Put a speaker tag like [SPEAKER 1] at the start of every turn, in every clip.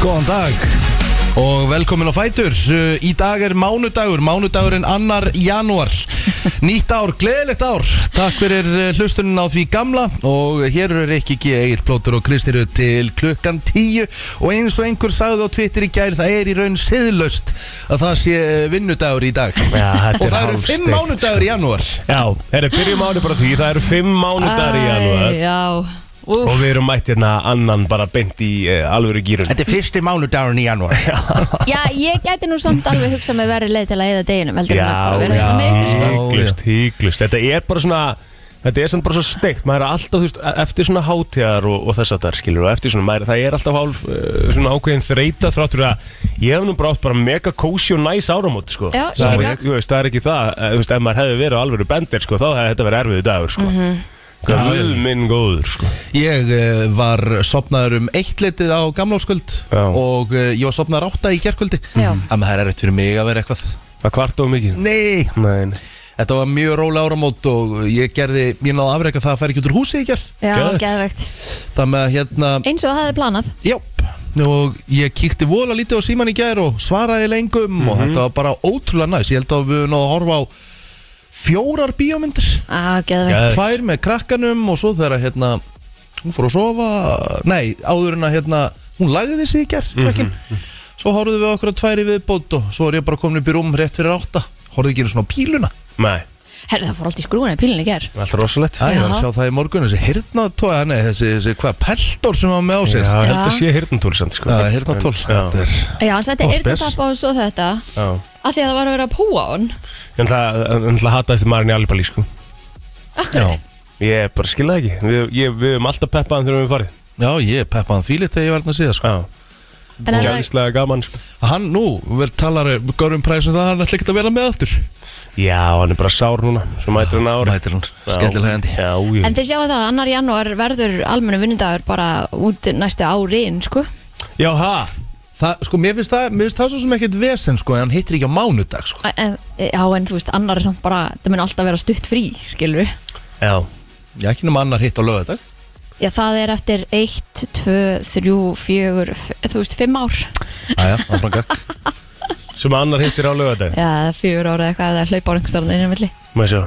[SPEAKER 1] Góðan dag og velkomin á Fætur Uh, Í dag er mánudagur, mánudagurinn annar janúar Nýtt ár, gleðilegt ár Takk fyrir uh, hlustunin á því gamla Og hér eru Rikki G. Egil Plótur og Kristiru til klukkan 10 Og eins og einhver sagði á Twitter í gær Það er í raun siðlaust að það sé uh, vinnudagur í dag
[SPEAKER 2] Já, þetta
[SPEAKER 1] Og
[SPEAKER 2] er
[SPEAKER 1] það eru
[SPEAKER 2] hálfsteikt,
[SPEAKER 1] fimm
[SPEAKER 2] sko.
[SPEAKER 1] mánudagur í janúar
[SPEAKER 2] Já, herri, byrjum ánum bara á því, það eru fimm mánudagar í
[SPEAKER 3] Æ,
[SPEAKER 2] janúar
[SPEAKER 3] Já,
[SPEAKER 2] og
[SPEAKER 3] úf
[SPEAKER 2] við erum mætt hérna annan bara beint í uh, alvöru gýrun
[SPEAKER 1] Þetta er fyrsti mánudagurinn í janúar
[SPEAKER 3] Já, ég gæti nú samt alveg hugsað með verið leið til að eða deginum heldur en að bara
[SPEAKER 2] Já,
[SPEAKER 3] vera hérna með ykkur sko.
[SPEAKER 2] híglust, híglust Þetta er bara svona Þetta er samt bara svo steikt, maður er alltaf, þú veist, e, eftir svona hátíðar og, og þess að það skilur og eftir svona, maður, það er alltaf hálf, uh, svona ákveðin þreita þráttur að ég hef nú bara átt bara mega kósi og næs áramót, sko.
[SPEAKER 3] Já,
[SPEAKER 2] það,
[SPEAKER 3] líka.
[SPEAKER 2] er- þú veist, það er ekki það, eh, þú veist, ef maður hefði verið á alvöru bendir, sko, þá hefði þetta verið erfiðu dagur, sko. Mm
[SPEAKER 3] Mhm.
[SPEAKER 2] -hmm. Guð minn góður, sko.
[SPEAKER 1] Ég uh, var sopnaður um eitt litið á gamláskvöld
[SPEAKER 2] Já.
[SPEAKER 1] og uh, ég var sopnaður átta í gerkvöldi
[SPEAKER 3] Já.
[SPEAKER 1] Þannig að það er erfitt fyrir mig að vera eitthvað
[SPEAKER 2] Það kvart of mikið.
[SPEAKER 1] Nei,
[SPEAKER 2] Nei, nei.
[SPEAKER 1] þetta var mjög rólega áramót og ég gerði, ég náði afreika það að færa ekki út úr húsi í ger
[SPEAKER 3] Já,
[SPEAKER 2] Gött.
[SPEAKER 3] geðvegt
[SPEAKER 1] Þannig að hérna,
[SPEAKER 3] Eins og það hefði planað
[SPEAKER 1] jáp og ég kíkti vola lítið á síman í gær og svaraði lengum og þetta var bara ótrúlega næs ég held að við náðum að horfa á fjórar bíómyndir
[SPEAKER 3] Á, geðvegt
[SPEAKER 2] Geðvegt.
[SPEAKER 1] tvær með krakkanum og svo þegar að, hérna, hún fór að sofa nei, áður en að hérna, hún lagði sig í gerð, krakkin svo horfðum við okkur að tvær í viðbót og svo er ég bara komin upp í rúm rétt fyrir átta horfði ekki einu svona á píluna
[SPEAKER 2] Nei,
[SPEAKER 3] Herri, það fór allt í skrúinu í pílinni ger
[SPEAKER 2] allt rosalegt.
[SPEAKER 1] Æ, ég var að
[SPEAKER 3] Já.
[SPEAKER 1] sjá það í morgun, þessi hirtnatói nei, þessi, þessi hvað, peltor sem hann með á
[SPEAKER 2] Já,
[SPEAKER 1] sér
[SPEAKER 2] ég held að
[SPEAKER 3] Já.
[SPEAKER 2] sé hirtnatól samt, sko.
[SPEAKER 1] Já, hirtnatól
[SPEAKER 2] Já.
[SPEAKER 1] Þetta er-
[SPEAKER 3] Já, þess að þetta
[SPEAKER 1] Og
[SPEAKER 3] er
[SPEAKER 1] spes.
[SPEAKER 3] þetta tappa og svo þetta
[SPEAKER 2] Já.
[SPEAKER 3] Af því að það var að vera að púa á hann
[SPEAKER 2] Ég ætla ég ætla að hata eftir Marin í Alibali sko
[SPEAKER 1] Já,
[SPEAKER 2] Ég bara skil það ekki Við, ég, við höfum alltaf peppaðan þegar við höfum farið
[SPEAKER 1] já, ég peppaðan þvílit þegar ég var hérna síðan sko.
[SPEAKER 2] Já,
[SPEAKER 3] En er það
[SPEAKER 2] gæðislega gaman sko
[SPEAKER 1] Hann nú, vel talar eh, Görum præsum um það, hann ætla ekki að vera með aftur
[SPEAKER 2] Já, hann er bara sár núna Svo mætir hann ári
[SPEAKER 1] Mætir hún, skellilega endi
[SPEAKER 2] Já, já,
[SPEAKER 3] En þið sjáu það, annar janúar verður almennu vinnudagur bara út næstu áriðin, sko.
[SPEAKER 2] já, ha
[SPEAKER 1] Það, sko, mér finnst það, mér finnst það svo sem ekkert vesen, sko, en hann hittir ekki á mánudag, sko.
[SPEAKER 3] En, já, en þú veist, annar er samt bara, það mun alltaf vera stutt frí, skilur
[SPEAKER 2] Já,
[SPEAKER 1] Já, ekki nema annar hitt á lögadag.
[SPEAKER 3] Já, það er eftir 1, 2, 3, 4, þú veist, 5 ár.
[SPEAKER 1] Æja, áfram gakk.
[SPEAKER 2] sem annar hittir á lögadag
[SPEAKER 3] Já, það er 4 ár eða eitthvað, það er hlaupa áringstarðan innum villi.
[SPEAKER 2] Mæði sjá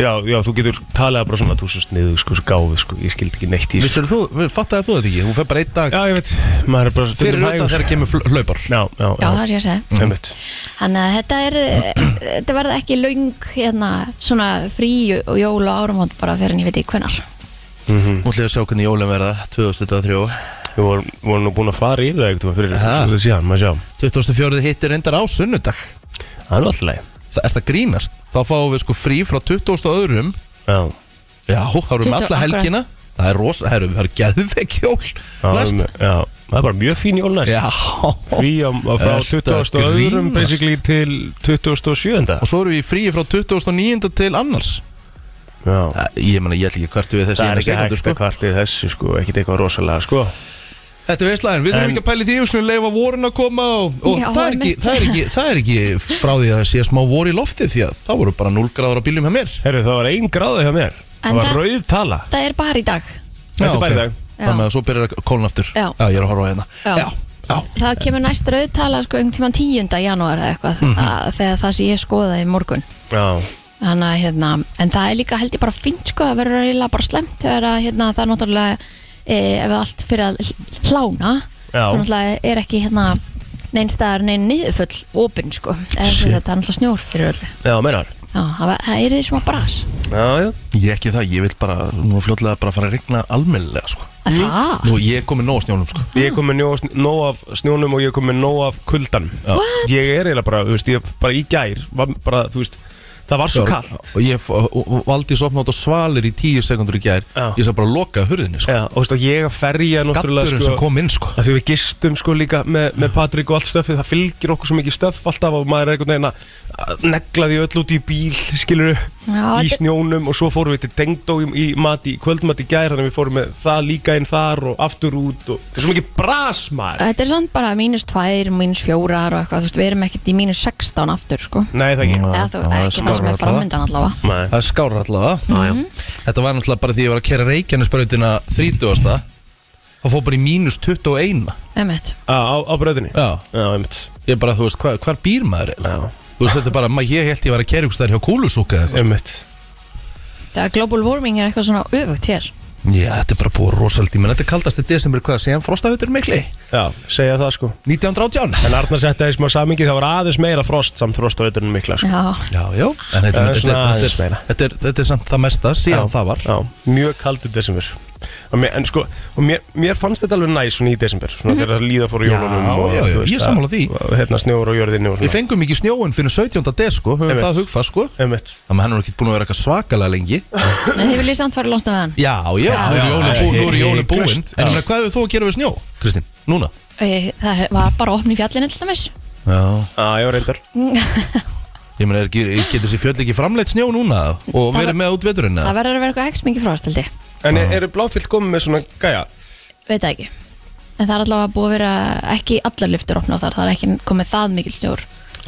[SPEAKER 2] Já, já, þú getur talað bara svona Þú svo sniðu, sko, svo gáfi, sko Ég skildi ekki neitt í þessu
[SPEAKER 1] Vissur þú, fattaði þú þetta ekki? Hún fer bara einn dag
[SPEAKER 2] Já, ég veit, maður er bara stundum
[SPEAKER 1] fyrir auðvitað
[SPEAKER 2] hægur. sko.
[SPEAKER 1] þegar kemur fl- hlaupar.
[SPEAKER 2] Já, já,
[SPEAKER 3] Já, það er ég að segja.
[SPEAKER 2] Einmitt.
[SPEAKER 3] Þannig að þetta er, eh, þetta verða ekki laung, hérna, svona frí og jól og áramót bara fyrir en ég veit ekki hvenar.
[SPEAKER 2] Mhm.
[SPEAKER 1] Nú ætlum við að sjá hvernig jólum verða 2023.
[SPEAKER 2] Við vorum, vorum nú búin að fara í það eitthvað fyrir
[SPEAKER 1] Ha.
[SPEAKER 2] svolítið síðan, maður sjá.
[SPEAKER 1] 2004 hittir reyndar á sunnudag.
[SPEAKER 2] Það er nú alltaf leið.
[SPEAKER 1] Það er það grínast. Þá fáum við sko frí frá 20. öðrum.
[SPEAKER 2] Já,
[SPEAKER 1] Já, þá erum við
[SPEAKER 3] 20
[SPEAKER 1] alla
[SPEAKER 3] akkurat.
[SPEAKER 1] helgina. Það er rosa, það eru, það eru geðveik jól.
[SPEAKER 2] já,
[SPEAKER 1] Næst.
[SPEAKER 2] já, það er bara mjög fín jól næst.
[SPEAKER 1] Já.
[SPEAKER 2] Frí á, á frá
[SPEAKER 1] Ertu að
[SPEAKER 2] 22.
[SPEAKER 1] grínast?
[SPEAKER 2] basically til 27.
[SPEAKER 1] Og svo erum við í fríi frá 2009. til annars.
[SPEAKER 2] Já.
[SPEAKER 1] Æ, Ég meina, ég ætla ekki hvert við þessi
[SPEAKER 2] Það er
[SPEAKER 1] eina
[SPEAKER 2] ekki
[SPEAKER 1] sekundu,
[SPEAKER 2] hægt
[SPEAKER 1] sko.
[SPEAKER 2] að kvartið þessu sko, ekkert eitthvað rosalega sko.
[SPEAKER 1] Þetta er veistlæðin, við þurfum
[SPEAKER 2] En-
[SPEAKER 1] ekki að pæli því, við skulum leifa vorun að koma og, og
[SPEAKER 3] Já,
[SPEAKER 1] það, er ekki,
[SPEAKER 3] einmitt.
[SPEAKER 1] það, er ekki, það er ekki frá því að það sé smá vor í lofti því að þá voru bara 0 gráður á bílum hjá mér
[SPEAKER 2] Herru það var ein gráði hjá mér,
[SPEAKER 3] En
[SPEAKER 2] það var
[SPEAKER 3] það-
[SPEAKER 2] rauð tala.
[SPEAKER 3] Það er bara í dag.
[SPEAKER 2] Þetta er
[SPEAKER 1] ok.
[SPEAKER 2] bæði dag.
[SPEAKER 1] Þannig að svo byrjar að kólna aftur
[SPEAKER 3] Já.
[SPEAKER 1] ég er að horfa á hérna
[SPEAKER 3] Já.
[SPEAKER 1] Já, já,
[SPEAKER 3] Það kemur næst rauðtala, sko, einhvern tíman 10. janúar eða eitthvað, að, þegar það sem ég skoðaði í morgun.
[SPEAKER 2] Já,
[SPEAKER 3] Þannig að hérna, en það er líka held ég bara fínt sko, það verður eiginlega bara slemt þegar að hérna það er náttúrulega e, ef allt fyrir að hl- hlána
[SPEAKER 2] Já.
[SPEAKER 3] það náttúrulega er ekki hérna neinn staðar neinn niðurfull opinn sko, eða þess að það er náttúrulega snjór fyrir öllu.
[SPEAKER 2] já, meinar.
[SPEAKER 3] Já, það, var- það er því smá bras.
[SPEAKER 2] Já, já.
[SPEAKER 1] ég ekki það, ég vil bara, nú fljótlega bara fara að regna almennilega sko
[SPEAKER 3] Mm. Það?
[SPEAKER 1] Nú, ég er komið nóg að snjónum sko
[SPEAKER 2] Ég kom með nóg, af sn- nóg af snjónum og ég kom með nóg af kuldan. Ég er eiginlega bara, þú veist, ég bara í gær, var bara, þú veist, það var svo kallt.
[SPEAKER 1] Og ég f- og- og valdi svo opnátt og svalir í 10 sekundur í gær
[SPEAKER 2] Já.
[SPEAKER 1] Ég sá bara að loka hurðinni sko
[SPEAKER 2] Já, og þú veist, og ég að ferja náttúrulega
[SPEAKER 1] Gatturinn sem kom inn sko
[SPEAKER 2] Það sem við gistum sko líka með, með Patrik og allt stöfið, það fylgir okkur svo mikið stöf alltaf og maður er einhvern veginn að- að negla því öll út í bíl, skilur
[SPEAKER 3] Já,
[SPEAKER 2] í
[SPEAKER 3] þetta-
[SPEAKER 2] snjónum og svo fórum við til Dengdó í, í, mat, í kvöldmat í gær, þannig við fórum með það líka inn þar og aftur út og það er svo mikið bras maður.
[SPEAKER 3] Þetta er samt bara mínus tvær, mínus fjórar og eitthvað, þú veist, við erum ekkert í mínus 16 aftur sko.
[SPEAKER 2] Nei, það sko ekki.
[SPEAKER 3] Eða þú, Mhm.
[SPEAKER 1] Já,
[SPEAKER 3] það er
[SPEAKER 1] það
[SPEAKER 3] ekki
[SPEAKER 1] er
[SPEAKER 3] það sem
[SPEAKER 1] smárra
[SPEAKER 3] er framöndan allavega.
[SPEAKER 2] Nei.
[SPEAKER 1] Það er skár allavega
[SPEAKER 2] já.
[SPEAKER 1] Þetta var náttúrulega bara því ég var að kera Reykjanesbrautina 30. Það fór bara í mínus 21
[SPEAKER 3] Einmitt.
[SPEAKER 2] á, á, á bröðinni
[SPEAKER 1] Já,
[SPEAKER 2] Já, einmitt
[SPEAKER 1] ég bara, þú veist, hva, hvar býr maður eiginlega?
[SPEAKER 2] Já,
[SPEAKER 1] Þú veist, þetta er bara, ma- ég held ég var að kæra ykkur stær hjá kúlusúka eða eitthvað
[SPEAKER 2] einmitt
[SPEAKER 3] Þegar global warming er eitthvað svona öfugt hér
[SPEAKER 1] Mm. Já, þetta er bara búið rosaldi, menn þetta er kaldast í desember, hvað, séðan frostafutur mikli?
[SPEAKER 2] Já, segja það sko
[SPEAKER 1] 1918
[SPEAKER 2] En Arnar setti það í smá samingi, það var aðeins meira frost samt frost á veiturinn mikla sko.
[SPEAKER 3] Já,
[SPEAKER 1] Já, já, en þetta,
[SPEAKER 2] Það er
[SPEAKER 1] þetta,
[SPEAKER 2] svona
[SPEAKER 1] þetta,
[SPEAKER 2] aðeins
[SPEAKER 1] þetta,
[SPEAKER 2] meira.
[SPEAKER 1] er, þetta, er, þetta er samt það mesta síðan það var
[SPEAKER 2] Já, mjög kaldur desember Og mér, en sko, og mér, mér fannst þetta alveg næs svona í desember Svona þegar það líða fór á
[SPEAKER 1] Já,
[SPEAKER 2] jólunum og,
[SPEAKER 1] já, já,
[SPEAKER 2] þú veist,
[SPEAKER 1] ég er sammála
[SPEAKER 2] að-
[SPEAKER 1] því.
[SPEAKER 2] og Hérna snjóður á jörðinni og
[SPEAKER 1] Við
[SPEAKER 2] svona
[SPEAKER 1] fengum ekki snjóin fyrir 17. des, sko, höfum
[SPEAKER 2] Einmitt.
[SPEAKER 1] það hugfað, sko
[SPEAKER 2] Einmitt
[SPEAKER 1] Þannig að hann er ekki búin að vera eitthvað svakalega lengi
[SPEAKER 3] en þið viljið samt fara lónstum við hann
[SPEAKER 1] Já, já,
[SPEAKER 2] Já,
[SPEAKER 1] nú eru
[SPEAKER 2] já,
[SPEAKER 1] jólin
[SPEAKER 2] já,
[SPEAKER 1] búin, nú eru
[SPEAKER 2] ég-
[SPEAKER 1] jólin
[SPEAKER 2] ég-
[SPEAKER 1] búin
[SPEAKER 2] klust,
[SPEAKER 1] En ég
[SPEAKER 2] já.
[SPEAKER 1] meina, hvað hefur þú að gera við snjó, Kristín, núna?
[SPEAKER 3] Ég- Það var bara opn í fjallinu til dæmis
[SPEAKER 1] Já,
[SPEAKER 2] Já, já, reyndar
[SPEAKER 1] ég meina, er ekki- getur þessi fjöll ekki framleitt snjó núna og
[SPEAKER 3] Það-
[SPEAKER 1] verið með út veturinn
[SPEAKER 3] Það
[SPEAKER 1] eða?
[SPEAKER 3] verður að vera eitthvað hekst mikið frástaldi
[SPEAKER 2] En
[SPEAKER 1] Ah.
[SPEAKER 2] er, eru bláfyllt komið með svona gæja?
[SPEAKER 3] Veit það ekki En það er allavega búið að vera ekki allar lyftur opnar þar Það er ekki komið það mikil snjór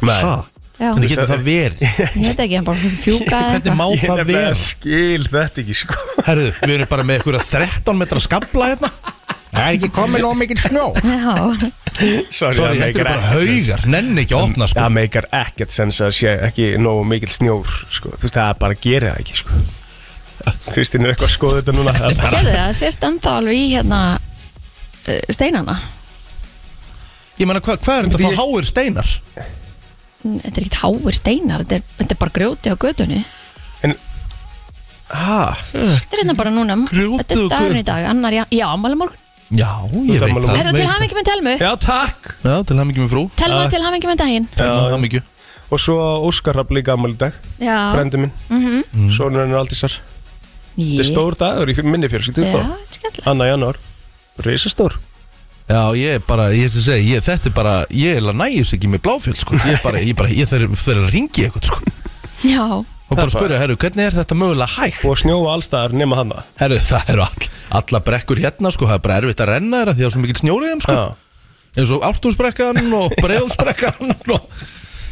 [SPEAKER 1] Ha?
[SPEAKER 3] Já,
[SPEAKER 1] Hvernig getur það verið?
[SPEAKER 3] ég veit ekki, hann bara fjúka eða
[SPEAKER 1] Hvernig má
[SPEAKER 3] eitthvað
[SPEAKER 2] Ég
[SPEAKER 1] það
[SPEAKER 2] nefnilega
[SPEAKER 1] vera?
[SPEAKER 2] skil þetta ekki sko
[SPEAKER 1] Herðu, við erum bara með einhverja 13 metra skabla hérna Það er ekki komin nóg mikil snjó
[SPEAKER 3] Já,
[SPEAKER 2] Sorry,
[SPEAKER 1] Sorry, þetta er bara haugar, nenni ekki að opna sko
[SPEAKER 2] Það meikar ekkert sens að sé ekki nógu mikil snjór sko. Þú veist, það bara gerir það ekki sko. Kristín er eitthvað að skoða þetta núna Það er bara-
[SPEAKER 3] sérðu það, það sést ennþá alveg í hérna eh, steinana
[SPEAKER 1] Ég meina, hvað hva er þetta þá háir steinar?
[SPEAKER 3] Þetta er ekkert háir steinar Þetta er, þetta er bara grjóti á götunni
[SPEAKER 2] En Ha,
[SPEAKER 3] Þetta er hérna bara núna
[SPEAKER 1] Grjótið
[SPEAKER 3] Þetta er
[SPEAKER 1] og
[SPEAKER 3] dagurinn
[SPEAKER 1] göt-
[SPEAKER 3] í dag, annar, já, já ámæli morgun
[SPEAKER 1] Já,
[SPEAKER 2] Þú
[SPEAKER 1] ég
[SPEAKER 2] ert
[SPEAKER 1] veit
[SPEAKER 2] afmæli
[SPEAKER 1] það
[SPEAKER 2] á
[SPEAKER 3] Herðu til hamingi með Telmu
[SPEAKER 2] já takk
[SPEAKER 1] Já, til hamingi með frú
[SPEAKER 3] Telma
[SPEAKER 2] Já.
[SPEAKER 3] til hamingi með daginn
[SPEAKER 1] Telma, hamingju
[SPEAKER 2] Og svo Óskar Rapp líka ammali dag
[SPEAKER 3] Já, Mhm.
[SPEAKER 2] Frendi minn, sonur hennar Aldísar Þetta er stór dagur í minni fjölskyldu
[SPEAKER 3] Já,
[SPEAKER 2] þá
[SPEAKER 3] skemmtilegt
[SPEAKER 2] Anna janúar, risastór
[SPEAKER 1] Já, ég er bara, ég er sem segi, ég, þetta er bara Ég er að nægjus ekki með bláfjöld sko Ég er bara, ég, bara, ég þarf þarf að ringi eitthvað sko
[SPEAKER 3] Já,
[SPEAKER 1] Og bara
[SPEAKER 2] Það er
[SPEAKER 1] spyrja, herru, hvernig er þetta mögulega hægt?
[SPEAKER 2] Og snjóa allstaðar nema hana
[SPEAKER 1] Herru, það eru all, alla brekkur hérna sko Það er bara erfitt að renna þeirra því það er svo mikill snjóriðum sko
[SPEAKER 2] Já,
[SPEAKER 1] eins og ártúnsbrekkan og breiðalsbrekkan og...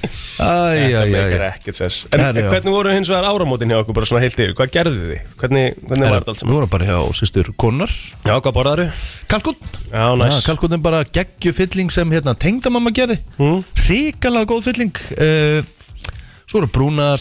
[SPEAKER 1] Æj, æj, æj
[SPEAKER 2] meikar ekkert sens En
[SPEAKER 1] Já, já.
[SPEAKER 2] en hvernig voru hins vegar áramótin hjá okkur bara svona heilt yfir? Hvað gerðu þið? Hvernig, hvernig var þetta allt
[SPEAKER 1] Við
[SPEAKER 2] saman?
[SPEAKER 1] vorum bara hjá sýstur konar
[SPEAKER 2] Já, hvað borðaru?
[SPEAKER 1] Kalkun
[SPEAKER 2] Já, næs
[SPEAKER 1] Kalkun er bara geggjufylling sem hérna, tengdamamma gerði mm. Ríkalega góð fylling uh, Svo eru brúna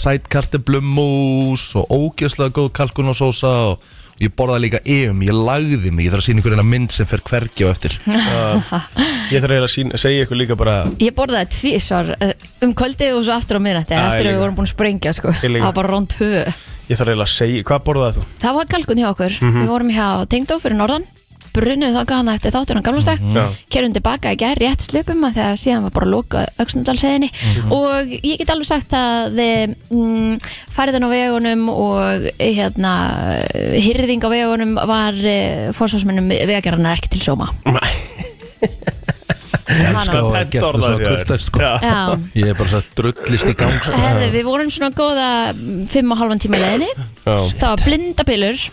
[SPEAKER 1] sætkarteblumús og ógeðslega góð kalkun og sósa og, og ég borðaði líka efum, ég lagði mig Ég þarf að sína ykkur eina mynd sem fer hvergi á eftir
[SPEAKER 2] Ég þarf eiginlega að sína- segja ykkur líka bara
[SPEAKER 3] Uh. ég borðaði tvísvar eh, um kvöldið og svo aftur á miðnætti
[SPEAKER 2] Já, ég
[SPEAKER 3] eftir að við
[SPEAKER 2] líka.
[SPEAKER 3] vorum búin að sprengja sko
[SPEAKER 2] Ég líka.
[SPEAKER 3] það var bara rond tvö
[SPEAKER 2] Ég þarf eiginlega að segja Hvað borðaði þú?
[SPEAKER 3] það var kalkun hjá okkur,
[SPEAKER 2] Mhm.
[SPEAKER 3] við vorum hjá Tengdó fyrir norðan brunnum þá hana eftir þáttunum gamlastak mm
[SPEAKER 2] Mhm. Já.
[SPEAKER 3] -hmm. kerum tilbaka í gær rétt slupum að þegar síðan var bara að loka auksnudalseðinni
[SPEAKER 2] Mhm.
[SPEAKER 3] og ég get alveg sagt að eh, mm, færðin á vegunum og eh, hérna hyrðing á vegunum var uh, fórsvarsmennum vegarinnar ekki til sóma
[SPEAKER 2] Nei
[SPEAKER 3] Hana-
[SPEAKER 1] sko.
[SPEAKER 2] Þetta
[SPEAKER 1] gert þú
[SPEAKER 2] orðaði
[SPEAKER 1] svona
[SPEAKER 2] ég þér.
[SPEAKER 1] kurteist, sko.
[SPEAKER 2] Já.
[SPEAKER 3] Já.
[SPEAKER 1] Ég er bara svo drullist í gang sko.
[SPEAKER 3] Herði, við vorum svona góða mm, fimm og halvan tíma í leiðinni
[SPEAKER 2] Já.
[SPEAKER 3] það var blindapillur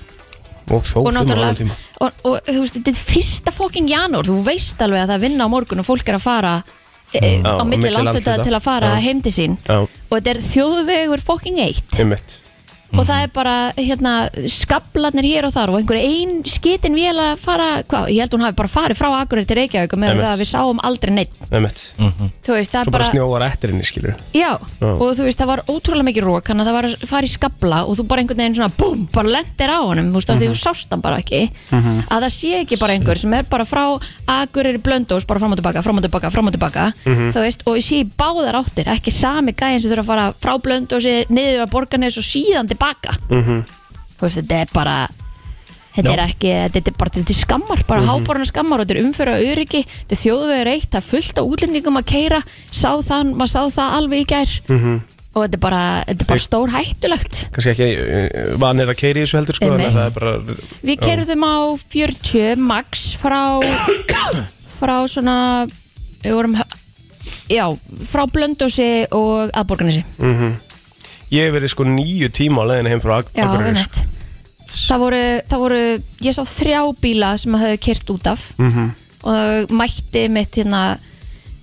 [SPEAKER 2] Og þó
[SPEAKER 3] og
[SPEAKER 2] fimm ára
[SPEAKER 3] náttúrulega
[SPEAKER 2] tíma
[SPEAKER 3] og, og þú veist, þetta er fyrsta fokking janúar þú veist alveg að það er vinna á morgun og fólk er að fara e,
[SPEAKER 2] Mm. Já,
[SPEAKER 3] á
[SPEAKER 2] á
[SPEAKER 3] milli
[SPEAKER 2] milli
[SPEAKER 3] landslita
[SPEAKER 2] landshluta.
[SPEAKER 3] til að fara
[SPEAKER 2] Já.
[SPEAKER 3] heim til sín
[SPEAKER 2] Já,
[SPEAKER 3] og þetta er þjóðvegur fokking eitt
[SPEAKER 2] einmitt
[SPEAKER 3] og það er bara hérna skablarnir hér og þar og einhver ein skitin vél að fara hvað, ég held hún hafi bara farið frá Akureyri til Reykjavík og
[SPEAKER 2] Einmitt.
[SPEAKER 3] meðan það að við sáum aldrei neitt
[SPEAKER 2] Einmitt
[SPEAKER 3] þú veist, það
[SPEAKER 2] Svo
[SPEAKER 3] er
[SPEAKER 2] bara
[SPEAKER 3] bara,
[SPEAKER 2] snjóar eftir henni skilur
[SPEAKER 3] já,
[SPEAKER 2] Já.
[SPEAKER 3] og þú veist, það var ótrúlega mikið rók, þannig að það var að fara í skabla og þú bara einhvern veginn svona, búm, bara lendir á honum þú veist, mm -hmm. þú sást hann bara ekki að það sé ekki bara einhver sem er bara frá agurir blöndós, bara fram og tilbaka fram og tilbaka, fram og tilbaka, þú veist og ég sé í báðar áttir, ekki sami gæðin sem þurfa að fara frá blöndósi, niður að borganes og síðan tilbaka þú veist, þetta er bara Þetta er ekki, þetta er bara, þetta er skammar, bara mm skammar og þetta er umfyrra öryggi, þetta er þjóðvegur eitt, það er fullt af útlendingum að keira, sá það, maður sá það alveg í gær og þetta er bara, þetta er bara stór hættulegt.
[SPEAKER 2] Kannski ekki eh, vanir að keiri þessu heldur sko en
[SPEAKER 3] Einmitt.
[SPEAKER 2] Það er bara
[SPEAKER 3] Við kerðum á 40 max frá, frá svona, við vorum, já, frá Blöndósi og aðborgarnesi.
[SPEAKER 2] Mhm. Ég hef verið sko nýju tíma á leiðinni heim frá Ak-
[SPEAKER 3] Já,
[SPEAKER 2] Akureyri, sko.
[SPEAKER 3] einmitt. Það voru, það voru, ég sá þrjá bíla sem hafðu kert út af
[SPEAKER 2] Mhm.
[SPEAKER 3] -hmm. og mætti mitt hérna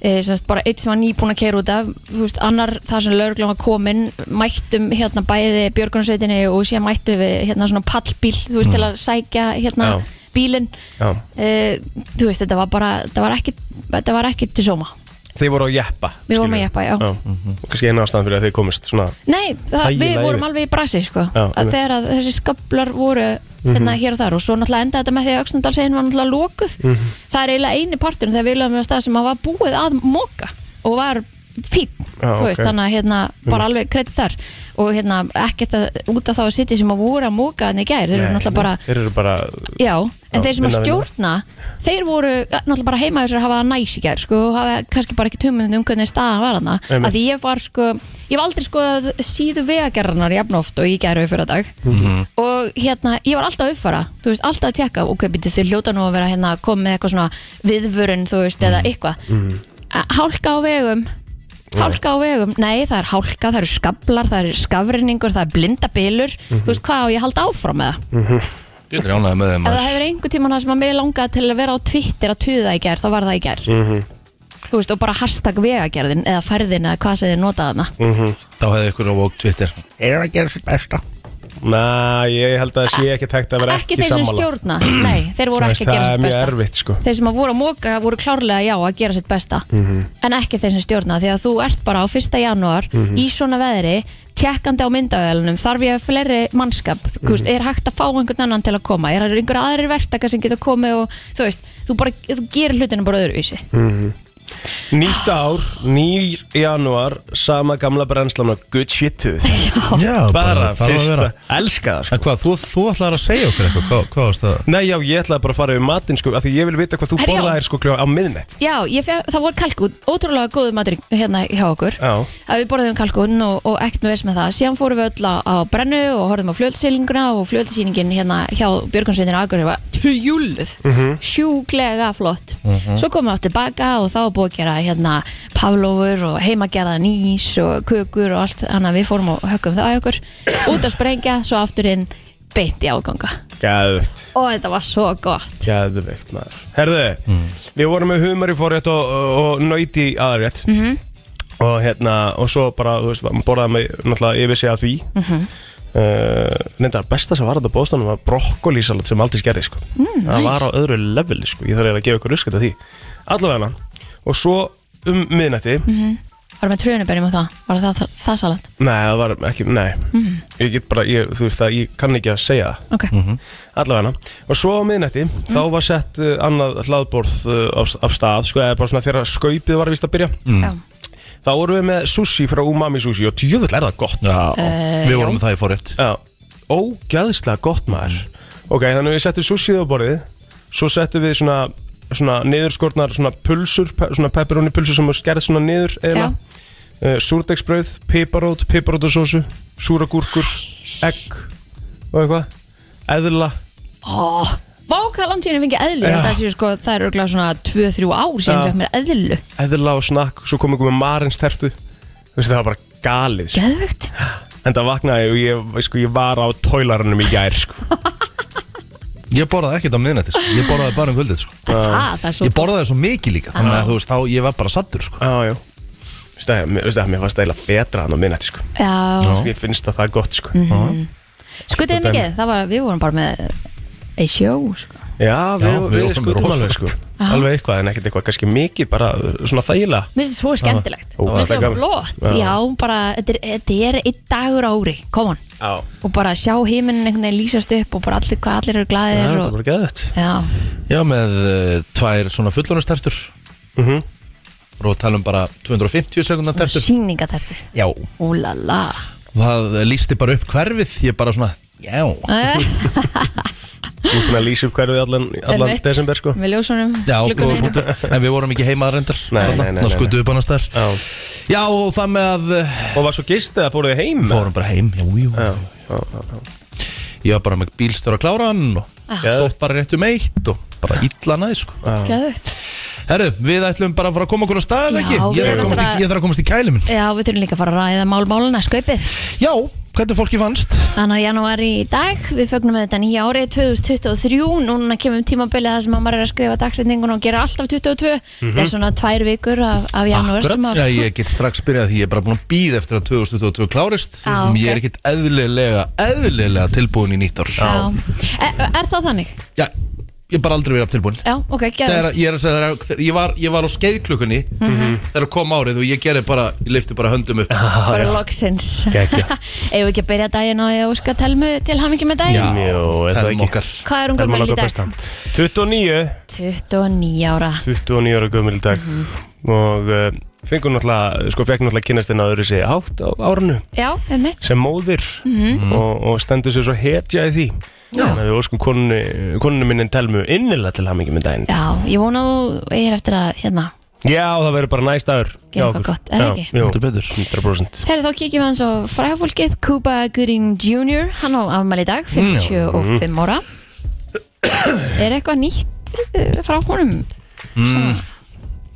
[SPEAKER 3] e, semst, bara eitt sem var nýbúin að kera út af þú veist, annar það sem lögreglum var komin mættum hérna bæði björgunarsveitinni og síðan mættum við hérna svona pallbíl þú veist, til að sækja hérna
[SPEAKER 2] Mm. Já.
[SPEAKER 3] bílinn
[SPEAKER 2] Já.
[SPEAKER 3] Eh, þú veist, þetta var bara þetta var ekki, þetta var ekki til sóma
[SPEAKER 2] Þið voru á jeppa
[SPEAKER 3] Við vorum
[SPEAKER 2] skilurðu.
[SPEAKER 3] á jeppa, já.
[SPEAKER 2] Og kannski eina ástæðan fyrir að þið komist svona
[SPEAKER 3] Nei, það, við
[SPEAKER 2] Þægilega
[SPEAKER 3] vorum
[SPEAKER 2] yfir.
[SPEAKER 3] alveg í brasi sko,
[SPEAKER 2] Já,
[SPEAKER 3] að
[SPEAKER 2] einmitt. Mhm.
[SPEAKER 3] þegar að þessi skablar voru hérna, hér og þar og svo náttúrulega endaði þetta með því að Öxnadalsegin var náttúrulega lokuð það er eiginlega eini parturinn þegar við lögum við að stað sem að var búið að moka og var fín,
[SPEAKER 2] Já,
[SPEAKER 3] þú veist,
[SPEAKER 2] ok.
[SPEAKER 3] þannig að hérna, bara alveg kredit þar og hérna, ekkert að, út af þá að sitja sem að voru að moka þannig gær, þeir eru
[SPEAKER 2] Nei,
[SPEAKER 3] náttúrulega bara
[SPEAKER 2] Þeir eru bara
[SPEAKER 3] Já, en
[SPEAKER 2] Já,
[SPEAKER 3] þeir sem
[SPEAKER 2] vinna, vinna.
[SPEAKER 3] að stjórna þeir voru eh, náttúrulega bara heima þessar að hafa það næs í gær sko, og hafa kannski bara ekki tumundin um hvernig staðan var hana
[SPEAKER 2] Einmitt.
[SPEAKER 3] að því ég var sko ég var aldrei sko síðu vegagerðarnar jafn oft og ég gerði fyrir dag
[SPEAKER 2] Mhm.
[SPEAKER 3] og hérna, ég var alltaf að uppfara þú veist, alltaf að tjekka, ok, býttu þið hljóta nú að vera hérna að koma með eitthvað svona viðvörun þú veist,
[SPEAKER 2] Mhm.
[SPEAKER 3] eða eitthvað Eh, hálka á vegum Hálka á vegum, nei það er hálka, það eru skablar, það er skafrinningur, það er blindabilur,
[SPEAKER 2] Mhm.
[SPEAKER 3] þú veist hvað á ég að halda áfram með það?
[SPEAKER 1] Ég er ánægði með þeim
[SPEAKER 3] Ef það hefur einhver tíma það sem að mig langaði til að vera á Twitter að tuða í gerð, þá var það í gerð
[SPEAKER 2] Mhm.
[SPEAKER 3] Þú veist, og bara hashtag vegagerðin eða ferðin eða hvað sem þið notaði hana
[SPEAKER 2] Mhm.
[SPEAKER 1] Þá hefði ykkur á vók Twitter
[SPEAKER 4] er að gera sitt besta
[SPEAKER 2] Næ, ég held að það sé ekki tækt að vera
[SPEAKER 3] Ekki
[SPEAKER 2] ekki
[SPEAKER 3] þeir sem
[SPEAKER 2] sammála
[SPEAKER 3] stjórna, nei, þeir voru
[SPEAKER 2] Þú
[SPEAKER 3] ekki
[SPEAKER 2] veist,
[SPEAKER 3] að gera
[SPEAKER 2] Það er
[SPEAKER 3] sitt
[SPEAKER 2] mjög
[SPEAKER 3] besta
[SPEAKER 2] erfitt sko
[SPEAKER 3] Þeir sem að voru að móka voru klárlega já að gera sitt besta
[SPEAKER 2] Mhm.
[SPEAKER 3] En ekki þeir sem stjórna, því að þú ert bara á 1. janúar
[SPEAKER 2] Mhm.
[SPEAKER 3] í svona veðri tjekkandi á myndavælunum, þarf ég fleiri mannskap, þú veist,
[SPEAKER 2] Mhm.
[SPEAKER 3] er hægt að fá einhvern annan til að koma, er það einhverja aðrir verktaka sem getur komið og þú veist, þú bara þú gerir hlutinu bara öðruvísi
[SPEAKER 2] Nýtt ár, nýr januar, sama gamla brennslan og good shit to
[SPEAKER 1] Já, þarf
[SPEAKER 2] Bara
[SPEAKER 1] að vera
[SPEAKER 2] fyrsta, elska það sko
[SPEAKER 1] En hvað, þú, þú ætlar að segja okkur eitthvað, hvað, hvað varst það?
[SPEAKER 2] Nei, já, ég ætlaði bara að fara yfir matinn sko, af því ég vil vita hvað þú
[SPEAKER 3] Herra, já.
[SPEAKER 2] borðaðir sko kljóða á miðnett
[SPEAKER 3] Já, ég feg, það voru kalkún, ótrúlega góðu matur í- hérna hjá okkur
[SPEAKER 2] Já,
[SPEAKER 3] að við borðum kalkún og, og ekkert með veist með það síðan fórum við öll á, á brennu og horfum á fljóðsýlinguna og fljóðsýlingin hérna hjá Björgunsveitin Akureyri var tjúluð sjúklega flott svo komum við átt tilbaka og þá var búið að gera hérna pavlófur og heimagerða nýs og kökur og allt þannig að við fórum og höggum það í okkur út að sprengja, svo aftur inn beint í áganga
[SPEAKER 2] gæðvögt
[SPEAKER 3] og þetta var svo gott
[SPEAKER 2] Gæðvögt maður Herðu, við vorum með humar í fórrétt og, og, og nöyti í aðrétt -hmm. Og hérna, og svo bara, þú veist, maður borðaði mig náttúrulega yfir sig að því mm -hmm. Neindar, besta sem var þetta bóðstæðan var brokkolísalat sem aldrei skerði sko mm, Það var á öðru leveli sko, ég þarf eiginlega að gefa ykkur ruskat að því Allavega og svo um miðnætti
[SPEAKER 3] varum við trjónuberjum og það, var það, það, það salat
[SPEAKER 2] Nei, það var ekki, nei Ég get bara, ég, þú veist það, ég kann ekki að segja það
[SPEAKER 3] Ok,
[SPEAKER 2] Allavega Og svo á miðnætti, þá var sett uh, annað hlaðborð uh, af, af stað Sko, eða bara svona þegar skaupið var vist að byrja
[SPEAKER 3] já
[SPEAKER 2] Þá vorum við með sushi frá Umami Sushi Og tjöfull er það gott
[SPEAKER 1] Já,
[SPEAKER 3] Eh,
[SPEAKER 1] við
[SPEAKER 3] já.
[SPEAKER 1] vorum með það í forrétt
[SPEAKER 2] Já, ógæðslega gott maður Ok, þannig að við settum sushið á borðið Svo settum við svona, svona niðurskornar Svona pulsur, pe svona pepperoni pulsur Sem er skerð svona niður eða uh, Súrdegsbrauð, piparót, piparótasósu Súragúrkur, egg Og eitthvað Eðla
[SPEAKER 3] Vá, hvað langt ég hef fengið eðlu
[SPEAKER 2] Já.
[SPEAKER 3] Þetta séu sko, það er örgulega svona 2-3 ár síðan
[SPEAKER 2] Já.
[SPEAKER 3] fekk mér eðlu
[SPEAKER 2] eðla og snakk svo kom ykkur með marins tertu þú veist það var bara galið sko.
[SPEAKER 3] Geðvögt
[SPEAKER 2] en það vaknaði og ég, sko, ég var á tóilarunum í gær sko.
[SPEAKER 1] Ég borðaði ekkert á miðnætti, sko. ég borðaði bara um kvöldið sko.
[SPEAKER 3] Það, það er svo
[SPEAKER 1] Ég borðaði svo mikið líka, þannig að þú veist, þá ég var bara sattur sko.
[SPEAKER 2] ah, já, veist það, mér, veist það, mér fannst það eiginlega betra hann á minnætti sko.
[SPEAKER 3] Já,
[SPEAKER 2] ég finnst það það gott sko.
[SPEAKER 3] skutiði
[SPEAKER 2] Þetta er-
[SPEAKER 3] mikið Það var, við vorum bara með Ei sjó, sko
[SPEAKER 2] já,
[SPEAKER 1] Já,
[SPEAKER 2] við, við,
[SPEAKER 1] við vorum
[SPEAKER 2] skutum
[SPEAKER 1] rosalegt.
[SPEAKER 2] alveg sko.
[SPEAKER 3] Já.
[SPEAKER 2] alveg eitthvað en ekkert eitthvað kannski mikið bara uh, svona þægilega
[SPEAKER 3] Mér finnst þetta svo skemmtilegt
[SPEAKER 2] Ó,
[SPEAKER 3] Mér
[SPEAKER 2] það
[SPEAKER 3] finnst
[SPEAKER 2] er
[SPEAKER 3] þetta
[SPEAKER 2] gaman.
[SPEAKER 3] flott
[SPEAKER 2] Já.
[SPEAKER 3] Já, bara, þetta er, þetta er einn dagur á ári Come on
[SPEAKER 2] já,
[SPEAKER 3] Og bara sjá heiminn einhvern veginn lýsast upp Og bara allir, hvað allir eru
[SPEAKER 2] það
[SPEAKER 3] glaðir
[SPEAKER 2] er
[SPEAKER 3] og,
[SPEAKER 2] bara geðvægt
[SPEAKER 3] Já,
[SPEAKER 1] Já, með uh, tvær svona fullónustertur
[SPEAKER 2] mm -hmm.
[SPEAKER 1] og tala um bara 250 sekundar tertur
[SPEAKER 3] síningatertu
[SPEAKER 1] Já,
[SPEAKER 3] Úlala
[SPEAKER 1] það lísti bara upp hverfið, ég bara svona, já
[SPEAKER 2] þú erum að lýsa upp hverfið allan, allan desember sko.
[SPEAKER 3] Með ljósunum
[SPEAKER 1] Já, góða
[SPEAKER 3] gluggaveginum.
[SPEAKER 1] punktur, en við vorum ekki heima reyndar
[SPEAKER 2] Nei, nei, nei,
[SPEAKER 1] Ná
[SPEAKER 2] nei,
[SPEAKER 1] skutum við bannast þær
[SPEAKER 2] Já.
[SPEAKER 1] Já, og það með að eh,
[SPEAKER 2] og var svo gistið að fóruðu heim
[SPEAKER 1] fórum bara heim, já, jú
[SPEAKER 2] já, já, já, já.
[SPEAKER 1] Ég var bara með bílstjóra að klára hann og
[SPEAKER 2] Já.
[SPEAKER 1] sótt bara rétt um eitt og bara illa næ, sko
[SPEAKER 3] Geðveikt.
[SPEAKER 1] Herru, við ætlum bara að fara að koma okkur á stað,
[SPEAKER 3] Já,
[SPEAKER 1] ekki? Ég
[SPEAKER 3] við
[SPEAKER 1] þarf að
[SPEAKER 3] erum
[SPEAKER 1] komast í-
[SPEAKER 3] bara-
[SPEAKER 1] ég þarf að komast í kæli minn
[SPEAKER 3] Já, við þurfum líka að fara að ræða málmáluna skaupið.
[SPEAKER 1] Já, hvernig fólki fannst?
[SPEAKER 3] Annar janúar í dag, við fögnum þetta nýja árið 2023, núna kemum tímabilið það sem að maður er að skrifa dagsetningun og gera alltaf 22,
[SPEAKER 2] Mhm.
[SPEAKER 3] það er svona tvær vikur af, af janúar sem að...
[SPEAKER 1] Já, ég get strax byrjað því ég er bara búin að býða eftir að 2022 klárist
[SPEAKER 3] Já,
[SPEAKER 1] Ég er
[SPEAKER 3] ok.
[SPEAKER 1] ekkit eðlilega, eðlilega tilbúin í nýtt ár
[SPEAKER 3] Já. Er, er E, það þannig?
[SPEAKER 1] Já, ég hef bara aldrei verið tilbúin
[SPEAKER 3] Já, ok,
[SPEAKER 1] Þegar,
[SPEAKER 3] geðvægt
[SPEAKER 1] ég, er að segja, þegar, þegar, ég, var, ég var á skeiðklukkunni þegar kom árið og ég gerði bara ég lifti bara höndum upp
[SPEAKER 3] Bara loksins
[SPEAKER 2] Gekkja.
[SPEAKER 3] Eða ekki að byrja daginn á ég óska telmu til hamingi með daginn
[SPEAKER 2] Jó, er það
[SPEAKER 1] telum
[SPEAKER 2] ekki
[SPEAKER 1] okkar
[SPEAKER 3] Hvað er hún
[SPEAKER 2] Telma
[SPEAKER 3] gömul í
[SPEAKER 2] okkar
[SPEAKER 3] dag?
[SPEAKER 2] besta 29
[SPEAKER 3] 29 ára
[SPEAKER 2] 29 ára gömul í dag og uh, fengur náttúrulega sko fekk náttúrulega kynastinn að öðru sig hátt á árnu
[SPEAKER 3] Já, er mitt
[SPEAKER 2] sem móðir
[SPEAKER 3] Mhm.
[SPEAKER 2] og, og stendur sér svo hetja í því þannig að við óskum konunni, konunni minni telmu innilega til hamingi með daginn
[SPEAKER 3] Já, ég vona þú eigir eftir að hérna
[SPEAKER 2] Já, það verður bara næst aður
[SPEAKER 3] Gera eitthvað gott, eða ekki?
[SPEAKER 2] Jú,
[SPEAKER 1] Heldur betur.
[SPEAKER 2] 100%
[SPEAKER 3] Herri, þá kíkjum við hans á fræðafólkið Kuba Gooding Jr. Hann á afmæli í
[SPEAKER 1] Mm.
[SPEAKER 3] dag, 55 ára Er eitthvað nýtt eh, frá honum? Mm.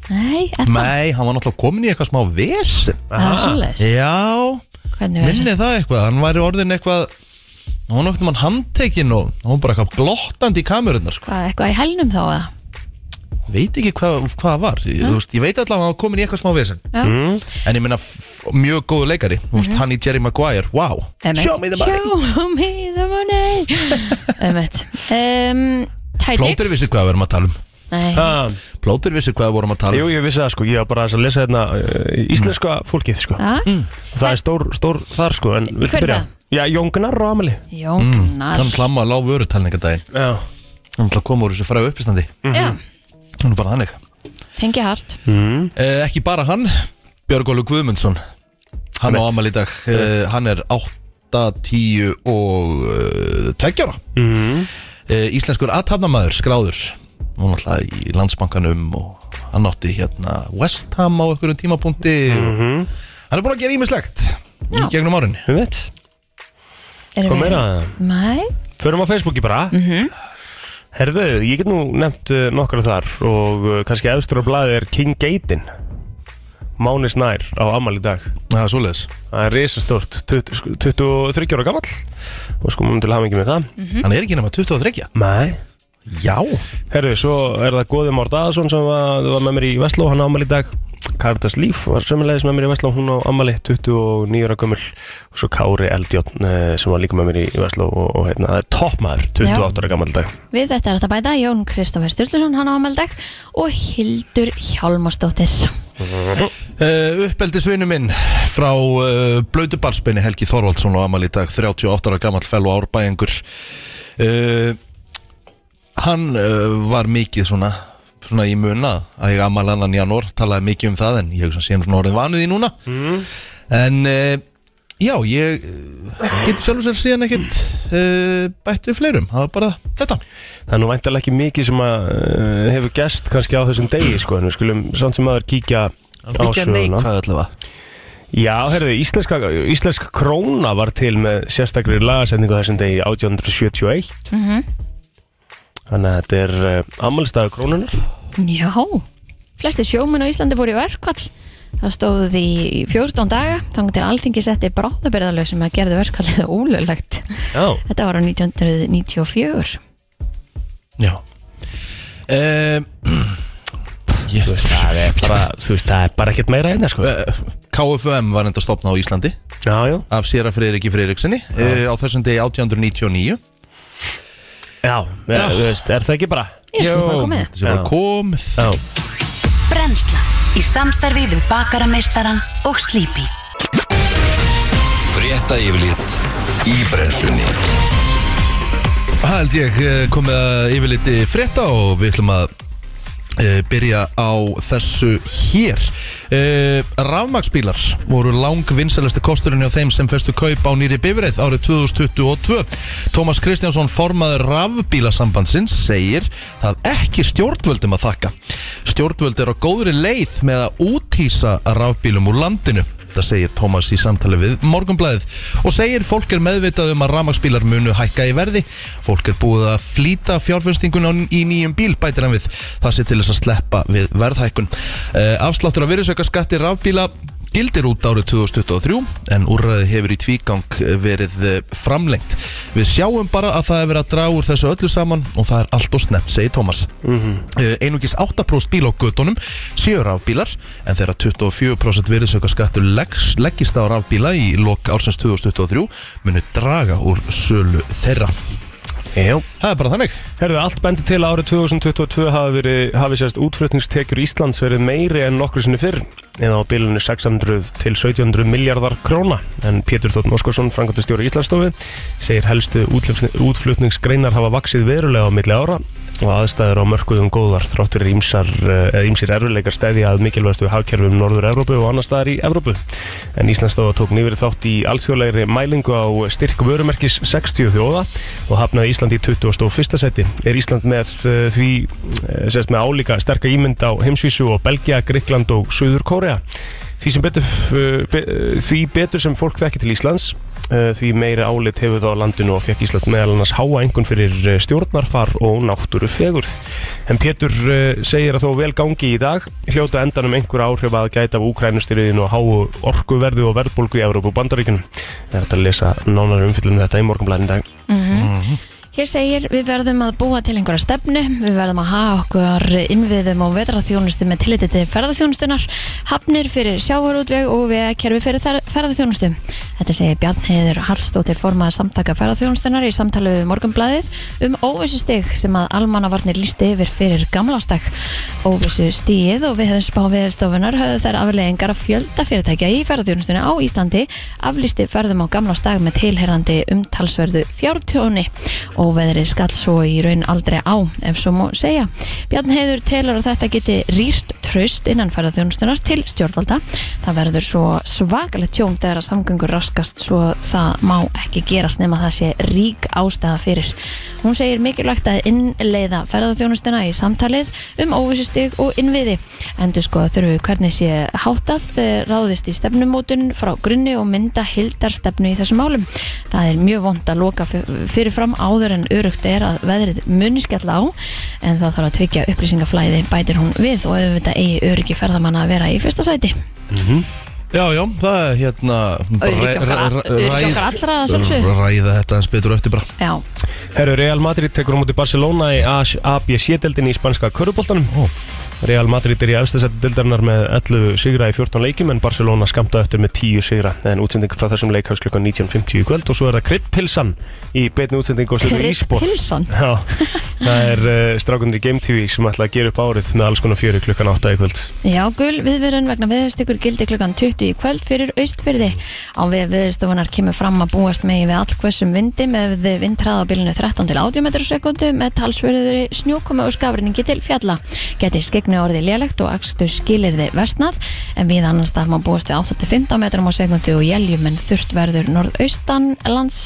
[SPEAKER 3] Nei, er það?
[SPEAKER 1] Nei, hann var náttúrulega komin í eitthvað smá ves
[SPEAKER 3] Það er svolítið
[SPEAKER 1] Já,
[SPEAKER 3] Hvernig verður
[SPEAKER 1] Ah. minni það eitthvað Hann væri orðin eitthvað Hún var náttúrulega handtekinn og hún var bara eitthvað glottandi í kamerunnar sko.
[SPEAKER 3] Hvað, eitthvað í helnum þá eða?
[SPEAKER 1] Veit ekki hvað, hvað var ég, þú veist, ég veit allavega að hann var komin í eitthvað smá vesen
[SPEAKER 3] Já.
[SPEAKER 1] En ég meina f- mjög góðu leikari Þú veist, hann í Jerry Maguire, wow Mhm.
[SPEAKER 3] Emmett.
[SPEAKER 1] Show me the money
[SPEAKER 3] Show me the money Emmett um,
[SPEAKER 1] Plóter
[SPEAKER 3] Tidix
[SPEAKER 1] vissi hvað við erum að tala um
[SPEAKER 3] Nei,
[SPEAKER 2] Ah,
[SPEAKER 1] Plóter vissi hvað við vorum að tala
[SPEAKER 2] jú,
[SPEAKER 1] um
[SPEAKER 2] ég vissi það sko, ég var bara aðeins að lesa hérna uh, íslenska fólkið sko
[SPEAKER 3] Ah,
[SPEAKER 1] Mm.
[SPEAKER 2] Það er stór, stór þar sko, en viltu
[SPEAKER 3] Hver er
[SPEAKER 2] byrja?
[SPEAKER 3] það?
[SPEAKER 2] Já, Jóngnar Ramali
[SPEAKER 3] Jón Gunnar
[SPEAKER 1] Hann klamma að lág vörutalningadaginn
[SPEAKER 2] Já,
[SPEAKER 1] Hann ætla að koma úr þessu fræðu uppistandi
[SPEAKER 3] Já,
[SPEAKER 1] Hún er bara þannig
[SPEAKER 3] tengi hart
[SPEAKER 2] Mhm,
[SPEAKER 1] eh, Ekki bara hann, Björg Ólu Guðmundsson Hann á amal í dag eh, Hann er 8, 10 og eh, 2 ára
[SPEAKER 2] mhm,
[SPEAKER 1] eh, Íslenskur aðtafnamaður skráður Hún alltaf í landsbankanum og hann átti hérna West Ham á einhverjum tímapunkti og Hann er búin að gera ímislegt í
[SPEAKER 3] Já.
[SPEAKER 1] gegnum árinni
[SPEAKER 2] mhm. við veit Hvað
[SPEAKER 3] Erum við-
[SPEAKER 2] meira það?
[SPEAKER 3] Nei,
[SPEAKER 2] Förum á Facebooki bara Herðu, ég get nú nefnt uh, nokkra þar og uh, kannski efstur á blaði er King Gaten Máni Snær á Amal í dag
[SPEAKER 1] Það er svoleiðis
[SPEAKER 2] Það er risastórt, 20 sko, 23 ára gamall og sko múnum til hafa mikið með það
[SPEAKER 1] Mhm. Hann er ekki nema 23
[SPEAKER 2] Nei
[SPEAKER 1] Já
[SPEAKER 2] Herðu, svo er það Góði Már Daðarsson sem var, var með mér í Vestló, hann á Amal í dag Kardas Líf var sömulegis með mér í Vestló, hún á Amali 29 ára gömul og svo Kári Eldjón eh, sem var líka með mér í Vestló og, og hérna, það er toppmaður 28 ára gammal í dag
[SPEAKER 3] við þetta er hægt að bæta Jón Kristoffer Sturluson, hann á amaldag og Hildur Hjálmarsdóttir
[SPEAKER 1] Uh, uppeldisvinu minn frá uh, blautubalsbeini Helgi Þorvaldsson og Amal í dag 38 ára gammal fel og árbæðingur uh, hann uh, var mikið svona svona í muna að ég Amal annan janúar talaði mikið um það en ég sem séum svona orðið vanuð í núna en uh, já ég uh, getur sjálfur sér síðan ekkert uh, bætt við fleirum, það var bara þetta
[SPEAKER 2] Það er nú væntalega ekki mikið sem að uh, hefur gest kannski á þessum degi sko, en við skulum samt sem aður kíkja á
[SPEAKER 1] ekki
[SPEAKER 2] söguna
[SPEAKER 1] neikvæð allavega
[SPEAKER 2] Já, herðu, íslenska, íslenska króna var til með sérstakri lagasendingu á þessum degi 1871 Þannig að þetta er uh, ammælstaðu krónunar
[SPEAKER 3] Já, flesti sjómenn á Íslandi fóru í verkvall Það stóðu því í 14 daga þangar til alþingi setti bráðabirðalög sem að gerðu verkvallið ólöglegt
[SPEAKER 2] Já,
[SPEAKER 3] Þetta var á 1994
[SPEAKER 1] já uh, ég veist
[SPEAKER 2] það er bara, þú veist, það er bara ekkert meira einna sko
[SPEAKER 1] Eh, KFUM var enda stopna á Íslandi
[SPEAKER 2] Já, já,
[SPEAKER 1] af Sera Friðriki Friðriksinni uh, á þessum degi 1899
[SPEAKER 2] já, já. þú veist, er það ekki bara
[SPEAKER 3] Ég held að það bara komið
[SPEAKER 1] þessi bara
[SPEAKER 2] Já.
[SPEAKER 1] komið
[SPEAKER 2] Já,
[SPEAKER 4] Brennslan í samstarfi við bakarameistaran og Sleepy
[SPEAKER 5] Frétta yfirlit í brennslunni
[SPEAKER 1] Það held ég eh, komið að yfirliti eh, frétta og við ætlum að eh, byrja á þessu hér uh, Rafmagsbílar voru lang vinsælusti kosturinn hjá þeim sem festu kaup á nýri bifreið árið 2022 Tómas Kristjánsson formaður rafbílasambandsins segir það ekki stjórnvöldum að þakka Stjórnvöld er á góðri leið með að útýsa rafbílum úr landinu Þetta segir Tómas í samtali við Morgunblæðið og segir fólk er meðvitað um að rafmagsbílar munu hækka í verði. Fólk er búið að flýta fjárfinnstingun í nýjum bíl bætir hann við. Það sé til þess að sleppa við verðhækkun. Eh, Afsláttur af virðisaukaskatti rafbíla gildir út árið 2023 en úrræði hefur í tvígang verið eh, framlengt. Við sjáum bara að það hefur verið að draga úr þessu öllu saman og það er allt og snemt, segir Tómas. Eh, Einungis 8% bíl á gödunum séu rafbílar en þegar 24% virðisaukaskattur leggs, leggist á rafbíla í lok ársins 2023 munu draga úr sölu þeirra
[SPEAKER 2] Jú.
[SPEAKER 1] Það er bara þannig
[SPEAKER 2] Herðu, allt bendir til að árið 2022 hafi, verið, hafi sérst útflutningstekjur Íslands verið meiri en nokkru sinni fyrr eða á bilinu 600 til 1700 miljardar króna en Pétur Þótt Óskarsson, frangandastjóri Íslandsstofu segir helstu útflutni- útflutningsgreinar hafa vaksið verulega á milli ára og aðstæður á mörkuðum góðar þráttur ímsar, eh, eða ímsir erfileikar stæði að mikilvægastu hagkerfum Norður-Evrópu og annar staðar í Evrópu en Íslandsstofa tók nýverið þátt í alþjóðlegri mælingu á styrk vörumerkis 60 þjóða og hafnaði Ísland í 21. seti. Er Ísland með eh, því, eh, sérst með álíka sterka ímynd á heimsvísu og Belgia, Grikland og Suður Kórea. Því, sem betur, eh, be, eh, því betur sem fólk þekki til Íslands, eh, því meiri álit hefur það á landinu og fekk Ísland meðal annars háa engun fyrir eh, stjórnarfar og náttúru fegurð. En Pétur eh, segir að þó vel gangi í dag, hljóta á endanum einhver áhrif að gæta af úkrænustyrðin og háu orkuverðu og verðbólgu í Európu og Bandaríkunum. Það er hægt að lesa nánar umfyllum þetta í morgunblæðin dag.
[SPEAKER 3] Hér segir við verðum að búa til einhverja stefnu, við verðum að hafa okkar innviðum og vetraþjónustu með tilliti til ferðaþjónustunar, hafnir fyrir sjávarútveg og við kerfi fyrir þar- ferðaþjónustu. Þetta segir Bjarnheiður Hallstóttir formaða samtaka ferðaþjónustunar í samtali við Morgunblæðið um óvissustig sem að almannavarnir lísti yfir fyrir gamlástak. Óvissustigið og við hefðum spá viðstofunar höfðu þær afleggingar að fjölda fyrirtækja í ferðaþjónustunni á Íslandi aflýsti ferðum á gamlástak með tilherrandi umtalsverðu fjártjóni og veðrið skall svo í raun aldrei á ef svo má segja. Bjarn Heiður telur að þetta geti rýrt tröst innan ferðarþjónustunar til stjórnvalda. Það verður svo svakalegt tjón þegar að samgöngur raskast svo það má ekki gerast nema það sé rík ástæða fyrir. Hún segir mikilvægt að innleiða ferðarþjónustuna í samtalið um óvissustig og innviði. Endur sko að þurfu hvernig sé háttað eh, ráðist í stefnumótun frá grunni og mynda hildarstefnu í þessum málum. Það er mjög vond að loka f- fyrirfram áður en örugt er að veðrið muni skella á en það þarf að tryggja upplýsingaflæði bætir hún við og auðvitað eigi öryggi ferðamanna að vera í fyrsta sæti.
[SPEAKER 1] Já, já, það er hérna bara ræ-
[SPEAKER 3] Öryggi okkar-
[SPEAKER 1] ræ- ræ-
[SPEAKER 3] öryggi okkar allra að sjálfsögðu.
[SPEAKER 1] Ræða þetta eins betur eftir bara
[SPEAKER 3] Já,
[SPEAKER 2] Herru, Real Madrid tekur á móti Barcelona í ABC-deldinni í spanska köruboltanum. Real Madrid er í efstasætti deildarinnar með 11 sigra í 14 leikjum en Barcelona skamta eftir með 10 sigra. En útsending frá þessum leik hefst klukkan 19.50 í kvöld og svo er það Kryddpilsan í beinni útsending og slöku e-sport.
[SPEAKER 3] Kryddpilsan?
[SPEAKER 2] Já, það er uh, strákunir í Game TV sem ætla að gera upp árið með alls konar fjöri klukkan 8 í kvöld.
[SPEAKER 3] Já, gul viðverun vegna viðstykur gildi klukkan 20 í kvöld fyrir austfyrði. Á við viðstofunar kemur fram að búast megi við allkvössum vindi með vindræða á bilinu 13 til 80 metrur sekundu með talsverður snjókoma og skafrinningi til fjalla. Geti skegnu orði lélegt og akstu skilirði vestnað en við annars þar má búast við 8-15 metrum á sekundu og jæljum en þurft verður norðaustan lands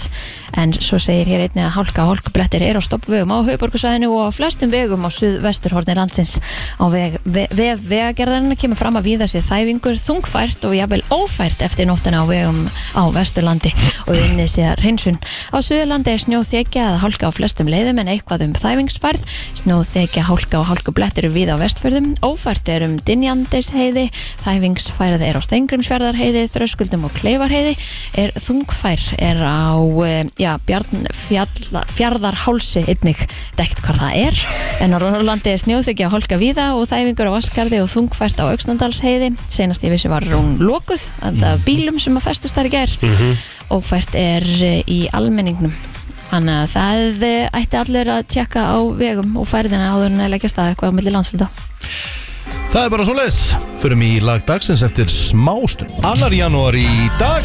[SPEAKER 3] en svo segir hér einnig að hálka og hálkublettir er á stoppvegum á höfuborgarsvæðinu og á flestum vegum á suðvesturhorni landsins á veg, ve, vef vegagerðarinn kemur fram að víða sér þæfingur þungfært og jafnvel ófært eftir nóttina á vegum á vesturlandi og inni sér hreinsun á suðurlandi er snjóþekja eða hálka á flestum leiðum en eitthvað um þæfingsfærð snjóþekja, hálka og hálkublettir er víða á vestförðum ófært er um dinjandisheiði þæfingsfærð er á stengrimsfjörðarheiði þröskuldum og kleifarheiði er þungfær er á eh, já, bjarn, fjall, fjarðarhálsi einnig, þetta er ekkert hvað það er en á Rónurlandi er snjóþykja að holka víða og þæfingur á Askarði og þungfært á Öxnandalsheiði, senast ég vissi var hún lokuð, þetta af bílum sem að festust þar í gær og fært er eh, í almenningnum þannig að það eh, ætti allir að tjekka á vegum og færðina áður en að leggja stað eitthvað á milli landslita
[SPEAKER 1] Það er bara svo leiðis Förum í lag dagsins eftir smástun Annar janúar í dag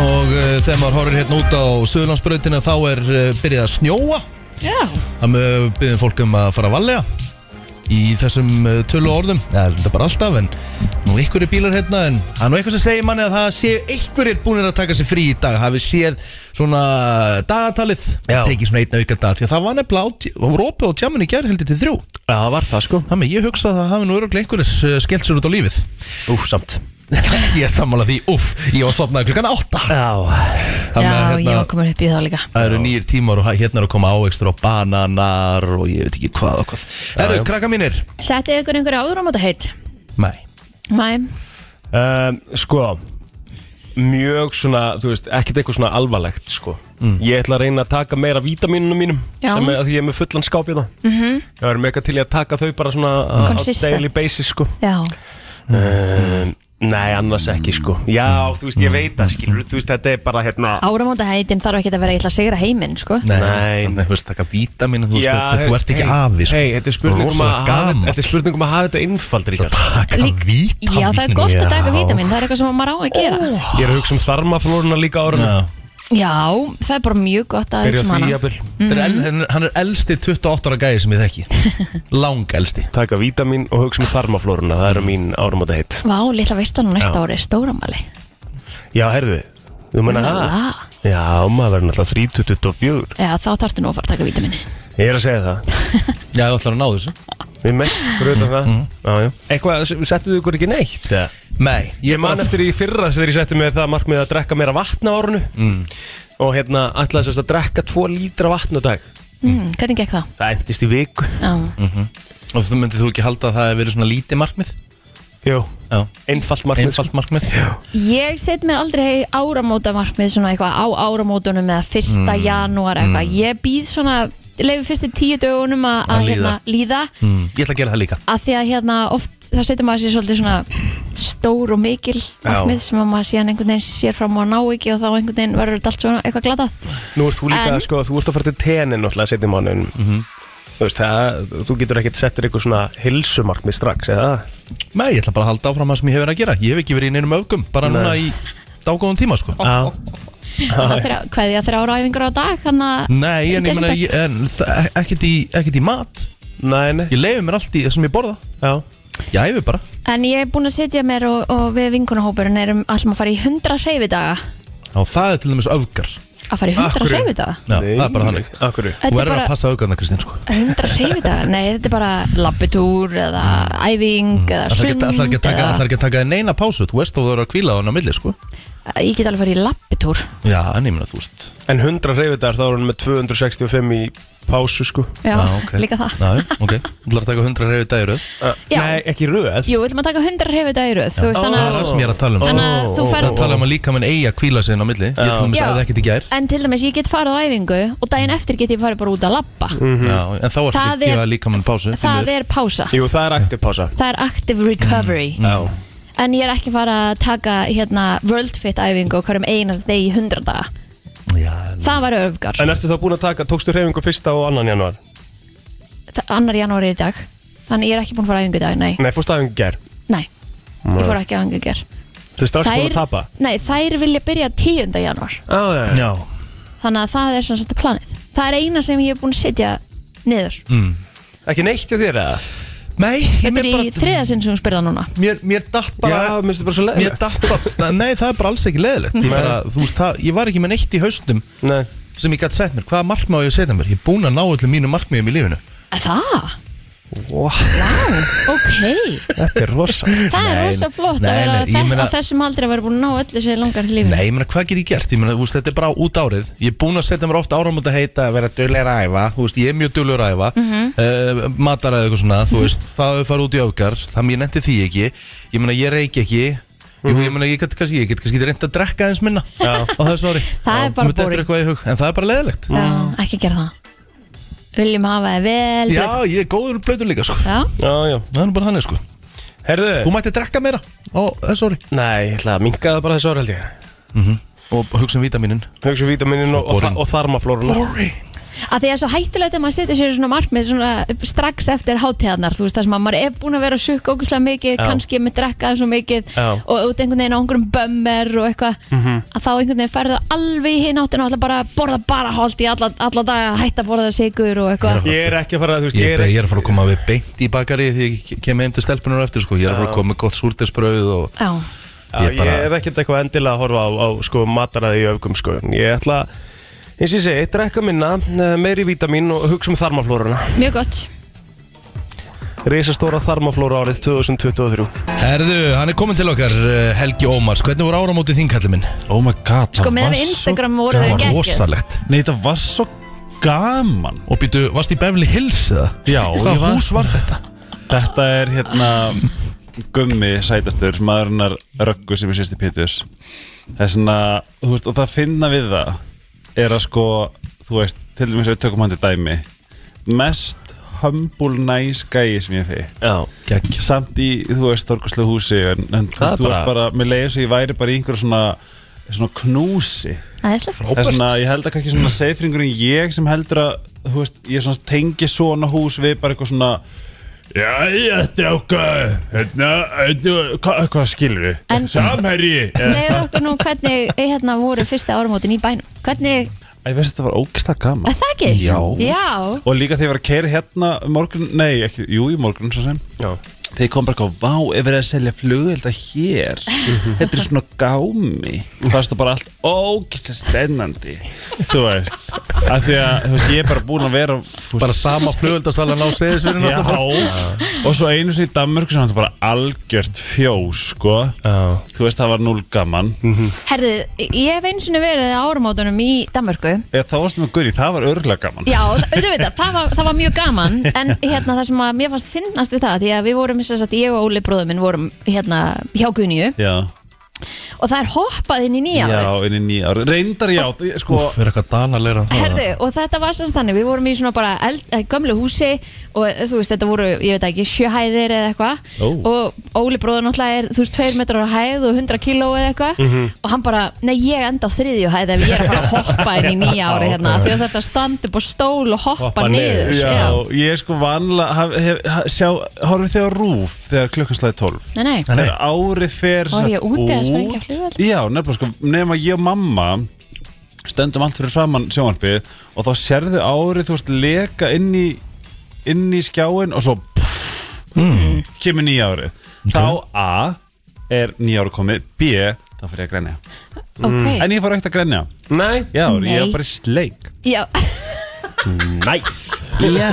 [SPEAKER 1] Og uh, þegar maður horfir hérna út á Suðurlandsbrautina þá er uh, byrjað að snjóa
[SPEAKER 3] Já,
[SPEAKER 1] Það með byrjum fólk um að fara að valega Í þessum uh, tölu orðum Það er þetta bara alltaf en Nú ykkur er bílar hérna en Það er nú eitthvað sem segir manni að það séu einhverjir búinir að taka sér frí í dag Hafi séð svona dagatalið
[SPEAKER 2] Já.
[SPEAKER 1] Tekið svona einn auka dag Því að það var nefnilega á Rópi og tjáminni gær heldur til þrjú
[SPEAKER 2] Já, það var það sko.
[SPEAKER 1] Þannig ég hugsa að það hafi nú öruglega einhverjir uh, skellt sér út á lífið
[SPEAKER 2] Úf, samt.
[SPEAKER 1] Ég er sammála því, uff, ég var sopnað klukkan átta
[SPEAKER 2] Já,
[SPEAKER 1] Þannig að
[SPEAKER 3] já,
[SPEAKER 1] hérna,
[SPEAKER 3] ég komur upp í það líka
[SPEAKER 1] Það eru nýjir tímar og hæ- hérna eru að koma ávegstur og bananar og ég veit ekki hvað og hvað Eru,
[SPEAKER 2] já.
[SPEAKER 1] krakka mínir?
[SPEAKER 3] Settið ykkur einhverju áður á heit?
[SPEAKER 1] Nei
[SPEAKER 3] Mæm
[SPEAKER 2] Um, sko mjög svona, þú veist, ekkert eitthvað svona alvarlegt sko.
[SPEAKER 1] Mm.
[SPEAKER 2] ég ætla að reyna að taka meira vítaminunum mínum,
[SPEAKER 3] Já.
[SPEAKER 2] sem er að því ég er með fullan skáp hérna, mm -hmm. ég verður mega til í að taka þau bara svona á- á
[SPEAKER 3] Consistent.
[SPEAKER 1] Mm.
[SPEAKER 2] daily basis sko.
[SPEAKER 3] Já,
[SPEAKER 2] um, Nei, annars ekki sko Já, þú veist,
[SPEAKER 1] Mm.
[SPEAKER 2] ég veit það skilur Þú veist, þetta er bara hérna
[SPEAKER 3] Áramóta heitin þarf ekki að vera eitthvað að sigra heiminn sko.
[SPEAKER 2] Nei.
[SPEAKER 1] Nei, þú veist, taka vítamin Þú veist,
[SPEAKER 2] Já,
[SPEAKER 1] þetta- þú ert ekki
[SPEAKER 2] hey,
[SPEAKER 1] afi sko.
[SPEAKER 2] hey, Þetta er spurning um að
[SPEAKER 1] Rosalega
[SPEAKER 2] hafa-
[SPEAKER 1] gamalt.
[SPEAKER 2] þetta er spurning um að hafa þetta innfald Ríkard.
[SPEAKER 1] Taka
[SPEAKER 3] Lík-
[SPEAKER 1] vítamin
[SPEAKER 3] Já, það er gott að taka
[SPEAKER 2] já.
[SPEAKER 3] vítaminn, það er eitthvað sem maður á að gera
[SPEAKER 2] Ég er að hugsa um þarmaflóruna líka
[SPEAKER 3] Mm.
[SPEAKER 2] ára
[SPEAKER 1] Já.
[SPEAKER 3] Já, það er bara mjög gott að
[SPEAKER 2] Byrja
[SPEAKER 3] hugsa um
[SPEAKER 2] á því
[SPEAKER 3] hana
[SPEAKER 2] jafnvel
[SPEAKER 1] Þetta er
[SPEAKER 3] Mm.
[SPEAKER 1] el- Hann hann er elsti 28 ára gæði sem ég þekki Lang elsti
[SPEAKER 2] Taka vítamin og hugsa um þarmaflóruna Það eru mín áramóta heitt
[SPEAKER 3] Vá, litla veistan á næsta ári, stóramali
[SPEAKER 2] Já, herðu Þú menna það?
[SPEAKER 3] Lala.
[SPEAKER 2] Já, maður verður náttúrulega 324
[SPEAKER 3] Já, þá þarftu nú að fara að taka vítaminni
[SPEAKER 2] Ég er að segja það
[SPEAKER 1] Já, þú ætlar að ná þessu
[SPEAKER 2] Við meitt, gröðum það Já, já. Mm-hmm. Eitthvað, settu þau ykkur ekki neitt? Ja.
[SPEAKER 1] Nei,
[SPEAKER 2] Ég man eftir í fyrra sem þegar ég setti mig það markmið að drekka meira vatn á árunu Og hérna, ætlaði sérst að drekka 2 lítra vatn á dag
[SPEAKER 3] mm, Hvernig gekk það?
[SPEAKER 2] Það endist í viku
[SPEAKER 3] Já,
[SPEAKER 1] Og þú myndið þú ekki halda að það hefur verið svona lítið markmið
[SPEAKER 2] Jú,
[SPEAKER 1] Já,
[SPEAKER 2] einfalt markmið sko.
[SPEAKER 1] einfalt markmið
[SPEAKER 3] Ég set mér aldrei áramótamarkmið svona eitthvað á áramótunum eða fyrsta
[SPEAKER 1] Mm.
[SPEAKER 3] janúar eitthvað Ég býð svona, leifu fyrstu tíu dögunum
[SPEAKER 1] Að
[SPEAKER 3] að- að
[SPEAKER 1] líða.
[SPEAKER 3] hérna, líða
[SPEAKER 1] mm, Ég ætla að gera það líka
[SPEAKER 3] að því að hérna oft þá setur maður sér svolítið svona stór og mikil markmið sem að maður síðan einhvern veginn sér fram og ná ekki og þá einhvern veginn verður þetta allt svona eitthvað glatað
[SPEAKER 2] Nú ert þú líka,
[SPEAKER 3] En-
[SPEAKER 2] sko, þú ert að fara til tenin náttúrulega setni mánuðin mm -hmm. Þú veist, það, þú getur ekkert settir eitthvað svona hilsumarkmið strax, eða?
[SPEAKER 1] Nei, ég ætla bara að halda áfram að sem ég hefur verið að gera Ég hef ekki verið í neinum öfgum Bara
[SPEAKER 2] Nei.
[SPEAKER 1] núna í dágóðan tíma sko
[SPEAKER 2] Já,
[SPEAKER 3] hvað ég þrjá ræfingur á dag þannig að
[SPEAKER 1] Nei, en ég meina ég- en það- ekkert í, ekkert í mat
[SPEAKER 2] næ, nei,
[SPEAKER 1] Ég leiði mér allt í það sem ég borða
[SPEAKER 2] já
[SPEAKER 1] Ég æfi bara
[SPEAKER 3] en ég er búin að setja mér og, og við vinkunahópurinn erum allum að fara í 100 hreyfidaga
[SPEAKER 1] Og það er til dæmis öfgar
[SPEAKER 3] að fara í 100
[SPEAKER 2] Akkurri.
[SPEAKER 3] hreyfidaga
[SPEAKER 1] Já, það er bara þannig
[SPEAKER 2] Akkur,
[SPEAKER 1] Þú
[SPEAKER 3] Þetta er
[SPEAKER 1] verður að
[SPEAKER 3] bara
[SPEAKER 1] passa öfgarna, Kristín sko
[SPEAKER 3] 100 hreyfidagar, nei þetta er bara labbitúr eða æfing eða
[SPEAKER 1] Það
[SPEAKER 3] sund
[SPEAKER 1] ætlar Mm. ekki að taka,
[SPEAKER 3] eða-
[SPEAKER 1] ætlar ekki að taka þér neina pásu Þú veist þú verður að kvíla hann á milli sko
[SPEAKER 3] Ég get alveg að fara í labbitúr
[SPEAKER 1] Já, en ég meina þú veist
[SPEAKER 2] en 100 reyfidagar þá er hann með 265 í pásu, sko
[SPEAKER 3] Já,
[SPEAKER 1] Já, Ah, ok.
[SPEAKER 3] líka það
[SPEAKER 1] Já, já, ok Þú ætlar að taka 100 reyfi dagir
[SPEAKER 2] uh,
[SPEAKER 3] Já.
[SPEAKER 2] Nei, ekki röð
[SPEAKER 3] Jú, við ætlum að taka 100 hreyfidagar í röð Þú veist
[SPEAKER 1] Það
[SPEAKER 3] þannig
[SPEAKER 1] er
[SPEAKER 3] að
[SPEAKER 1] það sem ég er að tala um sko.
[SPEAKER 3] Þannig að þú
[SPEAKER 1] Það
[SPEAKER 3] færð
[SPEAKER 1] tala um að líka minn eigi að kvíla sig inn á milli Ég til dæmis
[SPEAKER 3] Já.
[SPEAKER 1] sagði það ekkert í gær
[SPEAKER 3] En til dæmis ég get farið á æfingu og daginn eftir get ég farið bara út að labba
[SPEAKER 1] Já, En þá ertu ekki
[SPEAKER 3] Mhm. Það
[SPEAKER 1] að
[SPEAKER 3] er-
[SPEAKER 1] gefa líka minn pásu
[SPEAKER 3] Það er pása
[SPEAKER 2] Jú, það er aktiv pása
[SPEAKER 3] Það er active recovery
[SPEAKER 1] Mm.
[SPEAKER 2] Já
[SPEAKER 3] En ég er ekki farið að taka hérna, World Fit æfingu og hverjum einast deg í 100 daga Það var öfgar
[SPEAKER 2] En ertu þá búin að taka, tókstu reyfingu fyrsta og annan januar?
[SPEAKER 3] Það- Annar janúar er í dag Þannig ég er ekki búin að fara á æfingu í dag, nei,
[SPEAKER 2] Nei, fórstu aðeins ger
[SPEAKER 3] nei. Ég fór ekki á æfingu í ger
[SPEAKER 2] Þú er strax búin að tapa
[SPEAKER 3] nei, þær vilja byrja 10. janúar
[SPEAKER 2] Á, já, já.
[SPEAKER 1] Já,
[SPEAKER 3] Þannig að það er svona svolítið planið Það er eina sem ég er búin að setja niður
[SPEAKER 1] Mm.
[SPEAKER 2] Ekki neitt hjá þér, eða?
[SPEAKER 1] nei, ég
[SPEAKER 3] Þetta er
[SPEAKER 1] mér
[SPEAKER 3] í
[SPEAKER 1] bara
[SPEAKER 3] þriða sinn sem hún spyrða núna
[SPEAKER 1] Mér, mér datt
[SPEAKER 2] já,
[SPEAKER 1] bara
[SPEAKER 2] mér finnst það bara svo
[SPEAKER 1] Mér
[SPEAKER 2] leið
[SPEAKER 1] datt bara, nei það er bara alls ekki leðilegt ég,
[SPEAKER 2] Nei.
[SPEAKER 1] bara, þú veist, það, ég var ekki með neitt í haustum
[SPEAKER 2] Nei,
[SPEAKER 1] sem ég gæti sett mér, hvaða markmið á ég að setja mér ég er búin að ná öllum mínum markmiðum í lífinu
[SPEAKER 3] Að Það?
[SPEAKER 2] Vá,
[SPEAKER 3] Ok,
[SPEAKER 2] þetta er rosa
[SPEAKER 3] það er
[SPEAKER 1] Nei,
[SPEAKER 3] rosa flott
[SPEAKER 1] nei,
[SPEAKER 3] að vera
[SPEAKER 1] nei,
[SPEAKER 3] að
[SPEAKER 1] ég
[SPEAKER 3] þetta
[SPEAKER 1] meina-
[SPEAKER 3] meina... þessum aldrei að vera búin að ná öllu sér langar í lífinu
[SPEAKER 1] Nei, ég meina, hvað get ég gert? Ég meina, þú veist, þetta er bara út árið Ég er búin að setja mér oft áramóta heita að vera duglegur að æfa Þú veist, ég er mjög duglegur að æfa mm
[SPEAKER 3] Mhm.
[SPEAKER 1] Mataræði eitthvað svona, þú veist Það hefur farið út í öfgar, þannig ég nefndi því ekki Ég meina, ég reyki ekki Jú,
[SPEAKER 3] Mhm.
[SPEAKER 1] ég meina, ég get kannski, ég get kannski reynd að drekka eins minna Já. Á þessu ári
[SPEAKER 3] Það er bara
[SPEAKER 1] Mér dettur
[SPEAKER 3] boring.
[SPEAKER 1] eitthvað í hug, En það er bara leðilegt
[SPEAKER 3] Já, ekki gera það Viljum hafa það vel
[SPEAKER 1] Já, ég er góður blöytur líka, sko
[SPEAKER 3] Já.
[SPEAKER 2] Já, já
[SPEAKER 1] Það er nú bara þannig, sko
[SPEAKER 2] Herðu
[SPEAKER 1] Þú mætti drekka meira á þessu ári
[SPEAKER 2] Nei, ég ætla að minka það bara þessu ára held ég
[SPEAKER 1] Og hugsa um vítaminin
[SPEAKER 2] Hugsa vítaminin og, og, þa-
[SPEAKER 1] boring.
[SPEAKER 2] og þarmaflóruna
[SPEAKER 3] Að því að svo hættulegt að maður setja sér svona markmið svona strax eftir hátíðarnar þú veist það sem að maður er búin að vera að sukka ógustlega mikið
[SPEAKER 2] Já.
[SPEAKER 3] kannski með drekkaði svo mikið
[SPEAKER 2] Já. Mhm.
[SPEAKER 3] og út einhvern veginn á einhverjum bömmer og eitthvað að þá einhvern veginn ferðu alveg í hinn áttin og ætla bara að borða bara holt í alla, alla daga hætta að borða sigur og eitthvað
[SPEAKER 2] Ég er ekki að fara að, þú veist,
[SPEAKER 1] Ég,
[SPEAKER 2] ég
[SPEAKER 1] ég,
[SPEAKER 2] er
[SPEAKER 1] ég er að fara að koma við beint í bakari því ég kem heim til stelpunum á eftir sko. ég er að fara að koma með gott súrdesbröð og
[SPEAKER 3] Já,
[SPEAKER 2] Já,
[SPEAKER 1] ég bara-
[SPEAKER 2] ég er ekkert eitthvað endilega að horfa á, á sko, mataræði í öfgum sko. Ég ætla, eins og ég segi, drekka minna eh, meiri vítamin og hugsa um þarmaflóruna
[SPEAKER 3] mjög gott
[SPEAKER 2] Rísastóra þarmaflóra árið 2023
[SPEAKER 1] Herðu, hann er komin til okkar eh, Helgi Ómars, hvernig voru áramótið þín kallið minn?
[SPEAKER 6] Oh my god,
[SPEAKER 3] Sko
[SPEAKER 6] það
[SPEAKER 3] með
[SPEAKER 6] var
[SPEAKER 3] við
[SPEAKER 6] svo
[SPEAKER 3] Instagram voru þau
[SPEAKER 1] var
[SPEAKER 3] geggjöð
[SPEAKER 1] rosalegt
[SPEAKER 6] Nei, það var svo gaman
[SPEAKER 1] Og býtu, varst í Beverly Hills eða?
[SPEAKER 6] Já,
[SPEAKER 1] Hvaða
[SPEAKER 6] ég var-
[SPEAKER 1] hús var þetta?
[SPEAKER 6] Þetta er hérna Gummi sætastur, maðurinnar Röggu sem er sérst í Péturs Það er svona, þú veist, og það finna við það Er að sko, þú veist, til dæmis ef við tökum hann til dæmi Mest humble, nice gæi sem ég fegi
[SPEAKER 2] Já,
[SPEAKER 1] Gekk
[SPEAKER 6] samt í, þú veist, Þorguslu húsi en, en
[SPEAKER 2] Það er
[SPEAKER 6] þú veist, þú
[SPEAKER 2] bara-
[SPEAKER 6] veist bara, mér leiðis að ég væri bara í einhverju svona svona knúsi
[SPEAKER 3] Æðislegt
[SPEAKER 6] Það er svona, ég held að kannski svona seifringurinn ég sem heldur að, þú veist, ég svona tengi svona hús við bara eitthvað svona Já, ég ætti ákvað, hérna, hérna, hva, hvað skilur við?
[SPEAKER 3] En-
[SPEAKER 6] Samherji!
[SPEAKER 3] Segðu okkur nú hvernig eh, hérna voru fyrsta árumótin í bænum Hvernig,
[SPEAKER 6] Æ, Ég veist að þetta var ógæslega gaman
[SPEAKER 3] er það ekki?
[SPEAKER 6] Já.
[SPEAKER 3] Já,
[SPEAKER 6] Og líka þegar ég var að keira hérna um morgun, nei, ekki, jú, í morgun svo sem
[SPEAKER 2] já
[SPEAKER 6] Þegar ég kom bara eitthvað, vá, ef við erum að selja flugvelda hér Þetta er svona gámi Það er bara allt ógæslega spennandi Þú veist, af því að, þú veist, ég er bara búin að vera þú veist,
[SPEAKER 1] Bara sama flugöldasalan á seðisverðin
[SPEAKER 6] Já, og svo einu sinni í Danmörku sem hann bara algjört fjós, sko
[SPEAKER 2] Já.
[SPEAKER 6] Þú veist, það var núl gaman
[SPEAKER 3] herðu, ég hef eins og verið á árumótunum í Danmörku
[SPEAKER 6] Eða það varst með Guri, það var örgulega gaman
[SPEAKER 3] Já, auðvitað, það var, það var mjög gaman en hérna það sem að mér fannst finnast við það því að við vorum, sem sagt, ég og Óli bróðum minn vorum hérna hjá Gunju
[SPEAKER 6] Já,
[SPEAKER 3] og það er hoppað inn í nýja
[SPEAKER 6] já, inn í nýja ári Reyndar, já, því- sko
[SPEAKER 1] Úf, er eitthvað danalegra en það?
[SPEAKER 3] Herðu, og þetta var sem sagt þannig, við vorum í svona bara eld, eh, gömlu húsi og eh, þú veist, þetta voru, ég veit ekki, sjöhæðir eða eitthvað og Óli bróður náttúrulega er, þú veist, tveir metrar á hæð og 100 kíló eða eitthvað og hann bara, nei, ég enda á þriðju hæð ef ég er að fara að hoppa inn í nýja ári hérna því að þetta standa upp á stól og hoppa,
[SPEAKER 2] Hoppa niður.
[SPEAKER 3] niður,
[SPEAKER 6] Já, ég er sko vanlega haf, hef, haf, Sjá, horfum þið á rúf þegar klukkan slæði 12
[SPEAKER 3] Nei, nei,
[SPEAKER 1] Nei.
[SPEAKER 6] Þegar árið fer
[SPEAKER 3] Var
[SPEAKER 6] sem
[SPEAKER 3] ég
[SPEAKER 6] sagt
[SPEAKER 3] úti að
[SPEAKER 6] út-
[SPEAKER 3] sprengja flugvél?
[SPEAKER 6] Já, nefnilega sko, nema ég og mamma stöndum allt fyrir framann sjónvarpið og þá sérðu árið, þú veist, leka inn í, inn í skjáin og svo puff,
[SPEAKER 1] Mm.
[SPEAKER 6] kemur nýja árið Þá A er nýja árið komið, B þá fyrir ég að grenja
[SPEAKER 3] ok
[SPEAKER 6] En ég fór ekkert að grenja
[SPEAKER 2] Nei,
[SPEAKER 6] Já, ég
[SPEAKER 3] Nei.
[SPEAKER 6] var bara í sleik
[SPEAKER 3] Já,
[SPEAKER 2] næs
[SPEAKER 6] Já,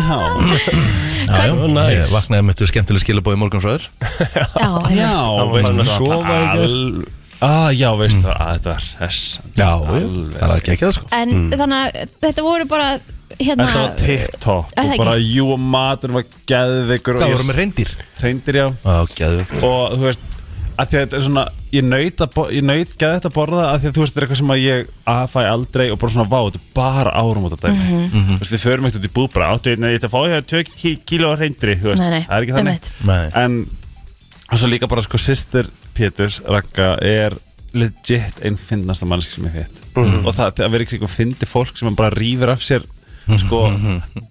[SPEAKER 1] Já, já,
[SPEAKER 2] Nice.
[SPEAKER 1] ég vaknaði með þetta skemmtileg skilabóð í morgun frá þér
[SPEAKER 3] já, já.
[SPEAKER 2] Þá var hann að sofa í gær.
[SPEAKER 6] al... ah, Já, veist það, að þetta var hressandi
[SPEAKER 1] Já,
[SPEAKER 6] Alveg.
[SPEAKER 1] það er ekki ekki það sko
[SPEAKER 3] En
[SPEAKER 6] Mm.
[SPEAKER 3] þannig að þetta voru bara hérna,
[SPEAKER 6] Þetta var TikTok
[SPEAKER 3] Er það
[SPEAKER 6] og bara jú og matur var geðveikur
[SPEAKER 1] Það
[SPEAKER 6] og
[SPEAKER 1] voru með
[SPEAKER 6] ég
[SPEAKER 1] reyndir
[SPEAKER 6] reyndir já
[SPEAKER 1] Já, geðvikt
[SPEAKER 6] og þú veist að því að þetta er svona ég naut, að, bo- ég naut geði þetta að borða að því að þú veist þetta er eitthvað sem að ég að fæ aldrei og bara svona vá, þetta er bara árum út af dæmi
[SPEAKER 3] Mhm.
[SPEAKER 1] Mhm.
[SPEAKER 6] þú veist við förum ekkert út í búð bara áttu einnig, ég ætla að fá ég að tök kíló af reyndri þú veist,
[SPEAKER 3] Nei, nei,
[SPEAKER 6] það er ekki þannig
[SPEAKER 1] einmitt. Nei.
[SPEAKER 6] en og svo líka bara sko sýstir Péturs Ragga er legit einn fyndnasta mannski sem ég fett og það það að vera í kringum fyndi fólk sem bara rýfur af sér sko,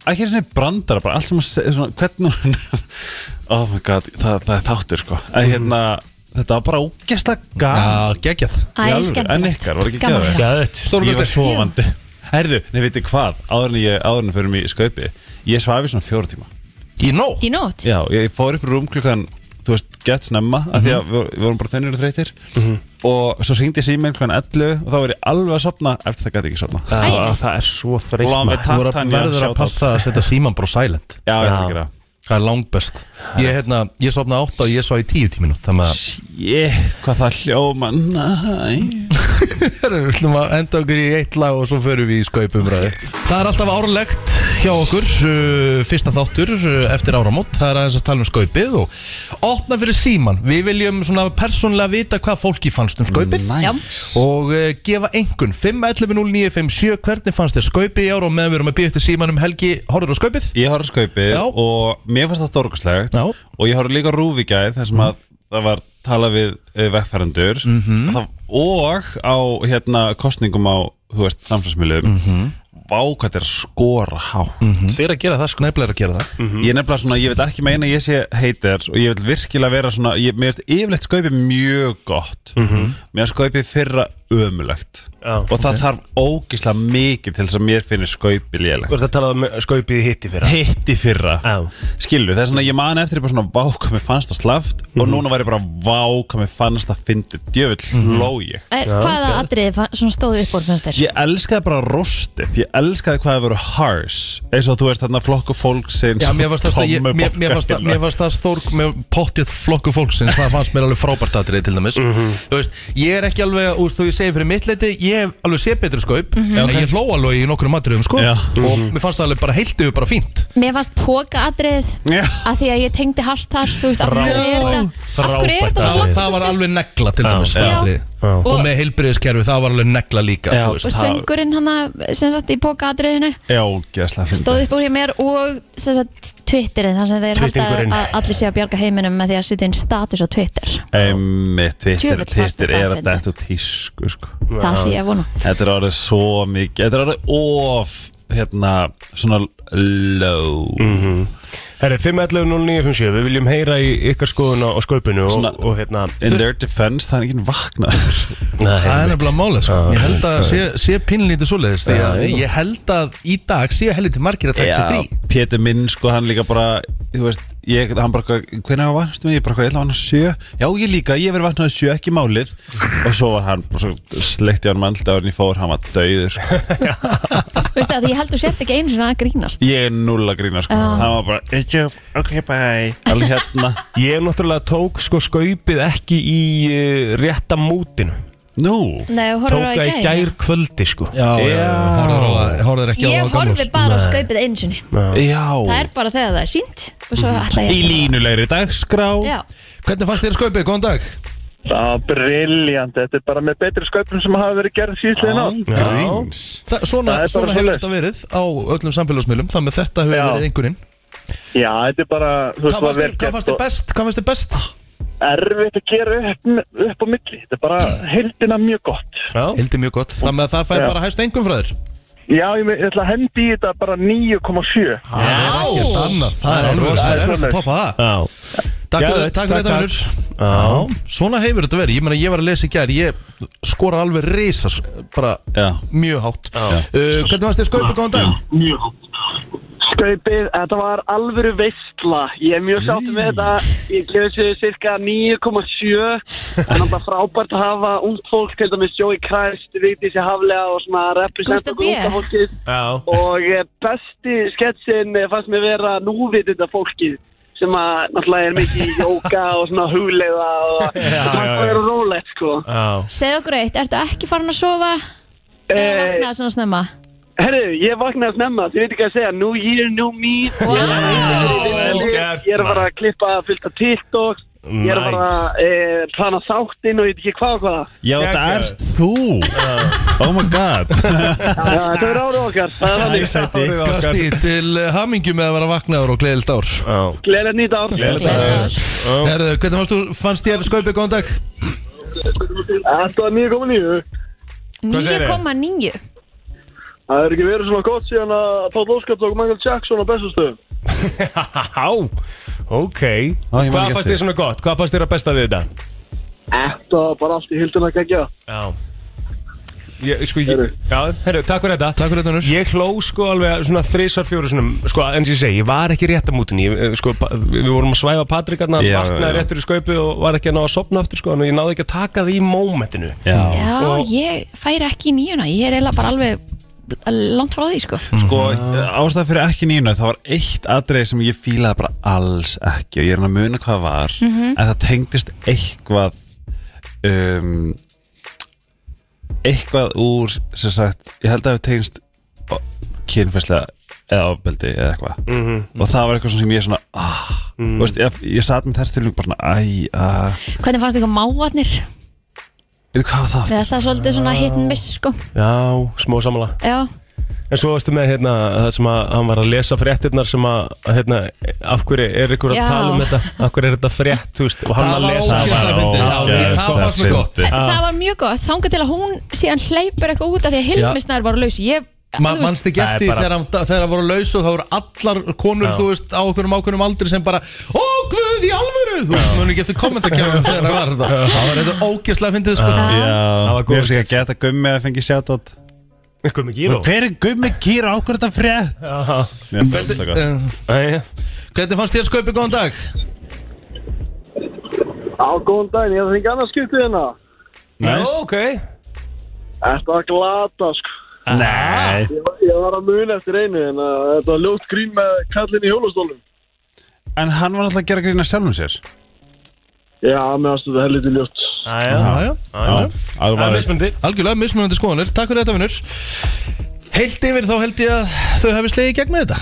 [SPEAKER 6] ekki eins og neitt brandara bara allt sem að segja svona, hvernig hún oh my god, það, það er þáttur sko að hérna, þetta var bara ógæslega gaman
[SPEAKER 1] Já, geggjað
[SPEAKER 3] Æ,
[SPEAKER 6] Í alvöru,
[SPEAKER 3] skemmtilegt.
[SPEAKER 6] en ykkar, var ekki
[SPEAKER 3] Gaman.
[SPEAKER 6] geðveikt?
[SPEAKER 2] Gæðið
[SPEAKER 1] Stórkostlegt.
[SPEAKER 6] Ég var sofandi Herðu, nei veitir hvað, áður en ég áður en fyrir mig í skaupi Ég svafi svona fjóra tíma
[SPEAKER 1] Í nóg
[SPEAKER 3] Í nótt
[SPEAKER 6] Já, ég fór upp í rúm klukkan Þú veist, gett snemma af Því að við vor- við vorum bara þennir og þreytir Og svo hringdi ég síminn klukkan 11 Og þá var ég alveg að sopna Eftir það gæti ekki sopna Já,
[SPEAKER 3] Æ,
[SPEAKER 2] Það er svo þreytt
[SPEAKER 6] Lám
[SPEAKER 2] maður.
[SPEAKER 6] við takk.
[SPEAKER 1] Þú voru að-
[SPEAKER 6] Tanja,
[SPEAKER 1] verður
[SPEAKER 6] shout
[SPEAKER 1] að
[SPEAKER 6] out.
[SPEAKER 1] passa að setja síman bara á silent
[SPEAKER 6] já. ég
[SPEAKER 2] Já.
[SPEAKER 6] ætla að gera það.
[SPEAKER 1] Það er langbest Ég, hérna, ég sopna átta og ég svo í tíu tíminút Þannig að
[SPEAKER 6] Jéh, hvað það hljóma Næ
[SPEAKER 1] Herru, við ætlum að enda okkur í eitt lag og svo förum við í skaupumræði Það er alltaf árlegt hjá okkur uh, Fyrsta þáttur uh, eftir áramót Það er aðeins að tala um skaupið og opna fyrir síman Við viljum svona persónlega vita hvað fólki fannst um skaupið
[SPEAKER 3] Já,
[SPEAKER 1] og uh, gefa engun 5.11.09.57 hvernig fannst þér skaupið í ára og meðan við erum að býja eftir síman um helgi horfður á skaupið
[SPEAKER 6] Ég horf skaupið
[SPEAKER 1] Já.
[SPEAKER 6] og mér fannst það dorgslegt
[SPEAKER 1] Já.
[SPEAKER 6] Og ég horf líka á RÚV í gær Þar sem að það var talað við eh, vegfarendur -hmm. það, Og á hérna kostningum á Þú veist, samfélagsmiðlum mm -hmm. Vá hvað þetta er að skora hátt
[SPEAKER 2] Þið er að gera það sko
[SPEAKER 1] Nefnilega er að gera það
[SPEAKER 6] Ég er nefnilega svona, ég veit ekki meina að ég sé heitir og ég vil virkilega vera svona, ég, mér finnst yfirleitt skaupið mjög gott mér finnst skaupið fyrra ömulegt
[SPEAKER 2] Mhm. Já,
[SPEAKER 6] og það þarf ógislega mikið til þess að mér finnir skaupið lélegt
[SPEAKER 2] Þú ert að tala um skaupið í hitti fyrir
[SPEAKER 6] hitt í fyrra
[SPEAKER 2] Já.
[SPEAKER 6] skilu, það er svona, ég man eftir bara svona vá hvað mér fannst það slaft
[SPEAKER 2] Mhm.
[SPEAKER 6] og núna var ég bara vá hvað mér fannst það fyndið djöfull
[SPEAKER 2] Mhm.
[SPEAKER 6] hló ég
[SPEAKER 3] Er, Eh, hvaða atriði fa- svona stóðu upp úr fannst þér?
[SPEAKER 6] Ég elskaði bara rostið, ég elskaði hvað það voru harsh eins og þú veist þarna flokku fólksins
[SPEAKER 1] Já, mér fannst það, ég, mér, mér fannst það, mér fannst það stór með pottið flokku fólksins það fannst mér alveg frábært aðrið til dæmis þú veist, ég er ekki alveg, þú veist, þú ég segi fyrir mitt leiti, ég hef alveg sé betri skaup en ég hló alveg í nokkrum atriðum sko
[SPEAKER 6] Já.
[SPEAKER 1] og mér fannst það alveg bara heilt yfir bara fínt
[SPEAKER 3] Mér fannst póka atriðið
[SPEAKER 6] Já.
[SPEAKER 3] að því að ég tengdi hart þar, þú veist, af hverju er þetta af hverju
[SPEAKER 2] Frábært
[SPEAKER 3] er þetta
[SPEAKER 1] það,
[SPEAKER 2] atriði.
[SPEAKER 3] svo langt?
[SPEAKER 1] það var alveg negla til
[SPEAKER 2] Já.
[SPEAKER 1] dæmis
[SPEAKER 3] Já.
[SPEAKER 1] það atriði.
[SPEAKER 2] Já.
[SPEAKER 1] og,
[SPEAKER 3] Og-
[SPEAKER 1] með heilbriðiskerfi, það var alveg negla líka
[SPEAKER 6] Já.
[SPEAKER 1] þú veist.
[SPEAKER 3] og söngurinn hann að, sem sagt í pokaatriðinu
[SPEAKER 6] Já, ógeðslega fyndið.
[SPEAKER 3] stóð upp úr hjá mér og sem sagt Twitterið þar sem þeir halda
[SPEAKER 2] Twittingurinn.
[SPEAKER 3] að allir sé að bjarga heiminum með því að setja inn status á Twitter
[SPEAKER 6] Einmitt, Twitter,
[SPEAKER 3] Djöfull fannst mér
[SPEAKER 6] Twitter
[SPEAKER 3] það
[SPEAKER 6] er að
[SPEAKER 3] fyndið.
[SPEAKER 6] dættu tísku sko.
[SPEAKER 3] það er því ég að vona
[SPEAKER 6] Þetta er orðið svo mikið Þetta er orðið of hérna, svona low
[SPEAKER 2] Herri, 5.11.09.57, við viljum heyra í ykkar skoðun á, á sköpunu og,
[SPEAKER 6] Svona-
[SPEAKER 2] og hérna
[SPEAKER 6] In their defense, það er enginn vaknaður
[SPEAKER 2] Eh,
[SPEAKER 1] Það er nefnilega málið sko.
[SPEAKER 2] Já.
[SPEAKER 1] Ég held að sé, sé pínlítið svoleiðis því að
[SPEAKER 2] Já, já.
[SPEAKER 1] ég held að í dag sé helviti margir að taka sér frí
[SPEAKER 6] Pétur minn, sko, hann líka bara þú veist, ég, hann bara, hvernig var varnstum ég bara, hvað, ég ætla að vakna sjö já, ég líka, ég verið vaknaði sjö, ekki málið og svo var hann, bara svo sleikti hann mann þegar hann í fór, hann var döiður sko.
[SPEAKER 3] Veistu að ég held þú sért ekki einu svona að grínast
[SPEAKER 6] ég er null að grína, sko, hann var bara "Ekki, ok, bye, alveg hérna
[SPEAKER 2] Ég náttúrulega tók sko skaupið ekki í uh, rétta mútinu
[SPEAKER 6] nú,
[SPEAKER 3] Nei, þú
[SPEAKER 2] Tók
[SPEAKER 3] horfður á
[SPEAKER 2] það
[SPEAKER 3] í
[SPEAKER 2] í
[SPEAKER 3] gær
[SPEAKER 2] gær kvöldi sko
[SPEAKER 1] Já, já, já. Horfður á- horfður ekki á
[SPEAKER 3] Ég
[SPEAKER 1] gamlás
[SPEAKER 3] horfi bara á skaupið einu sinni
[SPEAKER 6] já
[SPEAKER 3] Það er bara þegar það er sínt og svo ætla
[SPEAKER 6] í
[SPEAKER 3] ég
[SPEAKER 6] línulegri dagskrá
[SPEAKER 3] Já,
[SPEAKER 1] Hvernig fannst þér skaupið? Góðan dag
[SPEAKER 7] Það var briljant, þetta er bara með betri sköpum sem hafa verið gerð síðslegin á.
[SPEAKER 6] gríns
[SPEAKER 1] Þa, Svona,
[SPEAKER 7] Það er bara
[SPEAKER 1] svona hefur
[SPEAKER 7] svoleiðis.
[SPEAKER 1] þetta verið á öllum samfélagsmiðlum Þannig að þetta hefur
[SPEAKER 7] Já.
[SPEAKER 1] verið einhverjum
[SPEAKER 7] Já, þetta er bara, þú veist,
[SPEAKER 1] Hvað
[SPEAKER 7] það var
[SPEAKER 1] fannst þér-
[SPEAKER 7] verið
[SPEAKER 1] hvað fannst þér
[SPEAKER 7] gert og
[SPEAKER 1] best? Hvað fannst þér best?
[SPEAKER 7] erfitt að gera upp, upp á milli. Þetta er bara heildina mjög gott.
[SPEAKER 2] Já,
[SPEAKER 1] Hildi mjög gott Þannig að það fær
[SPEAKER 7] Já.
[SPEAKER 1] bara hæst engum frá þér
[SPEAKER 7] Já, ég, me- ég ætla að hendi í þetta bara 9,7.
[SPEAKER 1] Það er ekkert annað Það er
[SPEAKER 2] Það er
[SPEAKER 1] alveg
[SPEAKER 2] rosa.
[SPEAKER 1] Það er erfitt að toppa það
[SPEAKER 2] já.
[SPEAKER 1] Takk
[SPEAKER 2] Já,
[SPEAKER 1] fyrir takk fyrir þetta
[SPEAKER 2] takk,
[SPEAKER 1] vinnur Já, Svona hefur þetta verið Ég meina ég var að lesa í gær Ég skora alveg risas Bara
[SPEAKER 6] Já.
[SPEAKER 1] mjög hátt uh, Hvernig fannst þér skaupið? Góðan dag
[SPEAKER 7] Skaupið, þetta var alvöru veistla. Ég er mjög sáttum með þetta. Ég gefið sér cirka 9,7. En það er frábært að hafa ungt fólk, til dæmis Jói Kræst, Vigdísi Haflega og svona
[SPEAKER 3] Gústa
[SPEAKER 7] representa
[SPEAKER 3] B.
[SPEAKER 7] unga fólkið.
[SPEAKER 2] já
[SPEAKER 7] og eh, besti sketsin eh, fannst mér vera núvitunda fólkið sem að náttúrulega er mikið í jóka og svona hugleiða og það
[SPEAKER 2] já.
[SPEAKER 7] er rólegt sko
[SPEAKER 2] Já,
[SPEAKER 3] segð okkur eitt, ertu ekki farin að sofa? Eða
[SPEAKER 7] eh,
[SPEAKER 3] vaknaði svona snemma?
[SPEAKER 7] Herru, ég vaknaði snemma, þið veit ekki að segja New year, new me
[SPEAKER 3] Wow.
[SPEAKER 2] Vel gert,
[SPEAKER 7] Ég er bara að klippa fullt af TikToks Ég er bara að eh, plana þáttinn og ég veit ekki hvað og hvað
[SPEAKER 6] Já, þetta
[SPEAKER 2] Geggjaður.
[SPEAKER 6] ert þú Oh my god
[SPEAKER 7] Já, Það er árið okkar, það er þannig
[SPEAKER 2] Árið okkar.
[SPEAKER 1] Gasti til hamingjum með að vera vaknaður og gleðilt ár
[SPEAKER 2] Já.
[SPEAKER 7] Gleðilegt nýtt ár
[SPEAKER 3] Gleðilegur.
[SPEAKER 1] Herðu, hvernig fannst, þú, fannst þér skaupið? Góðan dag
[SPEAKER 7] Þetta var 9.9
[SPEAKER 2] Hvað segirðu?
[SPEAKER 3] 9,9
[SPEAKER 7] Það er ekki verið svona gott síðan að Páll Óskar tók Michael Jackson á bestastöðum
[SPEAKER 2] Já, ok
[SPEAKER 6] ég
[SPEAKER 2] Hvað
[SPEAKER 6] man ekki
[SPEAKER 2] fannst
[SPEAKER 6] eftir.
[SPEAKER 2] þér svona gott? Hvað fannst þér að besta við þetta?
[SPEAKER 7] Þetta var bara allt í hildina að gegja
[SPEAKER 2] Já Ég, sko, ég, já, herru, takk fyrir þetta
[SPEAKER 1] Takk fyrir þetta vinnur
[SPEAKER 2] Ég hló sko alveg svona þrisar fjóru svona, sko, en sem ég segi, ég var ekki rétt á mútinni ég, eh, sko, pa- við vorum að svæfa Patrik hann
[SPEAKER 6] Já,
[SPEAKER 2] vaknaði
[SPEAKER 6] já.
[SPEAKER 2] réttur í skaupu og var ekki að ná að sopna aftur sko, en ég náði ekki að taka því í mómentinu
[SPEAKER 6] Já
[SPEAKER 3] Já,
[SPEAKER 2] Og-
[SPEAKER 3] ég færi ekki í nýjuna Ég er eiginlega bara alveg langt frá því sko
[SPEAKER 6] Sko, ástæða fyrir ekki nýna Það var eitt atrið sem ég fílaði bara alls ekki Og ég er hann að muna hvað það var En það tengdist eitthvað um, Eitthvað úr Sem sagt, ég held að það tengst Kynfærslega Eða ofbeldi eða eitthvað Og það var eitthvað svona sem ég svona ah, mm. veist, ég, ég sat með þess tilvík bara svona Æ, ah. að,
[SPEAKER 3] Hvernig fannst ykkur mávatnir?
[SPEAKER 6] veitu hvað var það
[SPEAKER 3] Við
[SPEAKER 6] aftur?
[SPEAKER 3] það er svolítið svona hit and miss sko
[SPEAKER 2] Já, smó samla
[SPEAKER 3] Já,
[SPEAKER 2] En svo varstu með hérna, það sem að hann var að lesa fréttirnar sem að, hérna, af hverju er ykkur að
[SPEAKER 3] Já.
[SPEAKER 2] tala um þetta, af hverju er þetta frétt, þú veist, og hann
[SPEAKER 1] Það
[SPEAKER 2] að
[SPEAKER 1] var
[SPEAKER 2] lesa
[SPEAKER 1] ógeðslega fyndið. Já,
[SPEAKER 6] ógeðslega
[SPEAKER 1] það fannst mér gott.
[SPEAKER 6] fyndið.
[SPEAKER 3] Þa, það var mjög gott, þanga til að hún síðan hleypur eitthvað út af því að Hilmisnær var laus ég,
[SPEAKER 1] Ma,
[SPEAKER 3] þú veist,
[SPEAKER 1] Manst ekki
[SPEAKER 2] Það er
[SPEAKER 1] eftir
[SPEAKER 2] bara-
[SPEAKER 1] þegar hann- þegar það voru laus og það voru allar konur
[SPEAKER 2] Já.
[SPEAKER 1] þú veist á okkurum ákveðnum aldri sem bara Ó, guð í alvöru Þú veist, munu ekki eftir kommentarkjörnum þegar það var þetta Það var þetta ógeðslega fyndið sko
[SPEAKER 6] Já,
[SPEAKER 2] Það var
[SPEAKER 6] mér
[SPEAKER 2] góð
[SPEAKER 6] finnst ekki að geta gummi að fengi sjátt
[SPEAKER 2] Ykkur með gíró
[SPEAKER 6] Hver er gummi kýra á hverju þetta frétt? Mér finnst það ógeðslega gott.
[SPEAKER 1] Eh, Hvernig fannst þér skaupið? Góðan dag
[SPEAKER 7] Á, góðan daginn, ég ætla að hengja annars skiptið hérna
[SPEAKER 6] Næs.
[SPEAKER 2] Ok
[SPEAKER 7] Þetta var glata, sko
[SPEAKER 6] Nei
[SPEAKER 7] Ég var, ég var að muna eftir einu en uh, þetta var ljótt grín með kallin í hjólastólum
[SPEAKER 6] En hann var alltaf að gera grína sjálfum sér
[SPEAKER 7] Já, mér varst þetta helviti ljótt
[SPEAKER 2] Æja
[SPEAKER 1] Já, já
[SPEAKER 6] Það
[SPEAKER 2] Það er
[SPEAKER 6] var
[SPEAKER 2] mismundi
[SPEAKER 1] Algjörlega mismunandi skoðanir, takk fyrir þetta vinnur Heilt yfir þá held ég að þau hefði slegið í gegn með þetta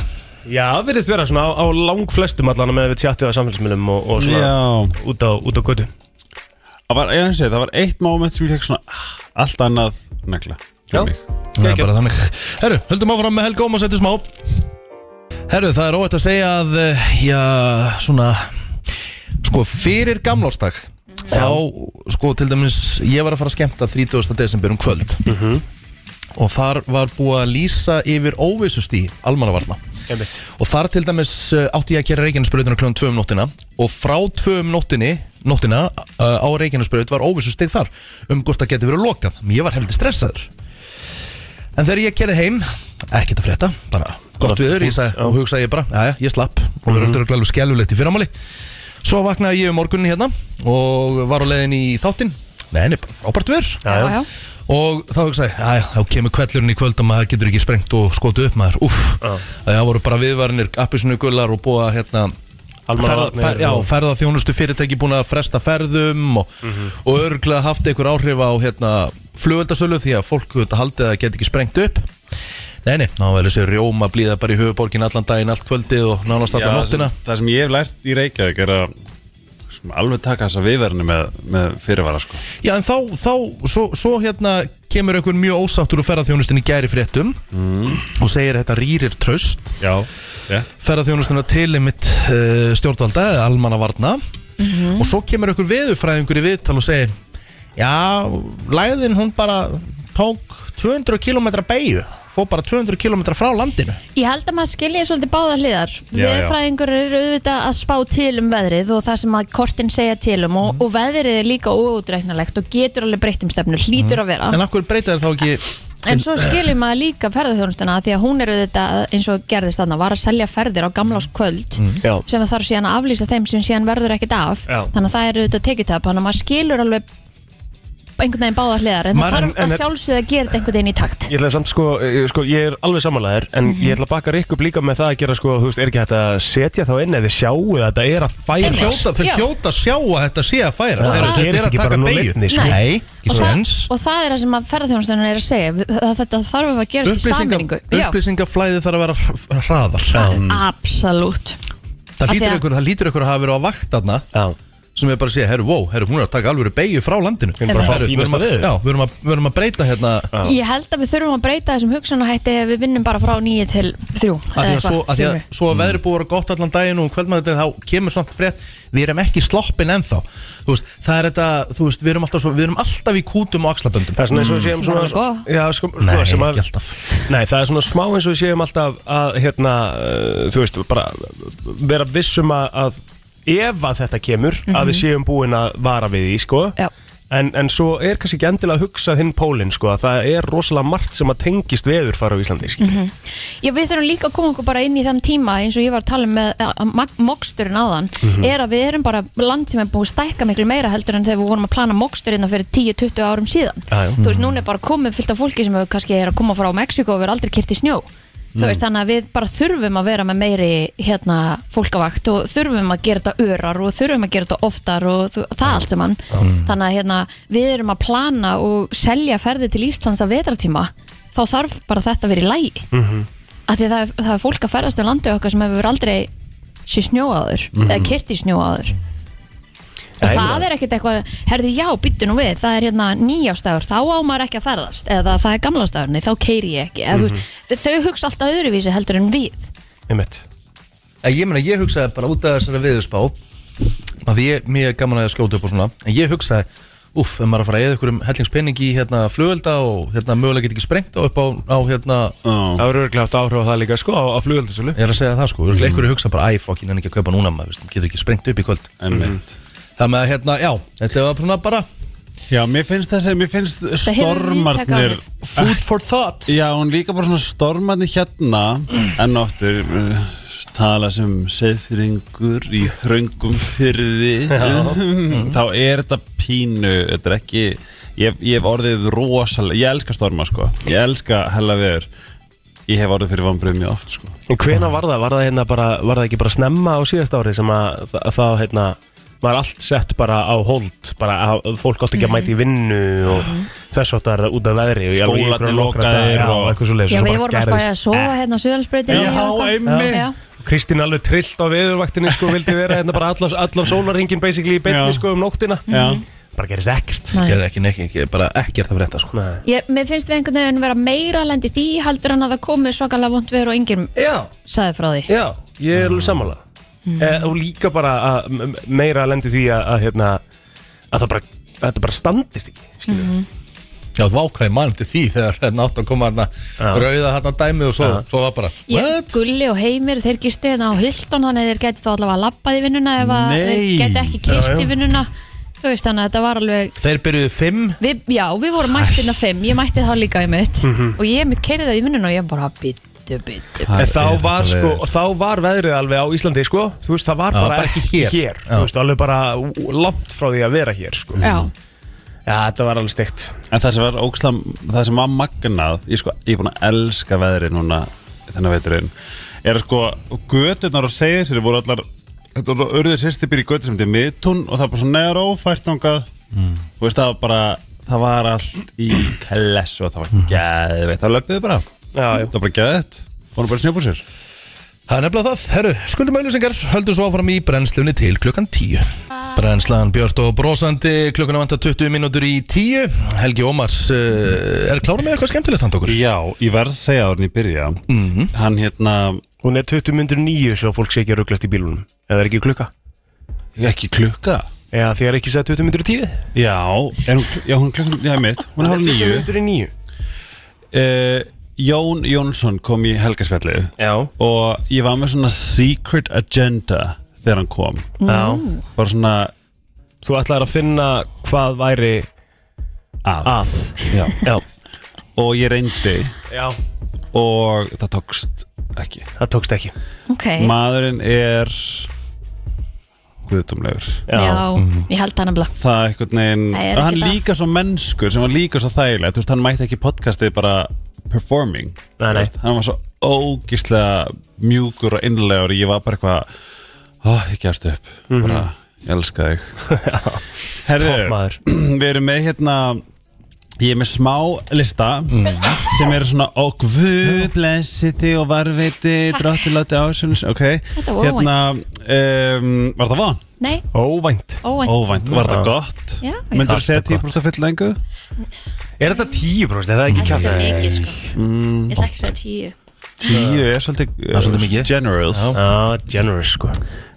[SPEAKER 2] Já, virðist vera svona á, á langflestum allan með við tjattið á samfélagsmiðlum og, og svona
[SPEAKER 6] Já
[SPEAKER 2] út á, út á götu
[SPEAKER 6] það var, ég, sé, það var eitt moment sem ég fekk svona ah, allt annað negla
[SPEAKER 2] Já.
[SPEAKER 1] Það er bara þannig Herru, höldum áfram með Helga Óma og setjum smá Herru, það er óvægt að segja að eh, Já, svona Sko, fyrir gamlástak Þá, sko, til dæmis Ég var að fara að skemmta 30. desember um kvöld Og þar var búið að lýsa yfir óvissustí Almannavarna
[SPEAKER 2] Einmitt.
[SPEAKER 1] Og þar til dæmis eh, átti ég að gera Reykjanesbrautina kljóðan 2 um nóttina Og frá 2 um nóttinni, nóttina uh, Á Reykjanesbraut var óvissustig þar Um hvort það geti verið lokað Ég var heldur stressaður En þegar ég kerði heim, ekkert að frétta bara gott viður, ég sagði, og hugsaði ég bara já, Mhm. ég slapp, og það verður glæðilega skelvilegt í fyrramáli Svo vaknaði ég um morgunni hérna og var á leiðin í þáttinn Nei, nei, bara frábært viður
[SPEAKER 3] já, já.
[SPEAKER 1] og þá hugsaði, ég, já, þá kemur kvellurinn í kvöld og maður getur ekki sprengt og skotu upp maður Úff, það voru bara viðvarinir appisinu gullar og búa hérna ferða,
[SPEAKER 2] Almannavarnir
[SPEAKER 1] fer, já,
[SPEAKER 2] og-
[SPEAKER 1] ferða þjónustu fyrirtæki búin að fresta ferðum og, og örglega haft einhver áhrif á hérna, flugveldasölu því að fólk þetta haldið að geta ekki sprengt upp Nei, nei, ná verður sér rjóma blíða bara í höfuborgin allan daginn, allt kvöldið og nánast
[SPEAKER 6] Já,
[SPEAKER 1] allan
[SPEAKER 6] það sem,
[SPEAKER 1] nóttina
[SPEAKER 6] það sem ég hef lært í Reykjavík er að svona, alveg taka þessa viðverðinu með, með fyrirvara sko.
[SPEAKER 1] Já, en þá, þá svo, svo hérna kemur einhver mjög ósáttur og ferðarþjónustin í gæri fréttum og segir að þetta rýrir tröst
[SPEAKER 6] Já, já
[SPEAKER 1] ferðarþjónustuna til einmitt uh, stjórnvalda eða almannavarna
[SPEAKER 2] Mhm.
[SPEAKER 1] og svo kemur einhver veðurfræðingur í viðtal og segir já, læðin hún bara tók 200 km beigju fór bara 200 km frá landinu
[SPEAKER 3] Ég held að maður skilji svolítið báða hliðar
[SPEAKER 6] já.
[SPEAKER 3] Veðurfræðingur eru auðvitað að spá til um veðrið og það sem að kortin segja til um og, og veðrið er líka óútreiknalegt og getur alveg breytt um stefnu,
[SPEAKER 2] Mhm.
[SPEAKER 3] hlýtur að vera
[SPEAKER 2] Ah.
[SPEAKER 1] en af hverju breyta þér þá ekki
[SPEAKER 3] En svo skiljum maður líka ferðarþjónustuna því að hún er auðvitað eins og gerðist þarna var að selja ferðir á gamláskvöld
[SPEAKER 2] Mhm. Já.
[SPEAKER 3] sem að þarf síðan að aflýsa þeim sem síðan verður ekkit af
[SPEAKER 2] Já.
[SPEAKER 3] þannig að það er auðvitað tekjutöp þannig að maður skilur alveg einhvern veginn báða hliðar en það
[SPEAKER 2] Maður-
[SPEAKER 3] þarf
[SPEAKER 2] en-
[SPEAKER 3] að
[SPEAKER 2] en-
[SPEAKER 3] sjálfsögða að gera þetta einhvern veginn í takt
[SPEAKER 2] Ég ætla samt sko, eh, sko, ég er alveg samanlæðir en
[SPEAKER 3] Mhm.
[SPEAKER 2] ég ætla að baka Rikk upp líka með það að gera sko, þú veist, er ekki hægt að setja þá inn eða sjáu að þetta er
[SPEAKER 1] þeir
[SPEAKER 2] að færa
[SPEAKER 1] hljóta, þeir
[SPEAKER 3] Já.
[SPEAKER 1] hljóta að sjá að þetta sé að færa
[SPEAKER 2] Og það-
[SPEAKER 1] þetta er
[SPEAKER 2] gerist
[SPEAKER 1] að taka
[SPEAKER 2] ekki bara nú
[SPEAKER 1] beigju
[SPEAKER 2] leinni, sko.
[SPEAKER 1] nei, ekki
[SPEAKER 3] og, það,
[SPEAKER 1] sens
[SPEAKER 3] og það er það sem að ferðarþjónustuna er að segja að þetta þarf að gerast í
[SPEAKER 1] Upplýsinga,
[SPEAKER 3] sammenningu Já,
[SPEAKER 1] upplýsingaflæði þarf að vera hra- hraðar
[SPEAKER 3] absolutt
[SPEAKER 1] það
[SPEAKER 3] Af því
[SPEAKER 1] lítur,
[SPEAKER 3] að-
[SPEAKER 1] ykkur, það lítur ykkur að hafa verið á vakt þarna
[SPEAKER 2] Já,
[SPEAKER 1] sem er bara að segja, herru, wow, herru, hún er að taka alveg beigju frá landinu
[SPEAKER 2] Hún er bara að fá
[SPEAKER 1] Herru, við
[SPEAKER 2] fínasta
[SPEAKER 1] erum að-
[SPEAKER 2] veður.
[SPEAKER 1] Já, við erum að- við erum að breyta hérna
[SPEAKER 3] Ég held að við þurfum að breyta þessum hugsanahætti ef við vinnum bara frá nýju til þrjú
[SPEAKER 1] að því
[SPEAKER 3] eða
[SPEAKER 1] að svo,
[SPEAKER 3] eitthvað,
[SPEAKER 1] að því að
[SPEAKER 3] skilurðu.
[SPEAKER 1] svo að veðri búið að vera gott allan daginn og kvöldmæðin þá kemur svona frétt við erum ekki sloppin ennþá þú veist, það er þetta, þú veist, við erum alltaf, svo, við erum alltaf í kútum og axlaböndum
[SPEAKER 2] það er svona eins og við séum
[SPEAKER 3] Sem er
[SPEAKER 2] svona,
[SPEAKER 3] alveg gott.
[SPEAKER 2] já, sko, sko,
[SPEAKER 1] Nei,
[SPEAKER 2] sem að,
[SPEAKER 1] ekki alltaf.
[SPEAKER 2] Nei, það er svona smá eins og við séum alltaf að hérna, uh, þú veist, bara vera vissum að, að ef að þetta kemur, að við séum búin að vara við því, sko
[SPEAKER 3] Já.
[SPEAKER 2] En, en svo er kannski ekki endilega að hugsa hinn pólinn sko að það er rosalega margt sem að tengist veður fara á Íslandi mm -hmm.
[SPEAKER 3] Já, við þurfum líka að koma okkur bara inn í þann tíma eins og ég var að tala um með að- að mag- moksturinn áðan
[SPEAKER 2] Mhm.
[SPEAKER 3] er að við erum bara land sem er búið að stækka miklu meira heldur en þegar við vorum að plana moksturinn fyrir 10-20 árum síðan
[SPEAKER 2] Já, Mhm. já.
[SPEAKER 3] þú veist, núna er bara komið fyllt af fólki sem hefur kannski er að koma frá Mexiko og við aldrei kyrt í snjó
[SPEAKER 2] Mhm.
[SPEAKER 3] þú veist, þannig að við bara þurfum að vera með meiri hérna fólkavakt og þurfum að gera þetta örar og þurfum að gera þetta oftar og þú, það allt sem hann
[SPEAKER 2] Mhm.
[SPEAKER 3] þannig að hérna, við erum að plana og selja ferði til Íslands að vetratíma þá þarf bara þetta að vera í lægi mm af því að það, er- það er fólk að ferðast um landið okkar sem hefur aldrei sé snjóaður eða kyrt í snjóaður og
[SPEAKER 2] Já, ég
[SPEAKER 3] það
[SPEAKER 2] meina-
[SPEAKER 3] er ekkert eitthvað, herðu já, byttu nú við það er hérna nýjástagur, þá á maður ekki að ferðast eða það er gamlastagurni, þá keiri ég ekki eða, mm veist, þau hugsa alltaf öðruvísi heldur en við
[SPEAKER 1] En ég meina, ég hugsaði bara út af þessari viðurspá að því ég, mér er gaman að skjóta upp og svona en ég hugsaði, uff, ef maður er að fara að eða ykkur um hellingspenning í hérna flugölda og hérna mögulega get ekki sprengt og upp á, á hérna
[SPEAKER 6] Já.
[SPEAKER 2] Það eru örglega haft áhrif á það líka sko á, á flugöldasölu
[SPEAKER 1] ég er að segja það sko, mm. ykkur hugsa bara, æ, fokkin, en ekki að kaupa núna maður, veist, getur ekki sprengt upp í kvöld
[SPEAKER 6] En mitt
[SPEAKER 1] það með að hérna, já, þetta var svona bara
[SPEAKER 6] Já, mér finnst þessi, mér finnst
[SPEAKER 3] hefur víðtæk
[SPEAKER 6] stormarnir
[SPEAKER 3] áhrif.
[SPEAKER 1] food for thought
[SPEAKER 6] Já, hún líka bara svona stormarnir hérna enn og aftur uh, tala sem seðfyrðingur í þröngum fyrði þá er þetta pínu þetta er ekki, ég, ég hef orðið rosalega, ég elska storma sko ég elska hella veður ég hef orðið fyrir vambrið mjög oft sko
[SPEAKER 2] En hvena var það? Var það, hérna bara, var það ekki bara snemma á síðast ári sem að þa- þá hérna var allt sett bara á hold bara að fólk átti ekki að mæta í vinnu og þess að það er út af veðri og ég alveg í
[SPEAKER 6] Mhm. Skólarnir
[SPEAKER 2] einhverja nokkra
[SPEAKER 6] lokaðir
[SPEAKER 2] daga, já,
[SPEAKER 6] og-
[SPEAKER 2] og eitthvað svo Eh,
[SPEAKER 3] já, við vorum að spæja að sofa hérna á Suðalsbreytinu
[SPEAKER 6] Já, einmitt.
[SPEAKER 2] Kristín alveg trillt á veðurvaktinni sko vildi vera hérna bara allan, allan sólarringin basically í beinni
[SPEAKER 6] Já.
[SPEAKER 2] sko um nóttina
[SPEAKER 6] Já.
[SPEAKER 2] bara gerist ekkert
[SPEAKER 3] Nei.
[SPEAKER 1] Ég er ekki neitt, ekki, bara ekkert að frétta sko.
[SPEAKER 2] Nei.
[SPEAKER 3] Ég, mér finnst við einhvern veginn vera meira lendi því heldur en að það komi svakalega vond veður og enginn
[SPEAKER 2] Já,
[SPEAKER 3] sagði frá því
[SPEAKER 2] já, ég er
[SPEAKER 6] Mm.
[SPEAKER 2] alveg sammála
[SPEAKER 3] Mm.
[SPEAKER 2] eh, og líka bara að m- m- meira lendi því að, að hérna að það bara, að þetta bara standist ekki mm -hmm.
[SPEAKER 1] Já, þú ákvæði mann til því þegar hérna átt að koma hérna rauða hérna dæmi og svo, svo var bara
[SPEAKER 3] Ég,
[SPEAKER 1] What?
[SPEAKER 3] Gulli og Heimir, þeir gistu hérna á Hilton þannig að þeir geti þá allavega labbað í vinnuna ef að
[SPEAKER 6] Nei.
[SPEAKER 3] þeir geti ekki
[SPEAKER 2] Já,
[SPEAKER 3] kist
[SPEAKER 2] já.
[SPEAKER 3] í vinnuna Þú veist þannig að þetta var alveg
[SPEAKER 1] Þeir byrjuðu fimm
[SPEAKER 3] við, Já, við vorum mættirna fimm, ég mætti þá líka í mitt og ég mitt keiri það í vinnuna og ég bara bittu, bittu
[SPEAKER 2] en þá
[SPEAKER 1] er
[SPEAKER 2] var
[SPEAKER 1] þetta
[SPEAKER 2] sko,
[SPEAKER 1] veður.
[SPEAKER 2] þá var veðrið alveg á Íslandi sko, þú veist það var
[SPEAKER 1] Já,
[SPEAKER 2] bara,
[SPEAKER 1] bara
[SPEAKER 2] ekki
[SPEAKER 1] hér.
[SPEAKER 2] hér,
[SPEAKER 1] Já.
[SPEAKER 2] þú veist alveg bara ú- langt frá því að vera hér sko
[SPEAKER 3] Já,
[SPEAKER 2] Já, þetta var alveg steikt
[SPEAKER 6] En það sem var ókslam, það sem var magnað Ég, sko, ég er búin að elska veðri núna Þennan veturinn Er að sko, göturnar á segja sér voru allar Þetta voru urður sérstipir í götur sem þetta er miðtún Og það var bara svo neðar ófært þangað Þú veist, það var bara Það var allt í klessu og það var geðveitt Það löpuðu bara
[SPEAKER 2] Já, já.
[SPEAKER 6] Það var bara geðveitt Búin bara snjóbúsir
[SPEAKER 1] Það er nefnilega það, herru, skuldum auðlýsingar höldum svo áfram í brennslunni til klukkan 10 Brennslan Björn og brosandi klukkuna vantar 20 mínútur í 10 Helgi Ómars uh, er klára með eitthvað skemmtilegt hann tókur
[SPEAKER 6] Já, ég verð að segja á hann í byrja Hann hérna,
[SPEAKER 2] Hún er 20.09 svo fólk sé ekki að ruglast í bílunum eða er ekki klukka
[SPEAKER 6] ekki klukka
[SPEAKER 2] Já, því er ekki sett 20.10
[SPEAKER 6] Já, er hún, já, hún klukkan, já, mitt Hún er hálf nýju
[SPEAKER 2] 20.09
[SPEAKER 6] uh, Jón Jónsson kom í helgaspjallið
[SPEAKER 2] Já,
[SPEAKER 6] og ég var með svona secret agenda þegar hann kom
[SPEAKER 2] já
[SPEAKER 6] bara svona
[SPEAKER 2] Þú ætlaðir að finna hvað væri
[SPEAKER 6] að,
[SPEAKER 2] að
[SPEAKER 6] Já.
[SPEAKER 2] Já,
[SPEAKER 6] og ég reyndi
[SPEAKER 2] já
[SPEAKER 6] og það tókst ekki
[SPEAKER 2] það tókst ekki
[SPEAKER 3] ok
[SPEAKER 6] maðurinn er guðdómlegur
[SPEAKER 3] Já, ég held það nefnilega
[SPEAKER 6] það er einhvern veginn
[SPEAKER 3] Nei, er
[SPEAKER 6] og hann
[SPEAKER 3] ekki það.
[SPEAKER 6] líka svo mennskur sem var líka svo þægilega þú veist hann mætti ekki í podcastið bara performing
[SPEAKER 2] Nei, nei.
[SPEAKER 6] hann var svo ógislega mjúkur og innlegur ég var bara eitthvað oh, ég gefst upp bara ég elska þig
[SPEAKER 2] Mhm. Topp
[SPEAKER 6] herru
[SPEAKER 2] maður.
[SPEAKER 6] við erum með hérna ég er með smá lista
[SPEAKER 3] Mhm.
[SPEAKER 6] sem eru svona ó guð blessi þig og varviti drottilátti ásjónus ok
[SPEAKER 3] Þetta var
[SPEAKER 6] hérna um, var það von?
[SPEAKER 3] Nei,
[SPEAKER 2] Óvænt
[SPEAKER 3] óvænt,
[SPEAKER 6] óvænt, var það
[SPEAKER 2] Já.
[SPEAKER 6] gott
[SPEAKER 3] Já, já.
[SPEAKER 6] myndur þú segja
[SPEAKER 2] Allt er
[SPEAKER 6] 10% full lengu?
[SPEAKER 2] Er þetta 10 bróst? Er það ekki
[SPEAKER 3] Þetta
[SPEAKER 2] kjátt?
[SPEAKER 3] er mikið sko Ég ætla ekki að segja tíu
[SPEAKER 6] 10 er svolítið,
[SPEAKER 1] er svolítið mikið.
[SPEAKER 6] generals
[SPEAKER 2] Já, generous sko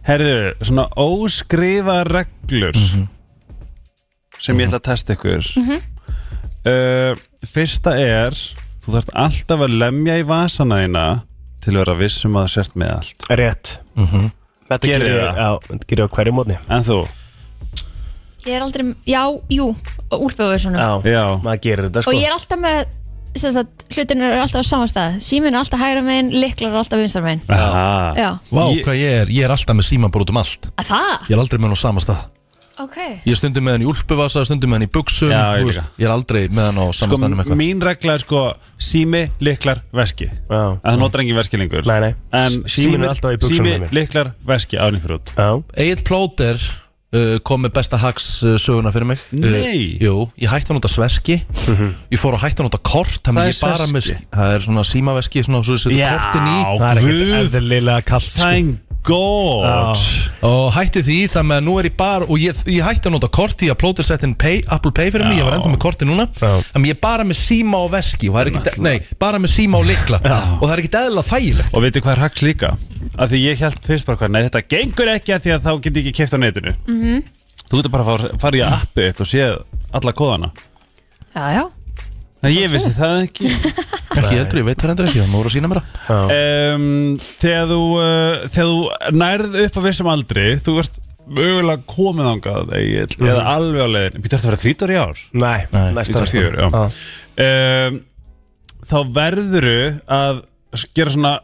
[SPEAKER 6] herðu, svona óskrifa reglur
[SPEAKER 2] Mhm.
[SPEAKER 6] sem ég ætla að testa ykkur uh, fyrsta er þú þarft alltaf að lemja í vasana þína til að vera vissum að það sért með allt
[SPEAKER 2] Rétt Þetta
[SPEAKER 6] Mhm. Gerir
[SPEAKER 2] gerir
[SPEAKER 6] það?
[SPEAKER 2] ég Já, þetta gerir ég á hverju mótni
[SPEAKER 6] en þú,
[SPEAKER 3] Ég er aldrei, já, jú, úlpöfuður svona
[SPEAKER 6] Já.
[SPEAKER 2] maður gerir þetta sko
[SPEAKER 3] Og ég er alltaf með sem sagt, hlutin eru alltaf á saman stað Símin er alltaf hægra megin, liklar eru alltaf vinstar megin
[SPEAKER 6] Aha.
[SPEAKER 3] Já,
[SPEAKER 1] Vá,
[SPEAKER 6] Ég-
[SPEAKER 1] hvað ég er, ég er alltaf með síman bara út um allt
[SPEAKER 3] að það?
[SPEAKER 1] Ég er aldrei með hann á sama stað
[SPEAKER 3] Ok
[SPEAKER 1] Ég er stundum með hann í úlpuvasa, stundum með hann í buksum
[SPEAKER 6] Já, ég
[SPEAKER 1] þú
[SPEAKER 6] líka.
[SPEAKER 1] ég er aldrei með hann á sama
[SPEAKER 6] sko,
[SPEAKER 1] sko, staðnum eitthvað
[SPEAKER 6] mín regla er sko sími, liklar, veski
[SPEAKER 2] Já.
[SPEAKER 6] að það notar engin veski lengur
[SPEAKER 2] Nei, nei.
[SPEAKER 6] en
[SPEAKER 2] Síminn
[SPEAKER 6] sími,
[SPEAKER 2] er alltaf í buxunum hjá
[SPEAKER 6] sími
[SPEAKER 2] mér.
[SPEAKER 6] liklar, veski, ánum fyrir út
[SPEAKER 2] Já,
[SPEAKER 1] Egil Plóter uh, kom með besta hacks uh, söguna fyrir mig
[SPEAKER 6] Nei.
[SPEAKER 1] uh, Jú, ég hætti að nota sveski Ég fór að hætti að nota kort Það
[SPEAKER 6] Hvað
[SPEAKER 1] er
[SPEAKER 6] er
[SPEAKER 1] bara
[SPEAKER 6] sveski?
[SPEAKER 1] með sk- Það er svona símaveski Svona svo setur
[SPEAKER 6] Já.
[SPEAKER 1] kortin í
[SPEAKER 2] það er ekkert
[SPEAKER 6] Guð.
[SPEAKER 2] eðlilega kallt sko
[SPEAKER 6] thank god
[SPEAKER 2] Já.
[SPEAKER 1] Og hætti því þar með að nú er ég bara Og ég, ég hætti að nota kort í að Plóter sett inn pay, Apple Pay fyrir mig Ég var ennþá með korti núna
[SPEAKER 2] Já.
[SPEAKER 1] Þannig ég er bara með síma og veski og það er ekkit, Nei, bara með síma og likla Og það er ekkit eðla þægilegt
[SPEAKER 6] Og veitu hvað er hacks líka? Af því ég held fyrst bara hvað, nei þetta gengur ekki af því að þá get ég ekki keft á netinu Þú getur bara að fara, fara í appið þitt og séð alla kóðana
[SPEAKER 3] Já, já,
[SPEAKER 6] En ég vissi það ekki
[SPEAKER 1] Ekki heldur, ég veit það endur ekki, það nú er að sína mér það
[SPEAKER 6] um, þegar, þú, uh, þegar þú nærð upp á vissum aldri, þú ert mögulega komið ángað Egil, eða alveg á leiðin Býttu eftir að vera þrítur í ár?
[SPEAKER 2] Nei,
[SPEAKER 1] Nei,
[SPEAKER 2] næsta
[SPEAKER 6] Ítar
[SPEAKER 2] næsta.
[SPEAKER 6] fjögur, já um, Þá verðuru að gera svona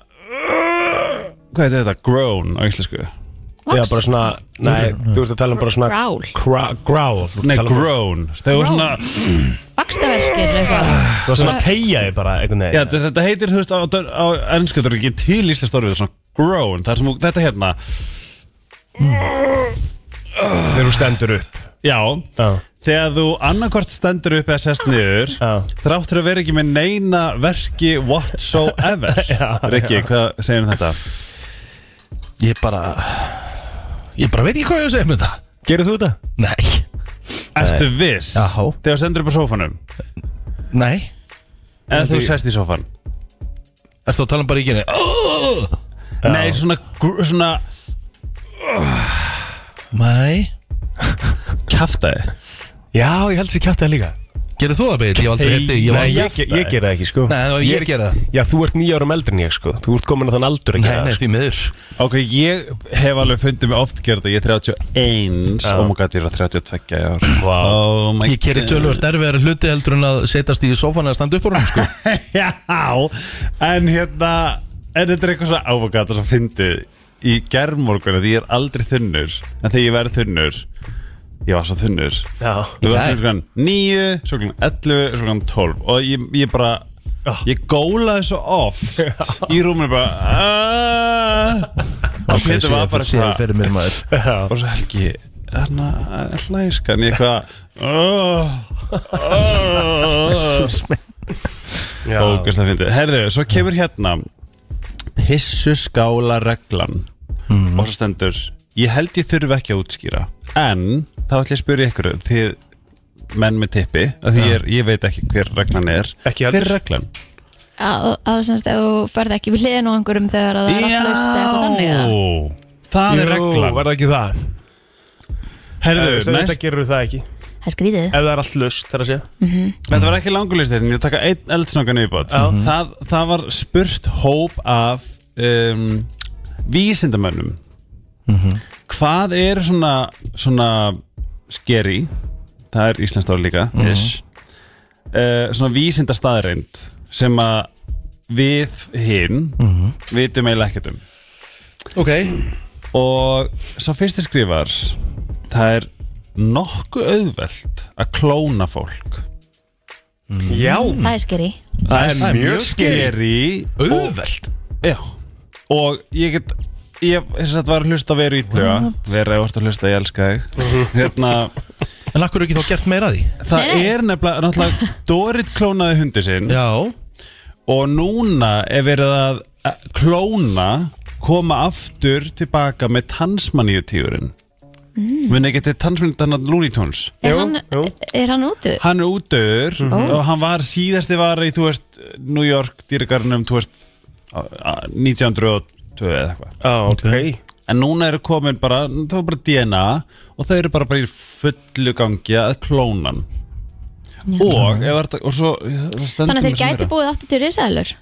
[SPEAKER 6] Hvað heitir þetta? Groan á íslensku
[SPEAKER 2] Já, bara svona Nei, þú ert að tala um bara svona
[SPEAKER 3] Growl.
[SPEAKER 2] Gra- Growl Þú ert að
[SPEAKER 6] Nei,
[SPEAKER 2] tala um-
[SPEAKER 6] groan Þegar þú svona
[SPEAKER 3] vakstaverkir eitthvað
[SPEAKER 2] Þú ert svona að tegja þig bara einhvern
[SPEAKER 6] Já,
[SPEAKER 2] veginn
[SPEAKER 6] þetta þetta heitir, þú veist, á, á ennsku Þetta er ekki til íslenskt orðið, svona groan Það er sem þú- þetta hérna
[SPEAKER 2] Þegar þú stendur upp
[SPEAKER 6] Já,
[SPEAKER 2] Já,
[SPEAKER 6] þegar þú annarkvart stendur upp eða sest niður
[SPEAKER 2] Já.
[SPEAKER 6] Þráttur að vera ekki með neina verki whatsoever Rikki, hvað segir þetta?
[SPEAKER 1] Ég bara Ég bara veit ekki hvað ég á að segja um þetta
[SPEAKER 2] gerir þú þetta?
[SPEAKER 1] Nei
[SPEAKER 6] Ertu viss?
[SPEAKER 1] Jaha.
[SPEAKER 6] Þegar stendur upp á sófanum
[SPEAKER 1] Nei,
[SPEAKER 6] En þú
[SPEAKER 1] því-
[SPEAKER 6] sest í sófan
[SPEAKER 1] ertu að tala um bara í genið oh!
[SPEAKER 6] Nei, svona, gr- svona
[SPEAKER 1] Nei,
[SPEAKER 6] Kjaftaði
[SPEAKER 2] Já, ég held sér kjátt það líka
[SPEAKER 1] gerðu þú það beil? Ég hef aldrei hefði
[SPEAKER 2] Nei,
[SPEAKER 1] Ég var
[SPEAKER 2] ég, ég, ég ger það ekki sko
[SPEAKER 1] Nei, það var ég að gera það.
[SPEAKER 2] Já, þú ert nýja árum eldri en ég sko Þú ert komin að þann aldur að
[SPEAKER 1] Nei,
[SPEAKER 2] gera
[SPEAKER 1] nei,
[SPEAKER 2] það sko.
[SPEAKER 1] því miður
[SPEAKER 6] Ok, ég hef alveg fundið mig oft gerða Ég er 31
[SPEAKER 2] Já.
[SPEAKER 6] Og maður gæti 32 ár
[SPEAKER 2] Vá.
[SPEAKER 6] oh my
[SPEAKER 1] Ég gerði
[SPEAKER 6] God.
[SPEAKER 1] tölvöld erfiðar hluti heldur en að setjast í sófana eða standa upp á hún sko.
[SPEAKER 6] Já, en hérna En þetta er eitthvað svo áfagata Svo fyndið í gerðmorgun Því ég er aldrei þunnur En þegar ég verð þunnur Ég var svo þunnur
[SPEAKER 2] Já,
[SPEAKER 6] Við
[SPEAKER 1] dag?
[SPEAKER 6] varum klukkan 9, svo klukkan 11, svo klukkan 12 Og ég, ég bara
[SPEAKER 1] Ah.
[SPEAKER 6] Ég gólaði svo oft Í rúminu bara "Ah." Og Pétur var bara
[SPEAKER 1] Sér
[SPEAKER 6] svona
[SPEAKER 1] fyrir mér maður
[SPEAKER 6] Og svo helgi Þarna hlæskan ég eitthvað "Oh, oh."
[SPEAKER 2] já
[SPEAKER 6] Ógeðslega fyndið Herðu, svo kemur hérna Pissu skála reglan
[SPEAKER 2] Hmm.
[SPEAKER 6] Og svo stendur Ég held ég þurfi ekki að útskýra En þá ætla ég að spyrja ykkur Þið menn með tippi að Því ég, er, ég veit ekki hver reglan er
[SPEAKER 2] Ekki
[SPEAKER 6] Hver
[SPEAKER 2] heldur.
[SPEAKER 6] er reglan?
[SPEAKER 3] að, að semst ef þú ferð ekki við hliðin á einhverjum þegar að það er allt laust eða eitthvað þannig eða?
[SPEAKER 6] Það
[SPEAKER 2] Jú,
[SPEAKER 6] er reglan
[SPEAKER 2] var það ekki það?
[SPEAKER 6] Herðu,
[SPEAKER 2] Þetta
[SPEAKER 6] næst,
[SPEAKER 2] gerur það ekki
[SPEAKER 3] það er skrítið
[SPEAKER 2] Ef það er allt lust, þar að segja
[SPEAKER 6] þetta var ekki langulist Ég taka einn eldsnangan yfirbót
[SPEAKER 2] Já.
[SPEAKER 6] Mhm. það, það var spurt hóp af um, Vísindamönnum Hvað er svona Svona skeri Það er íslenskt ári líka mm Svona vísindastaðreind Sem að Við hinn Vitum eiginlega ekkert um
[SPEAKER 1] Ok,
[SPEAKER 6] Og sá fyrsti skrifar Það er nokkuð auðvelt að klóna fólk
[SPEAKER 2] Já,
[SPEAKER 3] það er skeri
[SPEAKER 6] Það
[SPEAKER 1] er mjög
[SPEAKER 6] skeri
[SPEAKER 1] auðveld
[SPEAKER 6] Já Og ég get Ég þess að var að hlusta á veru ítluga Vera, ég vart að hlusta, ég elska
[SPEAKER 1] Mhm.
[SPEAKER 6] þig Hérna,
[SPEAKER 1] En akkur er ekki þá gert meira að því?
[SPEAKER 6] það
[SPEAKER 3] Nei, nei.
[SPEAKER 6] er nefnilega Náttúrulega Dorit klónaði hundi sinn
[SPEAKER 1] Já
[SPEAKER 6] Og núna er verið að að klóna Koma aftur tilbaka Með tannsmaníu tíurinn mm. Muni ekki til tannsmaníu Þannig Looney Tunes
[SPEAKER 3] er,
[SPEAKER 2] Jú,
[SPEAKER 3] hann,
[SPEAKER 2] jú.
[SPEAKER 3] er hann útu?
[SPEAKER 6] Hann er útdöður
[SPEAKER 3] Mhm. Oh.
[SPEAKER 6] og hann var síðasti var í, þú veist, New York dýragarnum, þú veist, á- á- 1902 eða eitthvað.
[SPEAKER 2] ah, ok
[SPEAKER 6] En núna eru komin bara, það var bara DNA og þau eru bara, bara í fullu gangi að klóna hann. Og, ef þetta, og svo eh,
[SPEAKER 3] þannig að þeir gæti búið aftur til risaðlur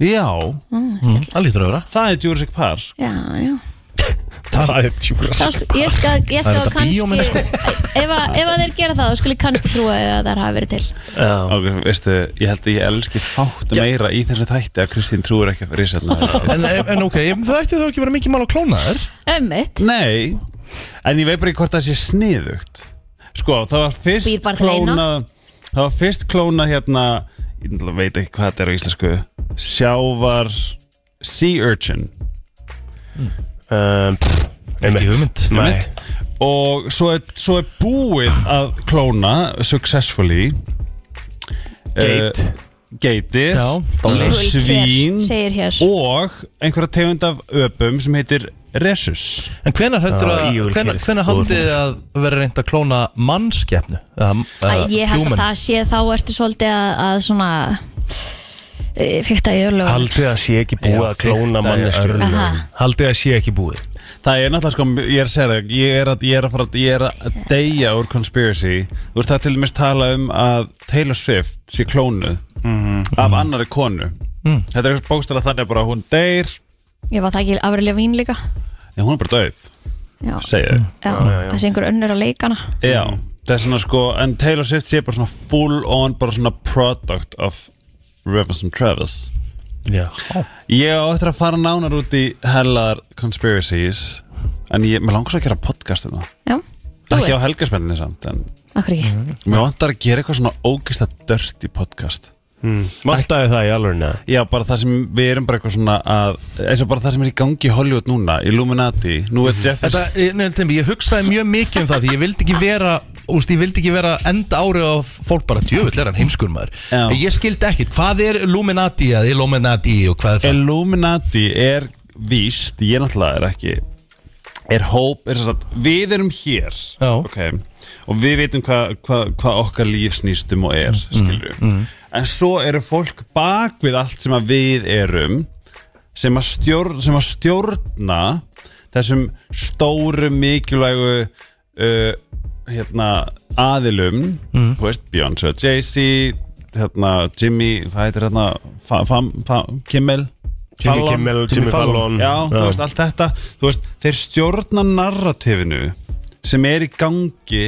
[SPEAKER 6] Já,
[SPEAKER 1] mm, Allir þurfa að vera
[SPEAKER 6] það er Jurassic Park
[SPEAKER 3] já, já
[SPEAKER 2] Það er tjúra
[SPEAKER 3] Þá, s- ég skal,
[SPEAKER 1] Það
[SPEAKER 3] ég
[SPEAKER 1] er
[SPEAKER 3] skal
[SPEAKER 1] þetta
[SPEAKER 3] kannski
[SPEAKER 1] bíómynd, sko.
[SPEAKER 3] ef, að, ef að þeir gera það, þá skulle ég kannski trúa að það hafi verið til
[SPEAKER 2] Já,
[SPEAKER 6] Og veistu, ég held að ég elski fátt meira í þessu þætti að Kristín trúir ekki að fyrir sérna
[SPEAKER 1] En, en ok, það ætti þá ekki verið mikið mál að klóna þér
[SPEAKER 3] ömmit,
[SPEAKER 6] Nei, en ég veit bara ekki hvort það sé sniðugt Sko, það var
[SPEAKER 3] Býr
[SPEAKER 6] fyrst
[SPEAKER 3] bara til eina.
[SPEAKER 6] klónað Það var fyrst klónað hérna Ég náttúrulega veit ekki hvað þetta er á íslensku Sjávar Sea Urchin
[SPEAKER 2] um, pff, einmitt.
[SPEAKER 1] Ekki hugmynd.
[SPEAKER 2] Nei.
[SPEAKER 6] Einmitt. Og svo er, svo er búið að klóna Successfully
[SPEAKER 2] Geit.
[SPEAKER 6] Eh, Geitir
[SPEAKER 1] Já,
[SPEAKER 3] Evil cat,
[SPEAKER 6] Svín
[SPEAKER 3] segir hér.
[SPEAKER 6] Og einhverja tegund af öpum sem heitir Resus
[SPEAKER 1] En hvenar heldur
[SPEAKER 2] Já,
[SPEAKER 1] að
[SPEAKER 2] evil
[SPEAKER 1] hvenar,
[SPEAKER 2] kid.
[SPEAKER 1] hvenar haldið þið að vera reynd að klóna mannskeppnu um,
[SPEAKER 6] Uh,
[SPEAKER 3] að ég held að það sé þá ertu svolítið að, að svona fyrta í örlög
[SPEAKER 2] Haldið að sé ekki
[SPEAKER 6] Já,
[SPEAKER 2] búið að klóna
[SPEAKER 6] fikta í
[SPEAKER 2] manneskur
[SPEAKER 6] örlögum.
[SPEAKER 3] Aha.
[SPEAKER 2] Haldið að sé ekki búið
[SPEAKER 6] Það er náttúrulega sko, ég er að segja það Ég er að, ég er að fara, ég er að deyja úr conspiracy Þú veist það er til dæmis tala um að Taylor Swift sé klónuð Af annari konu
[SPEAKER 3] Mm.
[SPEAKER 6] Þetta er bókstæla þannig bara að hún deyr
[SPEAKER 3] ég var það ekki afrilega vín líka
[SPEAKER 6] En hún er bara dauð,
[SPEAKER 3] já,
[SPEAKER 6] segja þau
[SPEAKER 3] já, þessi einhver önnur að leikana
[SPEAKER 6] Já, það er svona sko En Taylor Swift sé bara svona full on Bara svona product of Rivers and Travis
[SPEAKER 1] Já,
[SPEAKER 6] Ég á eftir að fara nánar út í Hellar conspiracies En ég, mér langar svo að gera podcast um það
[SPEAKER 3] já, þú
[SPEAKER 6] Ekki á Mm.
[SPEAKER 3] veit,
[SPEAKER 6] helgaspenninni samt En
[SPEAKER 3] akkur ekki
[SPEAKER 6] Mér vantar að gera eitthvað svona ógeðslega dört í podcast
[SPEAKER 2] Vantaði það í alveg neða
[SPEAKER 6] Já, bara það sem við erum bara eitthvað svona að eins og bara það sem er í gangi í Hollywood núna Illuminati, nú er Jeff
[SPEAKER 1] Þetta, eh, nei, temi, ég hugsaði mjög mikið um það því ég vildi ekki vera úst, ég vildi ekki vera enda árið á fólk bara djöfull er hann heimskur maður
[SPEAKER 6] Já.
[SPEAKER 1] ég skildi ekkit, hvað er Illuminati eða Illuminati og hvað er það
[SPEAKER 6] Illuminati er víst, ég náttúrulega er ekki er hóp, er sagt, við erum hér
[SPEAKER 1] Já.
[SPEAKER 6] okay, og við veitum hvað hva, hva okkar líf snýstum og er skilur en svo eru fólk bak við allt sem að við erum sem að, stjórn, sem að stjórna þessum stóru mikilvægu uh, hérna, aðilum
[SPEAKER 2] Mm.
[SPEAKER 6] þú veist, Beyoncé og Jay-Z hérna, Jimmy, hvað heitir hérna fa, fam, fam, Kimmel
[SPEAKER 2] Jimmy
[SPEAKER 6] Fallon?
[SPEAKER 2] Kimmel, Jimmy Fallon
[SPEAKER 6] Já, þú veist allt þetta Þú veist, þeir stjórna narratífinu sem er í gangi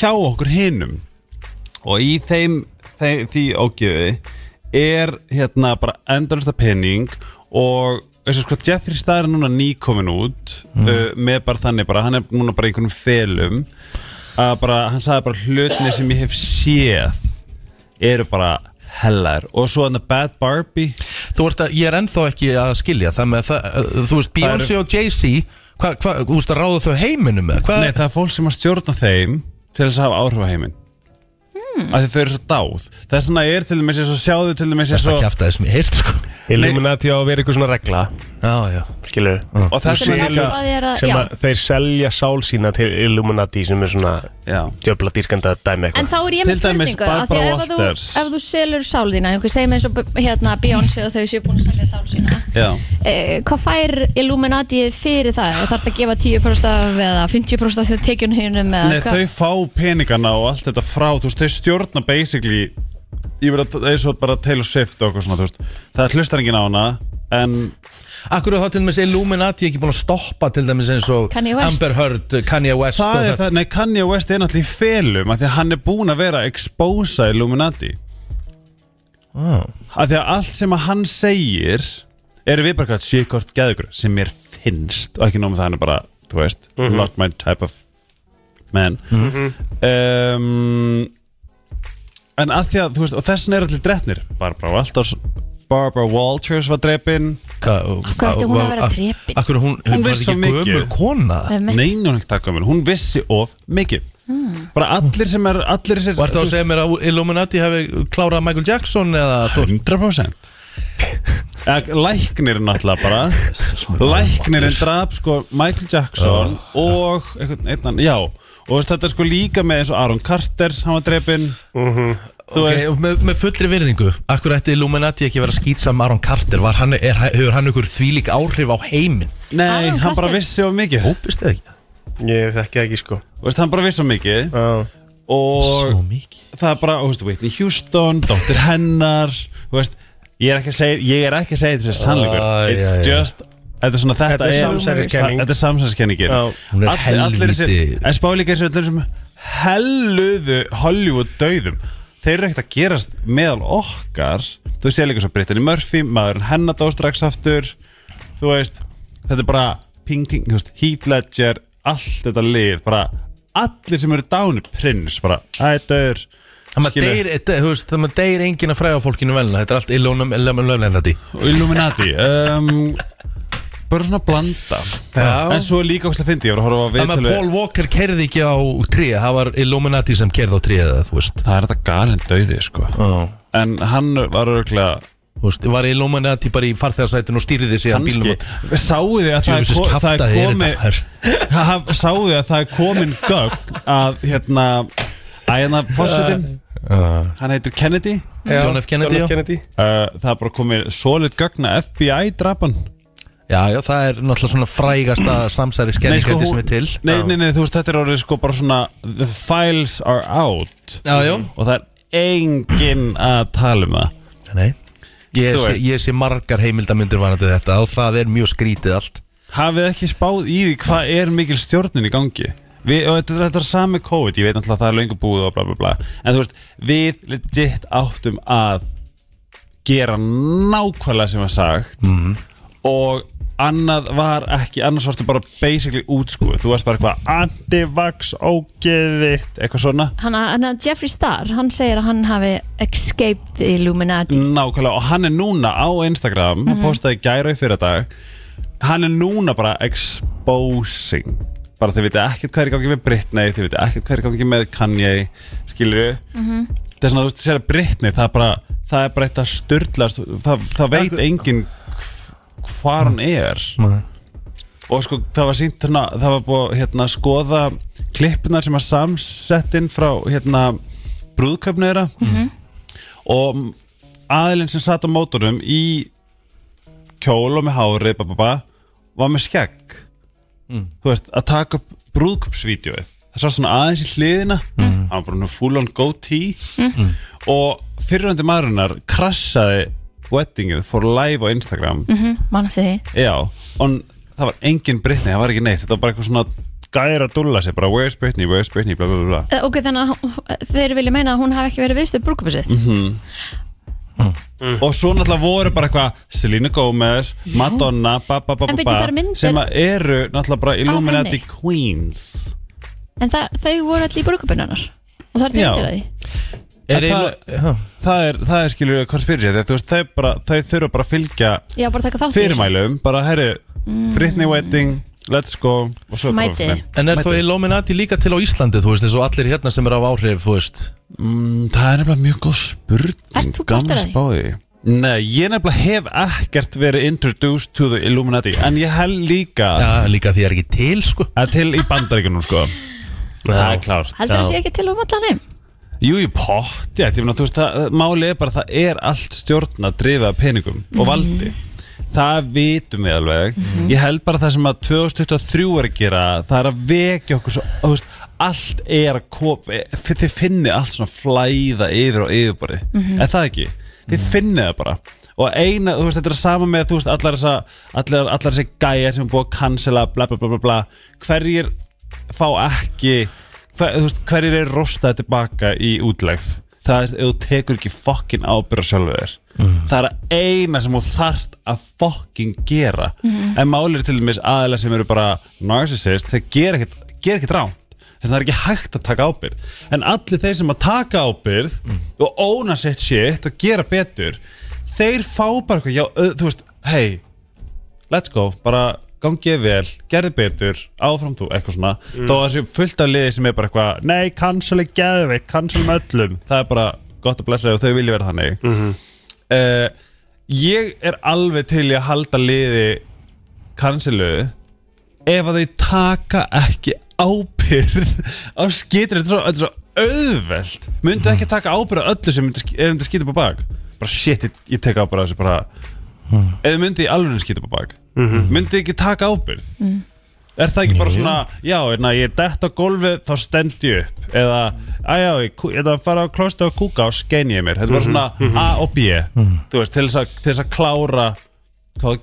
[SPEAKER 6] hjá okkur hinum og í þeim, þeim því ágjöfi er hérna bara endalista penning og þessu sko Jeffrey Star er núna nýkomin út uh, með bara þannig bara, hann er núna bara í einhvernum felum að bara, hann sagði bara hlutinni sem ég hef séð eru bara hellar og svo hann Bad Barbie
[SPEAKER 1] Þú ert að, ég er ennþá ekki að skilja það með það, uh, þú veist, Beyoncé og Jay-Z hvað, hva, þú veist að ráða þau heiminum með hvað,
[SPEAKER 6] Nei, það er fólk sem að stjórna þeim til þess að hafa áhrif á heiminn mm. af því þau eru svo dáð það er svona er til dæmis eins og sjáðu til dæmis eins
[SPEAKER 1] það
[SPEAKER 6] og
[SPEAKER 1] kjæfta þessum ég heyrt sko.
[SPEAKER 2] Illuminati á að vera eitthvað svona regla
[SPEAKER 1] Já, já,
[SPEAKER 2] skilur
[SPEAKER 6] og það
[SPEAKER 3] sem
[SPEAKER 6] sé
[SPEAKER 3] að
[SPEAKER 6] líka
[SPEAKER 3] hjálpa þér að,
[SPEAKER 2] sem
[SPEAKER 3] já
[SPEAKER 2] að þeir selja sál sína til Illuminati sem er svona
[SPEAKER 6] já,
[SPEAKER 2] djöfla dýrkanda dæmi
[SPEAKER 3] En
[SPEAKER 2] eitthvað
[SPEAKER 3] þá er ég með
[SPEAKER 6] Til dæmis
[SPEAKER 3] spurningu af því
[SPEAKER 6] Barbara
[SPEAKER 3] að ef, að
[SPEAKER 6] Walters.
[SPEAKER 3] þú, ef þú selur sál þína, einhver segir með eins og b- hérna Beyoncé og þau séu búin að selja sál sína
[SPEAKER 6] já.
[SPEAKER 3] eh, hvað fær Illuminati fyrir það? Þarf það að gefa 10% af eða 50% af þau tekjun hinnum eða
[SPEAKER 6] Nei,
[SPEAKER 3] hvað?
[SPEAKER 6] þau fá peningana og allt þetta frá þú veist, þau stjórna basically ég verið að það er svo bara Taylor Swift og okkur svona, þú veist, það hlustar enginn á hana en
[SPEAKER 1] Akkur er það til dæmis Illuminati ekki búin að stoppa til dæmis eins og
[SPEAKER 3] Kanye West.
[SPEAKER 1] Amber Heard, Kanye West
[SPEAKER 6] það
[SPEAKER 1] og
[SPEAKER 6] er það, nei, Kanye West er náttúrulega í felum af því að hann er búin að vera að expósa Illuminati
[SPEAKER 1] Vá.
[SPEAKER 6] af því að allt sem að hann segir eru við bara hvað síkort geðugur sem mér finnst og ekki nóg með það hann er bara, þú veist not my type of man um, en að því að, þú veist, og þessin er allir drefnir Barbara Walters Barbara Walters var drefin
[SPEAKER 1] Akkur
[SPEAKER 3] hverju ætti hún að vera drepin?
[SPEAKER 1] Akkur hún, hún,
[SPEAKER 6] Hún
[SPEAKER 1] var
[SPEAKER 6] vissi
[SPEAKER 1] ekki
[SPEAKER 6] svo mikið.
[SPEAKER 1] gömur kona
[SPEAKER 3] Einmitt.
[SPEAKER 6] nei, hún er ekki takkamil, hún vissi of mikið bara allir sem er allir sem
[SPEAKER 1] Var það að segja mér að Illuminati hefði klárað Michael Jackson eða þú
[SPEAKER 6] 100% Ek- Læknirinn náttúrulega bara Læknirinn draf sko Michael Jackson og einhvern einnan, já og veist, þetta er sko líka með eins og Aaron Carter hann var drefin þú
[SPEAKER 1] Mhm. Ok,
[SPEAKER 6] veist,
[SPEAKER 1] og með, með fullri virðingu Akkur ætti Illuminati ekki verið að skýtsa Maron Carter Var hann, er, hefur hann ykkur þvílík áhrif á heiminn
[SPEAKER 6] nei,
[SPEAKER 3] Aaron
[SPEAKER 6] hann bara
[SPEAKER 3] Carter.
[SPEAKER 6] vissi of mikið
[SPEAKER 1] Hópist þið ekki?
[SPEAKER 2] Ég þekki það ekki sko
[SPEAKER 6] Þú veist, hann bara vissi of mikið
[SPEAKER 2] Já.
[SPEAKER 6] og
[SPEAKER 1] Svo mikið
[SPEAKER 6] það er bara, þú veist, Whitney Houston Dóttir hennar, þú veist ég er ekki að segja, ég er ekki að segja þessi sannleikur
[SPEAKER 1] Æ,
[SPEAKER 6] it's
[SPEAKER 1] æ, æ.
[SPEAKER 6] just Þetta er svona þetta
[SPEAKER 2] Þetta er samsæriskenning.
[SPEAKER 6] Þetta er samsæriskenningin
[SPEAKER 2] Já.
[SPEAKER 1] Hún er helvíti-
[SPEAKER 6] En spáli ekki þessu allir sem helluðu Hollywood dauðum Þeir eru ekkert að gerast meðal okkar Þú sé líka svo Brittany Murphy Maðurinn hennar dó strax aftur Þú veist, þetta er bara ping, ping, þú veist, Heath Ledger Allt þetta lið, bara Allir sem eru dánu, prins, bara Þetta er
[SPEAKER 1] Það maður deyr, þetta- þú veist, það maður deyr enginn að fræða fólkinu velna Þetta er allt Illum- Illuminati
[SPEAKER 6] Illuminati um, Bara svona blanda
[SPEAKER 2] Já.
[SPEAKER 6] En svo er líka óslega fyndi Ég var að horfa á
[SPEAKER 1] Það með
[SPEAKER 6] viðtölu
[SPEAKER 1] Paul Walker kerði ekki á tré Það var Illuminati sem kerði á tré Þú veist
[SPEAKER 6] Það er þetta galinn dauði sko
[SPEAKER 1] Já.
[SPEAKER 6] En hann var örgulega
[SPEAKER 1] Þú veist, var Illuminati bara í farþegarsætinu og stýrði sér
[SPEAKER 6] Kanski
[SPEAKER 1] bílum
[SPEAKER 6] Sáu þið að það er,
[SPEAKER 1] Djöfisins
[SPEAKER 6] ko það
[SPEAKER 1] kjaftaði
[SPEAKER 6] er
[SPEAKER 1] er
[SPEAKER 6] komi
[SPEAKER 1] þetta,
[SPEAKER 6] Ha- Sáu þið að það er komin gögn Að hérna Að hérna fórsetin
[SPEAKER 1] Uh.
[SPEAKER 6] Hann heitir Kennedy
[SPEAKER 2] Já,
[SPEAKER 1] John F. Kennedy, já.
[SPEAKER 2] John F. Kennedy.
[SPEAKER 6] uh, Það er bara komið solid gögn Að FBI drapan
[SPEAKER 1] Já, já, það er náttúrulega svona frægasta samsæri skenningætti sem er til
[SPEAKER 6] nei, nei, nei, þú veist þetta er orðið sko bara svona The files are out
[SPEAKER 1] Já, já
[SPEAKER 6] og það er enginn að tala um það
[SPEAKER 1] Nei Ég
[SPEAKER 6] Þú
[SPEAKER 1] sé,
[SPEAKER 6] veist.
[SPEAKER 1] ég sé margar heimildamindur varandi þetta og það er mjög skrítið allt
[SPEAKER 6] hafið ekki spáð í því hvað er mikil stjórnin í gangi við, og þetta, þetta er sami COVID ég veit náttúrulega að það er löngu búið og bla bla bla en þú veist, við legit áttum að gera nákvæmlega sem var sagt og annað var ekki annars varstu bara basically útskúið þú varst bara eitthvað antivax ógeðitt, eitthvað svona
[SPEAKER 3] Hann að- hann að Jeffrey Star, hann segir að hann hafi escaped the Illuminati
[SPEAKER 6] Nákvæmlega og hann er núna á Instagram hann postaði gæra í fyrir dag hann er núna bara exposing bara þau viti ekkert hvað er í gangi með Britney þau viti ekkert hvað er í gangi með Kanye skilur mm það er svona þú veist, sér að Britney það er bara það er bara eitt að styrla það, það veit enginn hv- hvar hún er
[SPEAKER 1] Nei.
[SPEAKER 6] og sko það var sínt hérna, það var búið að, hérna, skoða klippnar sem að samsettinn frá hérna brúðköpnu þeirra og aðilinn sem satt á mótorum í kjól og með hári bababa, var með skegg þú veist, að taka upp brúðköpsvídeóið það sá svona aðeins í hliðina hann var bara nú full on goatee og fyriröndi maðurinnar krassaði weddingið, fór live á Instagram
[SPEAKER 2] Mm.
[SPEAKER 3] mann Mhm, eftir því
[SPEAKER 6] Já, og það var engin Britney, það var ekki neitt Þetta var bara eitthvað svona gæra að dúlla sig bara where's Britney, where's Britney, bla bla bla
[SPEAKER 3] Eh, ok, þannig að hún- þeir vilja meina að hún hafi ekki verið viðstöð brúkupið sitt
[SPEAKER 2] Mhm.
[SPEAKER 3] Mm.
[SPEAKER 6] Og svo náttúrulega voru bara eitthvað Selena Gomez, Madonna, ba ba ba
[SPEAKER 3] En
[SPEAKER 6] ba
[SPEAKER 3] bíddu, það eru
[SPEAKER 6] ba
[SPEAKER 3] myndir-
[SPEAKER 6] sem að eru náttúrulega bara Illuminati
[SPEAKER 3] henni.
[SPEAKER 6] Queens
[SPEAKER 3] en það, þau voru allir í brúkupinu hennar og það er dýndir
[SPEAKER 6] Já.
[SPEAKER 3] að því
[SPEAKER 1] Er
[SPEAKER 6] En
[SPEAKER 1] það, það,
[SPEAKER 6] Það er, það er skilur conspiracy þegar þú veist, þau, bara, þau þurfa bara að fylgja
[SPEAKER 3] ég var bara að taka þátt
[SPEAKER 6] fyrirmælum, bara herri Britney wedding, let's go og svo
[SPEAKER 3] Mm. Mæti.
[SPEAKER 6] bara-
[SPEAKER 1] En er þó Illuminati líka til á Íslandi, þú veist, eins og allir hérna sem eru af áhrif, þú veist
[SPEAKER 6] Mm, Það er nefnilega mjög góð spurning
[SPEAKER 3] Ert þú partur af því?
[SPEAKER 6] spáði Nei, ég nefnilega hef ekkert verið introduced to the Illuminati En ég held líka
[SPEAKER 1] Já, líka því er ekki til, sko
[SPEAKER 6] að til í bandaríkunum sko Það er klárt
[SPEAKER 3] heldur það sé ekki til um allan heim
[SPEAKER 6] Jú, ég pott, já, ég meina, þú veist það Máli er bara að það er allt stjórna drifið af peningum og valdi Það vitum við alveg Ég held bara það sem að 2023 er að gera Það er að vekja okkur svo þú veist, Allt er að kopa Þið finnið allt svona flæða yfir og yfirborði Er það ekki? Þið finnið það bara Og eina, þú veist, þetta er sama með þú veist, allar þessa allar, allar þessa gæja sem er búið að cancela bla bla bla bla bla Hverjir fá ekki hver, þú veist, Hverjir er rostaði tilbaka í útlegð Það er, ef þú tekur ekki fokkin ábyrra sjálfur þér Það er að eina sem þú þart að fokkin gera En málir til dæmis aðeila sem eru bara narcissist Þeir gera ekkert, gera ekkert ránt Þess að það er ekki hægt að taka ábyrð En allir þeir sem að taka ábyrð Og óna sitt shit og gera betur Þeir fá bara eitthvað Já, ö, þú veist, hei Let's go, bara gangið vel Gerði betur, áfram þú, eitthvað svona Þó að þessu fullt af liði sem er bara eitthvað Nei, cancel er geðveitt, cancel með öllum Það er bara gott að blessa þau og þau vilja vera þannig mm Ég er alveg til í að halda liði Canceluðu ef að þau taka ekki ábyrð á skitur, þetta er svo, þetta er svo auðvelt myndu ekki taka ábyrð á öllu sem myndu, sk- ef myndu skita på bak bara shit, ég, ég tek ábyrð á þessu bara ef þau myndu í alveg skita på bak myndu ekki taka ábyrð er það ekki bara svona já, erna, ég dett á gólfið, þá stend ég upp eða, aðjá, ég kú- ég ætla að fara á klósti og kúka og skein ég mér þetta er bara svona A og B þú veist, til þess að, til þess að klára hvað,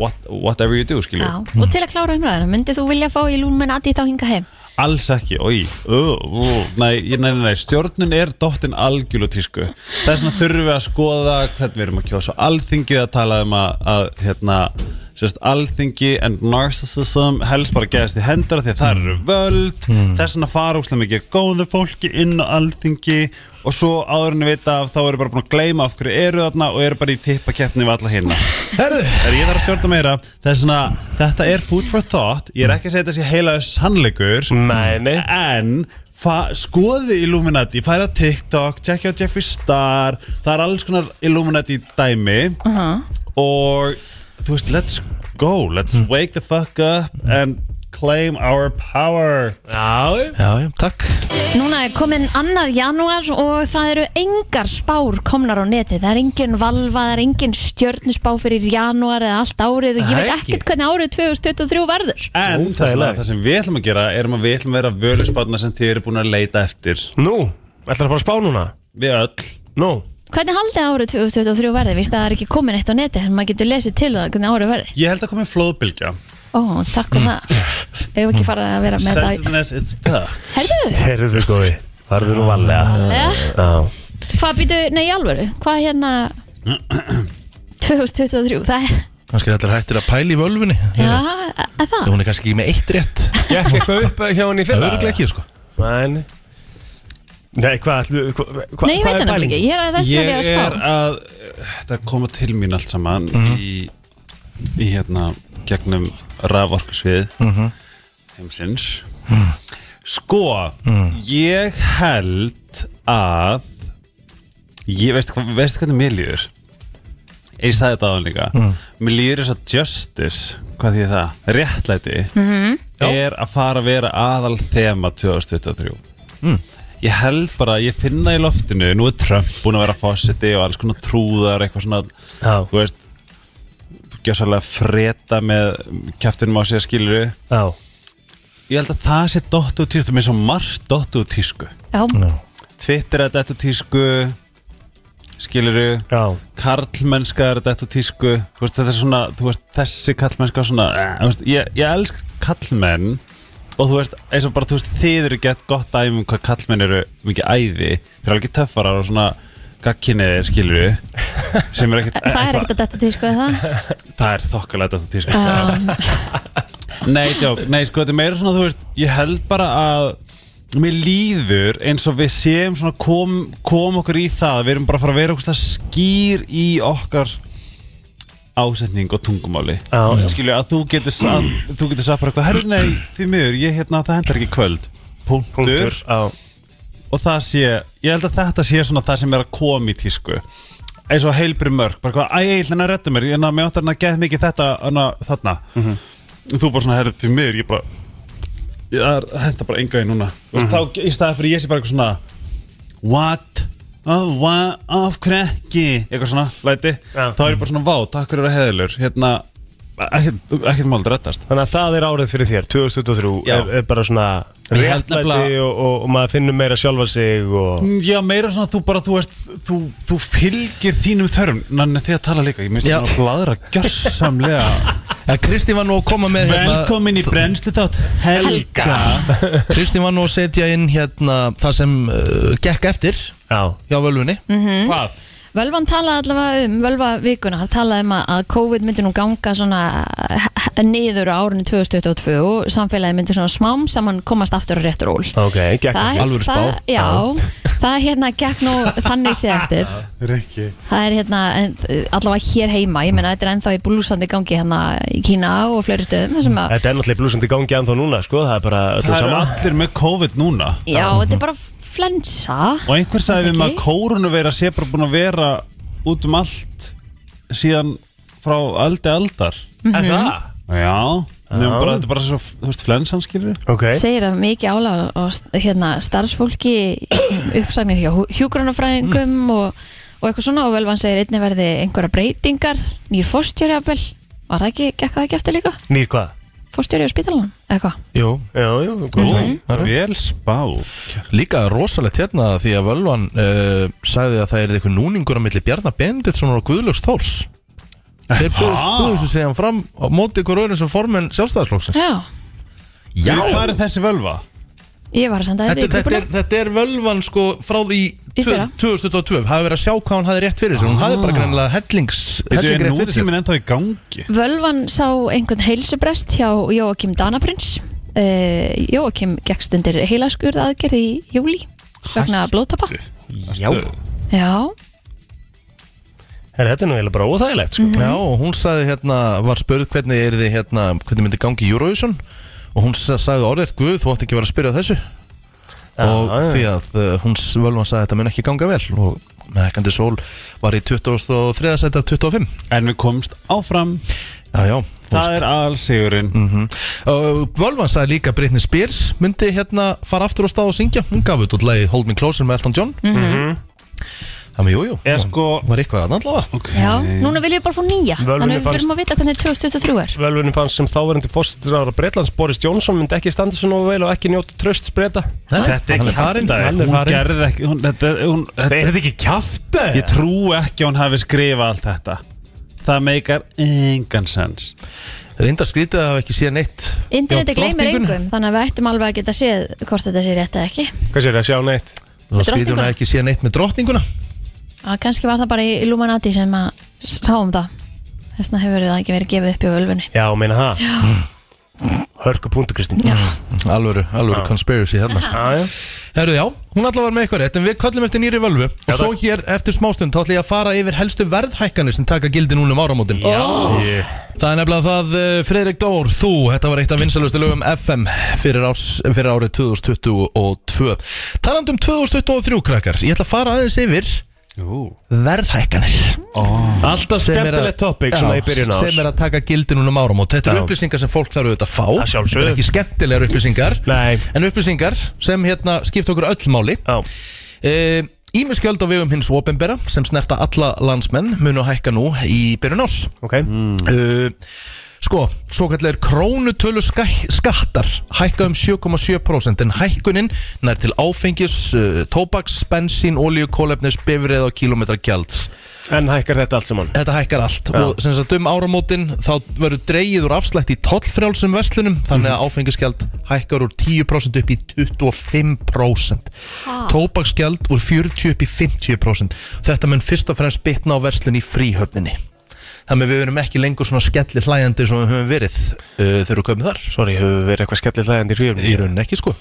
[SPEAKER 6] what, whatever you do, skiljum
[SPEAKER 3] Já, og til að klára umræðina, myndið þú vilja fá í lúmenati þá hinga heim?
[SPEAKER 6] Alls ekki, oi uh, uh, nei, ég- nei, nei, nei, stjórnun er dottin algjölu tísku Það er svona þurfum við að skoða hvernig við erum að kjósa Alþingið að tala um að, að hérna, sérst, alþingi and narcissism helst bara geðast í hendur af því að það eru völd þess vegna fara úslega mikið góðu fólki inn á alþingi og svo áðurinn við vita af þá eru bara búin að gleyma af hverju eru þarna og eru bara í tippakeppni við alla hérna
[SPEAKER 1] Herðu,
[SPEAKER 6] Þegar ég þarf að stjórna meira Það er svona, þetta er food for thought Ég er ekki að segja þetta sé heila sannleikur
[SPEAKER 2] Nei, nei.
[SPEAKER 6] En fa- skoði Illuminati, færa TikTok Tjekkja á Jeffree Star Það er alls konar Illuminati dæmi Og Þú veist, let's go, let's wake the fuck up And claim our power
[SPEAKER 2] Já,
[SPEAKER 1] já, já, takk
[SPEAKER 3] Núna er komin annar janúar og það eru engar spár komnar á neti. Það er engin valva, það er engin stjörnusbá fyrir janúar eða allt árið og ég veit
[SPEAKER 2] Það er ekki.
[SPEAKER 3] ekkert hvernig árið 2023 verður.
[SPEAKER 6] En
[SPEAKER 2] Jú,
[SPEAKER 6] það,
[SPEAKER 2] það er
[SPEAKER 6] sem,
[SPEAKER 2] lag.
[SPEAKER 6] það sem við ætlum að gera Erum að við ætlum að vera völusbarnar sem þið eru búin að leita eftir
[SPEAKER 2] nú, ætlar að fara að spá núna?
[SPEAKER 6] Við öll
[SPEAKER 2] Nú,
[SPEAKER 3] Hvernig haldið árið 2023 verður? Vist að það er ekki komin eitt á neti, en maður getur lesið til um það hvernig árið verður.
[SPEAKER 6] Ég held að komi flóðbylgja
[SPEAKER 3] Ó, takk
[SPEAKER 6] Mm.
[SPEAKER 3] um það. Ef við ekki fara að vera með það.
[SPEAKER 6] Sendiness it's fuck
[SPEAKER 3] Herðu,
[SPEAKER 2] heyrðu við góði Farðu nú valega
[SPEAKER 3] eh,
[SPEAKER 2] Já,
[SPEAKER 3] hvað býtu, nei, í alvöru, hvað hérna 2023, það er,
[SPEAKER 1] Kannski er allir hættir að pæla í völfunni
[SPEAKER 3] já,
[SPEAKER 1] Hérna.
[SPEAKER 3] er það?
[SPEAKER 1] Hún er kannski ekki með eitt rétt
[SPEAKER 2] gekk eitthvað upp eh, hjá henni í
[SPEAKER 1] Það
[SPEAKER 2] fyrra?
[SPEAKER 1] eru ekki, sko
[SPEAKER 2] Nei, nei. Nei, hvað ætlu, hva, hva,
[SPEAKER 3] Nei, ég veit
[SPEAKER 2] hvað
[SPEAKER 3] hann nefnilega ekki, ég er að þess að
[SPEAKER 6] Ég
[SPEAKER 3] við að
[SPEAKER 6] er
[SPEAKER 3] spá
[SPEAKER 6] að Þetta er að koma til mín allt saman í, í hérna gegnum raforkusvið heimsins Sko Ég held að Ég veist, hvað- veistu hvernig mér líður ég sagði þetta á hann líka mér líður þess að justice hvað því það, réttlæti er að fara að vera aðal þema 2023 ég held bara, ég finna í loftinu nú er Trump búin að vera fósiti og alls konar trúðar, eitthvað svona
[SPEAKER 2] Já.
[SPEAKER 6] þú veist gjössalega freta með kjæftinum á sig að skilur
[SPEAKER 2] Já,
[SPEAKER 6] ég held að það sé dott úr tísku það er svo margt dott úr tísku
[SPEAKER 3] já,
[SPEAKER 6] Twitter er dett úr tísku skilur
[SPEAKER 2] já,
[SPEAKER 6] karlmennska er dett úr tísku þú veist, þetta er svona, þú veist, þessi karlmennska svona, eh, þú veist, ég, ég elsk karlmenn og þú veist, eins og bara þú veist, þið eru gett gott dæmi um hvað karlmenn eru mikið æði þeir eru alveg töffarar og svona gagkinniðir skilur sem er ekkert
[SPEAKER 3] það er ekkert Ah. að detta til sko er það
[SPEAKER 6] það er þokkalega dett úr tísku
[SPEAKER 3] já,
[SPEAKER 6] Nei, tjók, nei, sko, þetta er meira svona, þú veist, ég held bara að mér líður eins og við séum svona kom, kom okkur í það, við erum bara að fara að vera okkur skýr í okkar ásetning og tungumáli
[SPEAKER 2] Já, já.
[SPEAKER 6] skilju að þú getur að, þú getur sagt bara eitthvað, herri nei, því miður ég hérna, það hendar ekki í kvöld punktur,
[SPEAKER 2] punktur Já,
[SPEAKER 6] og það sé, ég held að þetta sé svona það sem er að koma í tísku eins og heilbri mörg, bara hvað, æ, ég ætla hann að redda mér en að mér áttar hann að geða mikið þetta hana, þarna, þú bara svona herrið því miður, ég bara ég er, henda bara enga í núna mm -hmm. þá, í staði fyrir ég sé bara eitthvað svona what, oh, what of krekki, eitthvað svona, læti
[SPEAKER 2] Já.
[SPEAKER 6] þá er ég bara svona, vá, takk fyrir að heðilur hérna, ekkert ekkert mál reddast
[SPEAKER 2] Þannig að það er árið fyrir þér, 2023
[SPEAKER 6] Já.
[SPEAKER 2] er, er bara svona
[SPEAKER 6] Ég held
[SPEAKER 2] réttlæti
[SPEAKER 6] nefnilega-
[SPEAKER 2] og, og, og maður finnur meira sjálfa sig
[SPEAKER 3] Mm.
[SPEAKER 2] og
[SPEAKER 6] Mm, Já, meira svona þú bara, þú veist, þú, þú fylgir þínum þörfum Nann, þið að tala líka, ég minnst
[SPEAKER 1] Já.
[SPEAKER 6] að bladra gjörsamlega
[SPEAKER 1] ja, Kristín var nú að koma með hérna,
[SPEAKER 6] Velkomin í brennslu þátt Helga,
[SPEAKER 1] Kristín var nú að setja inn hérna, það sem uh, gekk eftir
[SPEAKER 2] Já,
[SPEAKER 1] hjá völvunni
[SPEAKER 2] Mm.
[SPEAKER 3] Mm.
[SPEAKER 6] Hvað?
[SPEAKER 3] Völvan talaði allavega um, völva vikuna, hann talaði um að- að COVID myndi nú ganga svona eh, niður á árinu 2022 og samfélagi myndi svona smám saman komast aftur á réttur ól.
[SPEAKER 2] ok, gekk
[SPEAKER 3] Það-
[SPEAKER 2] ekki
[SPEAKER 1] alvöru spá.
[SPEAKER 3] það- Já, það hérna gekk nú þannig sé eftir.
[SPEAKER 6] Rikki
[SPEAKER 3] Það er hérna en, eh, allavega hér heima, ég meina þetta er ennþá í blúsandi gangi hérna í Kína og fleiri stöðum. þar Sem að,
[SPEAKER 2] Þetta er náttúrulega blúsandi gangi ennþá núna, sko, það er bara öllu
[SPEAKER 6] Það eru
[SPEAKER 2] sama
[SPEAKER 6] allir með COVID núna
[SPEAKER 3] já, þetta er bara flensa.
[SPEAKER 6] Og einhver sagði við maður
[SPEAKER 3] Ekki?
[SPEAKER 6] að kórunuveira sé bara búin að vera út um allt síðan frá aldi aldar
[SPEAKER 2] Er það?
[SPEAKER 3] Mhm.
[SPEAKER 6] Já,
[SPEAKER 2] Já.
[SPEAKER 6] nefnum bara, þetta er bara svo, þú veist, flensanskilur
[SPEAKER 2] Ok,
[SPEAKER 3] segir að mikið álag á hérna, starfsfólki uppsagnir hjá hjúgrunafræðingum og, og eitthvað svona og völvan segir einnig verði einhverja breytingar nýr fórstjórjafvel var það ekki, gekk það ekki eftir líka
[SPEAKER 2] nýr hvað?
[SPEAKER 3] fórstjóri á spítalan, eitthvað
[SPEAKER 1] Jú,
[SPEAKER 2] Já, já,
[SPEAKER 6] Ú,
[SPEAKER 2] góð
[SPEAKER 6] vel spáð
[SPEAKER 1] líka rosalegt hérna því að völvan uh, sagði að það er eitthvað núningur á milli Bjarnar Benditssonar og Guðlaugs Þórs Þeir búið sem segja hann fram á móti ykkur öðrum sem formenn sjálfstæðarslóksins
[SPEAKER 3] já,
[SPEAKER 1] Já,
[SPEAKER 6] Hvað er þessi völva?
[SPEAKER 3] ég var að senda
[SPEAKER 1] þetta,
[SPEAKER 3] þetta,
[SPEAKER 1] þetta, er,
[SPEAKER 3] í
[SPEAKER 1] þetta er völvan sko frá því
[SPEAKER 3] Í
[SPEAKER 1] tvö-
[SPEAKER 3] fyrra.
[SPEAKER 1] 2022, hafi verið að sjá hvað hún hafi rétt fyrir sér hún hafi bara greinlega hellings
[SPEAKER 6] Þetta
[SPEAKER 1] helling
[SPEAKER 6] er
[SPEAKER 1] rétt fyrir sér
[SPEAKER 6] nútíminn ennþá í gangi
[SPEAKER 3] grúpuna völvan sá einhvern heilsubrest hjá Jóakim Danaprins uh, Jóakim gekkst undir heilaskurð aðgerð í júli vegna blóttapa
[SPEAKER 2] Já,
[SPEAKER 3] já,
[SPEAKER 2] Herra, þetta er nú eiginlega bara óþægilegt, sko
[SPEAKER 1] Já, og hún sagði hérna, var spurð hvernig er þið hérna, hvernig myndi gangi í Eurovision og hún sa- sagði orðið, guð, þú átt ekki að vera að spyrja að þessu og
[SPEAKER 2] Já, já.
[SPEAKER 1] því að uh, hún s- völvan sagði að þetta mun ekki ganga vel og meðkandi sól var í 23. seti af 25
[SPEAKER 6] En við komst áfram
[SPEAKER 1] Já, já,
[SPEAKER 6] Það er alsigurinn mm.
[SPEAKER 1] Mhm. Og Völvan sagði líka að Britney Spears myndi hérna fara aftur á stað og syngja Hún gaf út út lagi Hold Me Closer með Elton John mm -hmm. Þannig, jú, jú,
[SPEAKER 6] Er sko-
[SPEAKER 1] var eitthvað að allavega
[SPEAKER 3] já, núna vil ég bara fá nýja
[SPEAKER 2] Völvunni
[SPEAKER 3] þannig að við
[SPEAKER 2] fannst-
[SPEAKER 3] fyrir að vita hvernig 2023 er
[SPEAKER 2] Velvunni fannst sem þáverandi fósitisraður að Breitlands Boris Jónsson myndi ekki standa svo nógu vel og ekki njóta tröst spreta
[SPEAKER 6] Þetta er
[SPEAKER 1] Hann er farinn.
[SPEAKER 6] kjartaði
[SPEAKER 2] Hann er
[SPEAKER 6] Hún
[SPEAKER 2] farinn.
[SPEAKER 6] gerði ekki hún, þetta, hún, þetta,
[SPEAKER 2] Er þetta ekki kjafta?
[SPEAKER 6] Ég trú ekki að hún hafi skrifað allt þetta Það meikar engan sens
[SPEAKER 1] Reyndar skrítið að hafa ekki séð neitt
[SPEAKER 3] Interneti
[SPEAKER 1] hjá
[SPEAKER 3] gleymir
[SPEAKER 1] drottningunni.
[SPEAKER 3] engum, þannig að við ættum alveg að geta séð hvort þetta sé rétt eða ekki.
[SPEAKER 2] Hvað sér það að sjá neitt?
[SPEAKER 1] Og skrítið hún
[SPEAKER 3] Drottninguna?
[SPEAKER 1] að ekki séð neitt með drottninguna
[SPEAKER 3] Að kannski var það bara í Illuminati sem að s- sáum það. Þess vegna hefur það ekki verið gefið upp í völfunni.
[SPEAKER 2] Já, meina það Hörku punktu, Kristín Já,
[SPEAKER 1] Alvöru, alvöru conspiracy þarna sko.
[SPEAKER 2] já
[SPEAKER 1] Herru, já, hún allavega var með eitthvað rétt En við köllum eftir nýri völvu Og
[SPEAKER 2] Já,
[SPEAKER 1] svo hér eftir smástund þá ætla ég að fara yfir helstu verðhækkanir sem taka gildi núna um áramótin
[SPEAKER 2] Ég-
[SPEAKER 1] Það er nefnilega það eh, Friðrik Dór, þú, þetta var eitt af vinsalustu lögum FM fyrir, árs, fyrir árið 2022 Talandi um 2023 krakkar, ég ætla að fara aðeins yfir verðhækkanir
[SPEAKER 2] Alltaf
[SPEAKER 1] Sem er að-
[SPEAKER 2] skemmtilegt topic svona
[SPEAKER 1] Já,
[SPEAKER 2] í byrjun ás
[SPEAKER 1] sem er að taka gildi núna um árum og þetta
[SPEAKER 2] Já.
[SPEAKER 1] eru upplýsingar sem fólk þarf auðvitað að fá
[SPEAKER 2] Að sjálfsögðu.
[SPEAKER 1] þetta er ekki skemmtilegar upplýsingar
[SPEAKER 2] Nei.
[SPEAKER 1] en upplýsingar sem hérna skipt okkur öll máli
[SPEAKER 2] Já,
[SPEAKER 1] Ímiskjöld á vegum hins opinbera sem snerta alla landsmenn munu hækka nú í byrjun ás
[SPEAKER 2] ok mm.
[SPEAKER 1] Uh, sko, svo kallar krónutölu skak- skattar hækka um 7,7% en hækkunin nær til áfengis, uh, tóbaks, bensín, olíu, kólefnis, bifrið og kilometra gjalds.
[SPEAKER 2] En hækkar þetta allt saman
[SPEAKER 1] Þetta hækkar allt og sem sagt um áramótin þá verður dreigið úr afslætt í tollfrjálsum verslunum þannig
[SPEAKER 2] Mhm.
[SPEAKER 1] að áfengisgjald hækkar úr 10% upp í 25%. Tóbaksgjald úr 40 upp í 50%. Þetta mun fyrst og fremst bitna á verslun í fríhöfninni. Þannig að við verum ekki lengur svona skellir hlæjandi sem við höfum verið uh, þegar við komum þar.
[SPEAKER 2] Sorry, hefur verið eitthvað skellilegandi í fríum
[SPEAKER 1] Í rauninni ekki sko.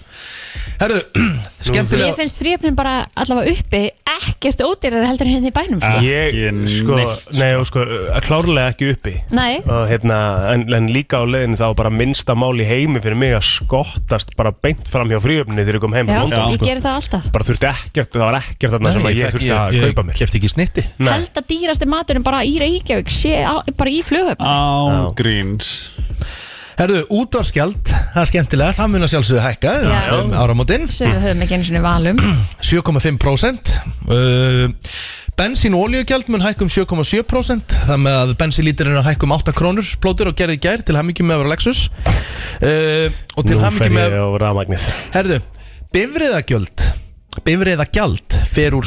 [SPEAKER 1] Herru,
[SPEAKER 3] Ég
[SPEAKER 1] skemmtilega...
[SPEAKER 3] finnst fríöfnin bara allavega uppi ekkert ódýrar heldur en hérna í bænum sko.
[SPEAKER 2] Ég,
[SPEAKER 6] Ekki
[SPEAKER 2] sko,
[SPEAKER 6] neitt,
[SPEAKER 2] nei, og sko, uh, klárlega ekki uppi
[SPEAKER 3] Nei,
[SPEAKER 2] og hérna, en, en líka á leiðinu þá bara minnsta mál í heimi fyrir mig að skottast bara beint fram hjá fríöfni þegar ég kom heim
[SPEAKER 3] já,
[SPEAKER 2] frá London,
[SPEAKER 3] ég
[SPEAKER 2] sko.
[SPEAKER 3] gerir það alltaf
[SPEAKER 2] bara þurfti ekkert, það var ekkert þarna sem
[SPEAKER 1] Nei,
[SPEAKER 2] að ég
[SPEAKER 1] fékk-
[SPEAKER 2] þurfti að kaupa
[SPEAKER 1] Ég
[SPEAKER 2] mér
[SPEAKER 1] kefti ekki snitti.
[SPEAKER 2] Nei.
[SPEAKER 3] Held að dýrasti maturinn bara í Reykjavík sé á, bara í flughöfn
[SPEAKER 6] Án gríns
[SPEAKER 1] Herðu, útvarskjald, það er skemmtilega, það mun að sjálfsögðu hækka
[SPEAKER 3] Já.
[SPEAKER 1] um áramótin,
[SPEAKER 3] sem við höfum ekki einu sinni valum
[SPEAKER 1] 7,5% uh, Bensín og olíugjald mun hækka um 7,7% Það með að bensinlítirinn er að hækka um 8 krónur plótur og gerði í gær til hamingjum með að vera Lexus uh, Og til
[SPEAKER 2] Nú
[SPEAKER 1] hamingjum
[SPEAKER 2] fer
[SPEAKER 1] með
[SPEAKER 2] ég á rafmagnið
[SPEAKER 1] Herðu, bifriðagjald Bifriðagjald fer úr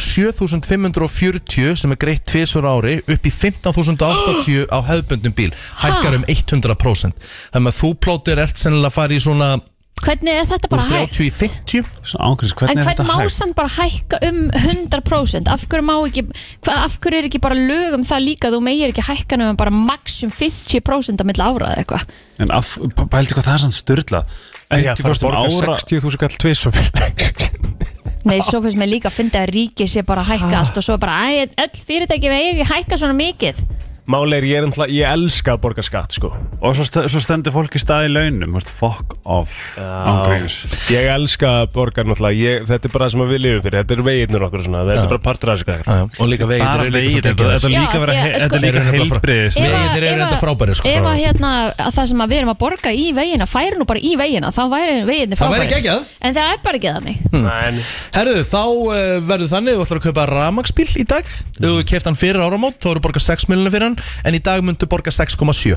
[SPEAKER 1] 7.540 sem er greitt tvisvar á ári upp í 15.080 á hefðbundnum bíl hækkar um 100% Þannig að þú plótur ert sennilega að fara í svona
[SPEAKER 3] Hvernig er þetta
[SPEAKER 1] úr
[SPEAKER 3] bara hægt?
[SPEAKER 1] 30 í 50
[SPEAKER 6] Svona án gríns,
[SPEAKER 3] En
[SPEAKER 6] hvernig er
[SPEAKER 3] hvernig
[SPEAKER 6] þetta
[SPEAKER 3] má
[SPEAKER 6] hægt?
[SPEAKER 3] samt bara hækka um 100%? Af hverju, má ekki, hva, af hverju er ekki bara lög um það líka að þú meir ekki hækka nefnum bara maximum 50% að milla ára eða eitthvað?
[SPEAKER 6] En af, pældi hvað það er sann styrla
[SPEAKER 2] Já, það er
[SPEAKER 6] 50%
[SPEAKER 2] borga
[SPEAKER 6] ára
[SPEAKER 2] 60.000 kall tvisum
[SPEAKER 3] Nei, svo finnst mér líka að finna að ríki sé bara að hækka allt og svo bara, æ, öll fyrirtæki með ekki hækka svona mikið.
[SPEAKER 2] Máli er ég, er náttúrulega- ég elska að borga skatt sko.
[SPEAKER 6] Og svo, st svo stendur fólk í stað í launum veist, Fuck off Án gríns
[SPEAKER 2] Ég elska að borga náttúrulega ég, Þetta er bara það sem við lifum fyrir, þetta er veginnur okkur og svona, Þetta er bara partur af þessu gæðar
[SPEAKER 1] Já, já, og líka veginn
[SPEAKER 6] Bara vegir, þetta þetta er
[SPEAKER 3] Já,
[SPEAKER 6] líka, vera-
[SPEAKER 3] því að, sko-
[SPEAKER 6] þetta er líka heilbriðis
[SPEAKER 3] Ef að-
[SPEAKER 1] Vegirnir eru
[SPEAKER 3] ef að-
[SPEAKER 1] reyndar frábærir, sko.
[SPEAKER 3] Ef að hérna, að það sem að við erum að borga í veginna færi nú bara í veginna, þá væri veginni
[SPEAKER 1] Það
[SPEAKER 3] frábæri
[SPEAKER 1] væri geggjað.
[SPEAKER 3] En það er bara ekki þannig
[SPEAKER 2] En
[SPEAKER 1] Herðu, þá uh, verður þannig Þú ætlar að kaupa ramagsbíl í dag Ef Þú keft hann fyrir áramót, þá eru borga 6 miljonir fyrir hann En í dag myndu borga 6,7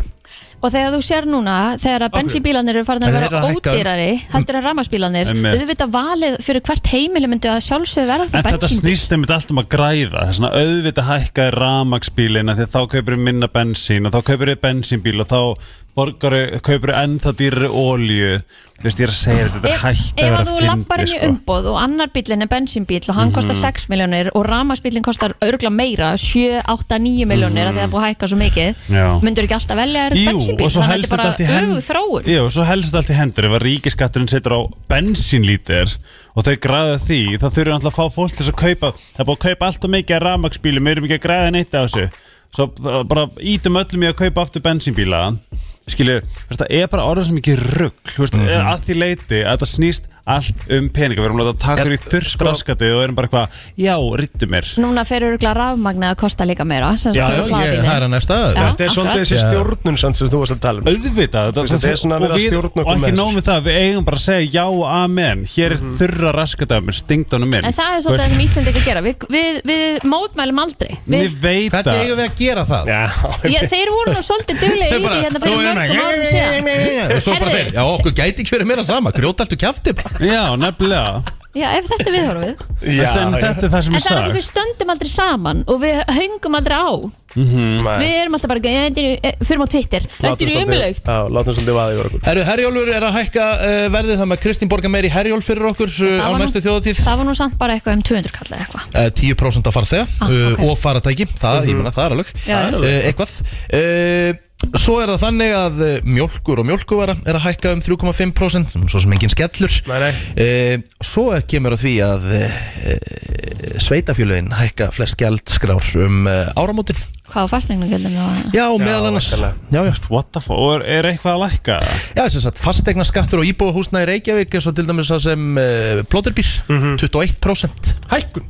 [SPEAKER 3] Og þegar þú sér núna, þegar að bensínbílanir eru farin
[SPEAKER 1] En
[SPEAKER 3] að
[SPEAKER 1] þeir
[SPEAKER 3] vera
[SPEAKER 1] eru að hækka.
[SPEAKER 3] ódýrari heldur en rafmagnsbílarnir,
[SPEAKER 6] Mm. Einmitt.
[SPEAKER 3] auðvitað valið fyrir hvert heimili myndi að sjálfsögðu verða því
[SPEAKER 6] En þetta
[SPEAKER 3] bensínbíl
[SPEAKER 6] snýst einmitt allt um að græða Það er svona auðvitað hækkaði ramagsbílina Þegar þá kaupir við minna bensín Og þá kaupir við bensínbíl Og þá borgar við, kaupir við ennþá dýrri ólju Þú veist, ég er að segja þér, þetta er
[SPEAKER 3] Ef,
[SPEAKER 6] hægt að
[SPEAKER 3] ef
[SPEAKER 6] vera
[SPEAKER 3] að þú lappar inn í
[SPEAKER 6] fyndi sko. Mhm.
[SPEAKER 3] umboð og annar bílinn er bensínbíl og hann kostar 6 miljónir og ramagsbílinn kostar örgla meira 7, 8, 9 miljónir af því að það er búið að hækka svo mikið
[SPEAKER 6] Mhm. Já.
[SPEAKER 3] myndur ekki alltaf velja þér
[SPEAKER 6] Jú,
[SPEAKER 3] bensínbíl
[SPEAKER 6] og svo
[SPEAKER 3] þannig að
[SPEAKER 6] helst þetta allt
[SPEAKER 3] þetta
[SPEAKER 6] í
[SPEAKER 3] er bara
[SPEAKER 6] hendur
[SPEAKER 3] öfug þróun
[SPEAKER 6] Jú, svo helst þetta allt í hendur Ef að ríkiskatturinn setur á bensínlítir Og þau græða því þá þurfum við alltaf að fá fólk til þess að kaupa Það er búið að kaupa alltaf mikið að ramagsbílum Við erum ekki að græða neitt á þessu Svo þá bara ítum öllum í að kaupa aftur bensínbíla Skilju, þú veist, það er bara orðið sem ekki rugg mm -hmm. Að því leiti að þetta snýst allt um peninga Við erum látað að taka þér í þurrskraskati Og erum bara eitthvað, já, ryttu mér
[SPEAKER 3] Núna fer örgla rafmagna að kosta líka meira sem
[SPEAKER 1] Já,
[SPEAKER 3] sagt
[SPEAKER 1] já,
[SPEAKER 3] öruglega
[SPEAKER 1] ég,
[SPEAKER 3] bílinn.
[SPEAKER 1] það er að næsta
[SPEAKER 3] Já.
[SPEAKER 2] þetta er svolítið þessi
[SPEAKER 1] Já.
[SPEAKER 2] stjórnun samt sem þú varst að tala um sko.
[SPEAKER 6] auðvitað þetta,
[SPEAKER 2] Þetta er svona verið að
[SPEAKER 6] og,
[SPEAKER 2] stjórna okkur
[SPEAKER 6] og ekki
[SPEAKER 2] með
[SPEAKER 6] nóg með það, við eigum bara að segja já, amen hér
[SPEAKER 2] Mhm.
[SPEAKER 6] er þurra raskadæmi, stingdónum minn
[SPEAKER 3] En það er svolítið það sem Íslandi ekki gera Við, við, við mótmælum aldrei við,
[SPEAKER 6] Ég veit
[SPEAKER 1] Hvernig
[SPEAKER 6] að
[SPEAKER 1] eigum við að gera það?
[SPEAKER 2] Já,
[SPEAKER 3] ég, Þeir voru nú svolítið duglega í því hérna fyrir mörgum árum síðan
[SPEAKER 1] síðan Og svo bara
[SPEAKER 3] Herðu.
[SPEAKER 1] þeir, já okkur gæti ekki verið meira sama Grjótaltu kjafti bara
[SPEAKER 6] Já, nefnilega
[SPEAKER 3] Já, ef þetta er viðhorfið
[SPEAKER 2] já,
[SPEAKER 6] En þetta er það sem
[SPEAKER 3] En
[SPEAKER 6] ég
[SPEAKER 3] það er að
[SPEAKER 6] sagði
[SPEAKER 3] við stöndum aldrei saman og við höngum aldrei á Við erum alltaf bara, "Já, þetta er- eh, förum á Twitter Þetta er umlögt
[SPEAKER 2] Látum svolítið vaða yfir okkur
[SPEAKER 1] Herru, Herjólfur er að hækka uh, verðið Það með Kristín borga meir í Herjólf fyrir okkur uh, á
[SPEAKER 3] var nú-
[SPEAKER 1] næstu þjóðatíð
[SPEAKER 3] Það var nú samt bara eitthvað um 200 kall eða eitthvað
[SPEAKER 1] Eh, 10% að farþega
[SPEAKER 3] Ah,
[SPEAKER 1] uh,
[SPEAKER 3] ok.
[SPEAKER 1] og faratæki, það, ég meina, Mhm. það er alveg
[SPEAKER 3] Já, já.
[SPEAKER 1] uh, eitthvað uh, Svo er það þannig að uh, mjólkur og mjólkuvara er að hækka um 3,5% svo sem engin skellur Eh,
[SPEAKER 2] Nei, nei.
[SPEAKER 1] Uh, Svo er, kemur að því að uh, sveitafjölögin hækka flest gjaldskrár um uh, áramótin
[SPEAKER 3] Hvað á fastegna gældum þá?
[SPEAKER 1] Já, meðal annars
[SPEAKER 2] væntanlega.
[SPEAKER 1] Já, já
[SPEAKER 6] What the fuck, og er, er eitthvað að lækka?
[SPEAKER 1] Já, sem sagt, fastegna skattur og íbúðahúsna í Reykjavík eins og til dæmis það sem uh, plóterbýr, 21%
[SPEAKER 2] Hækkun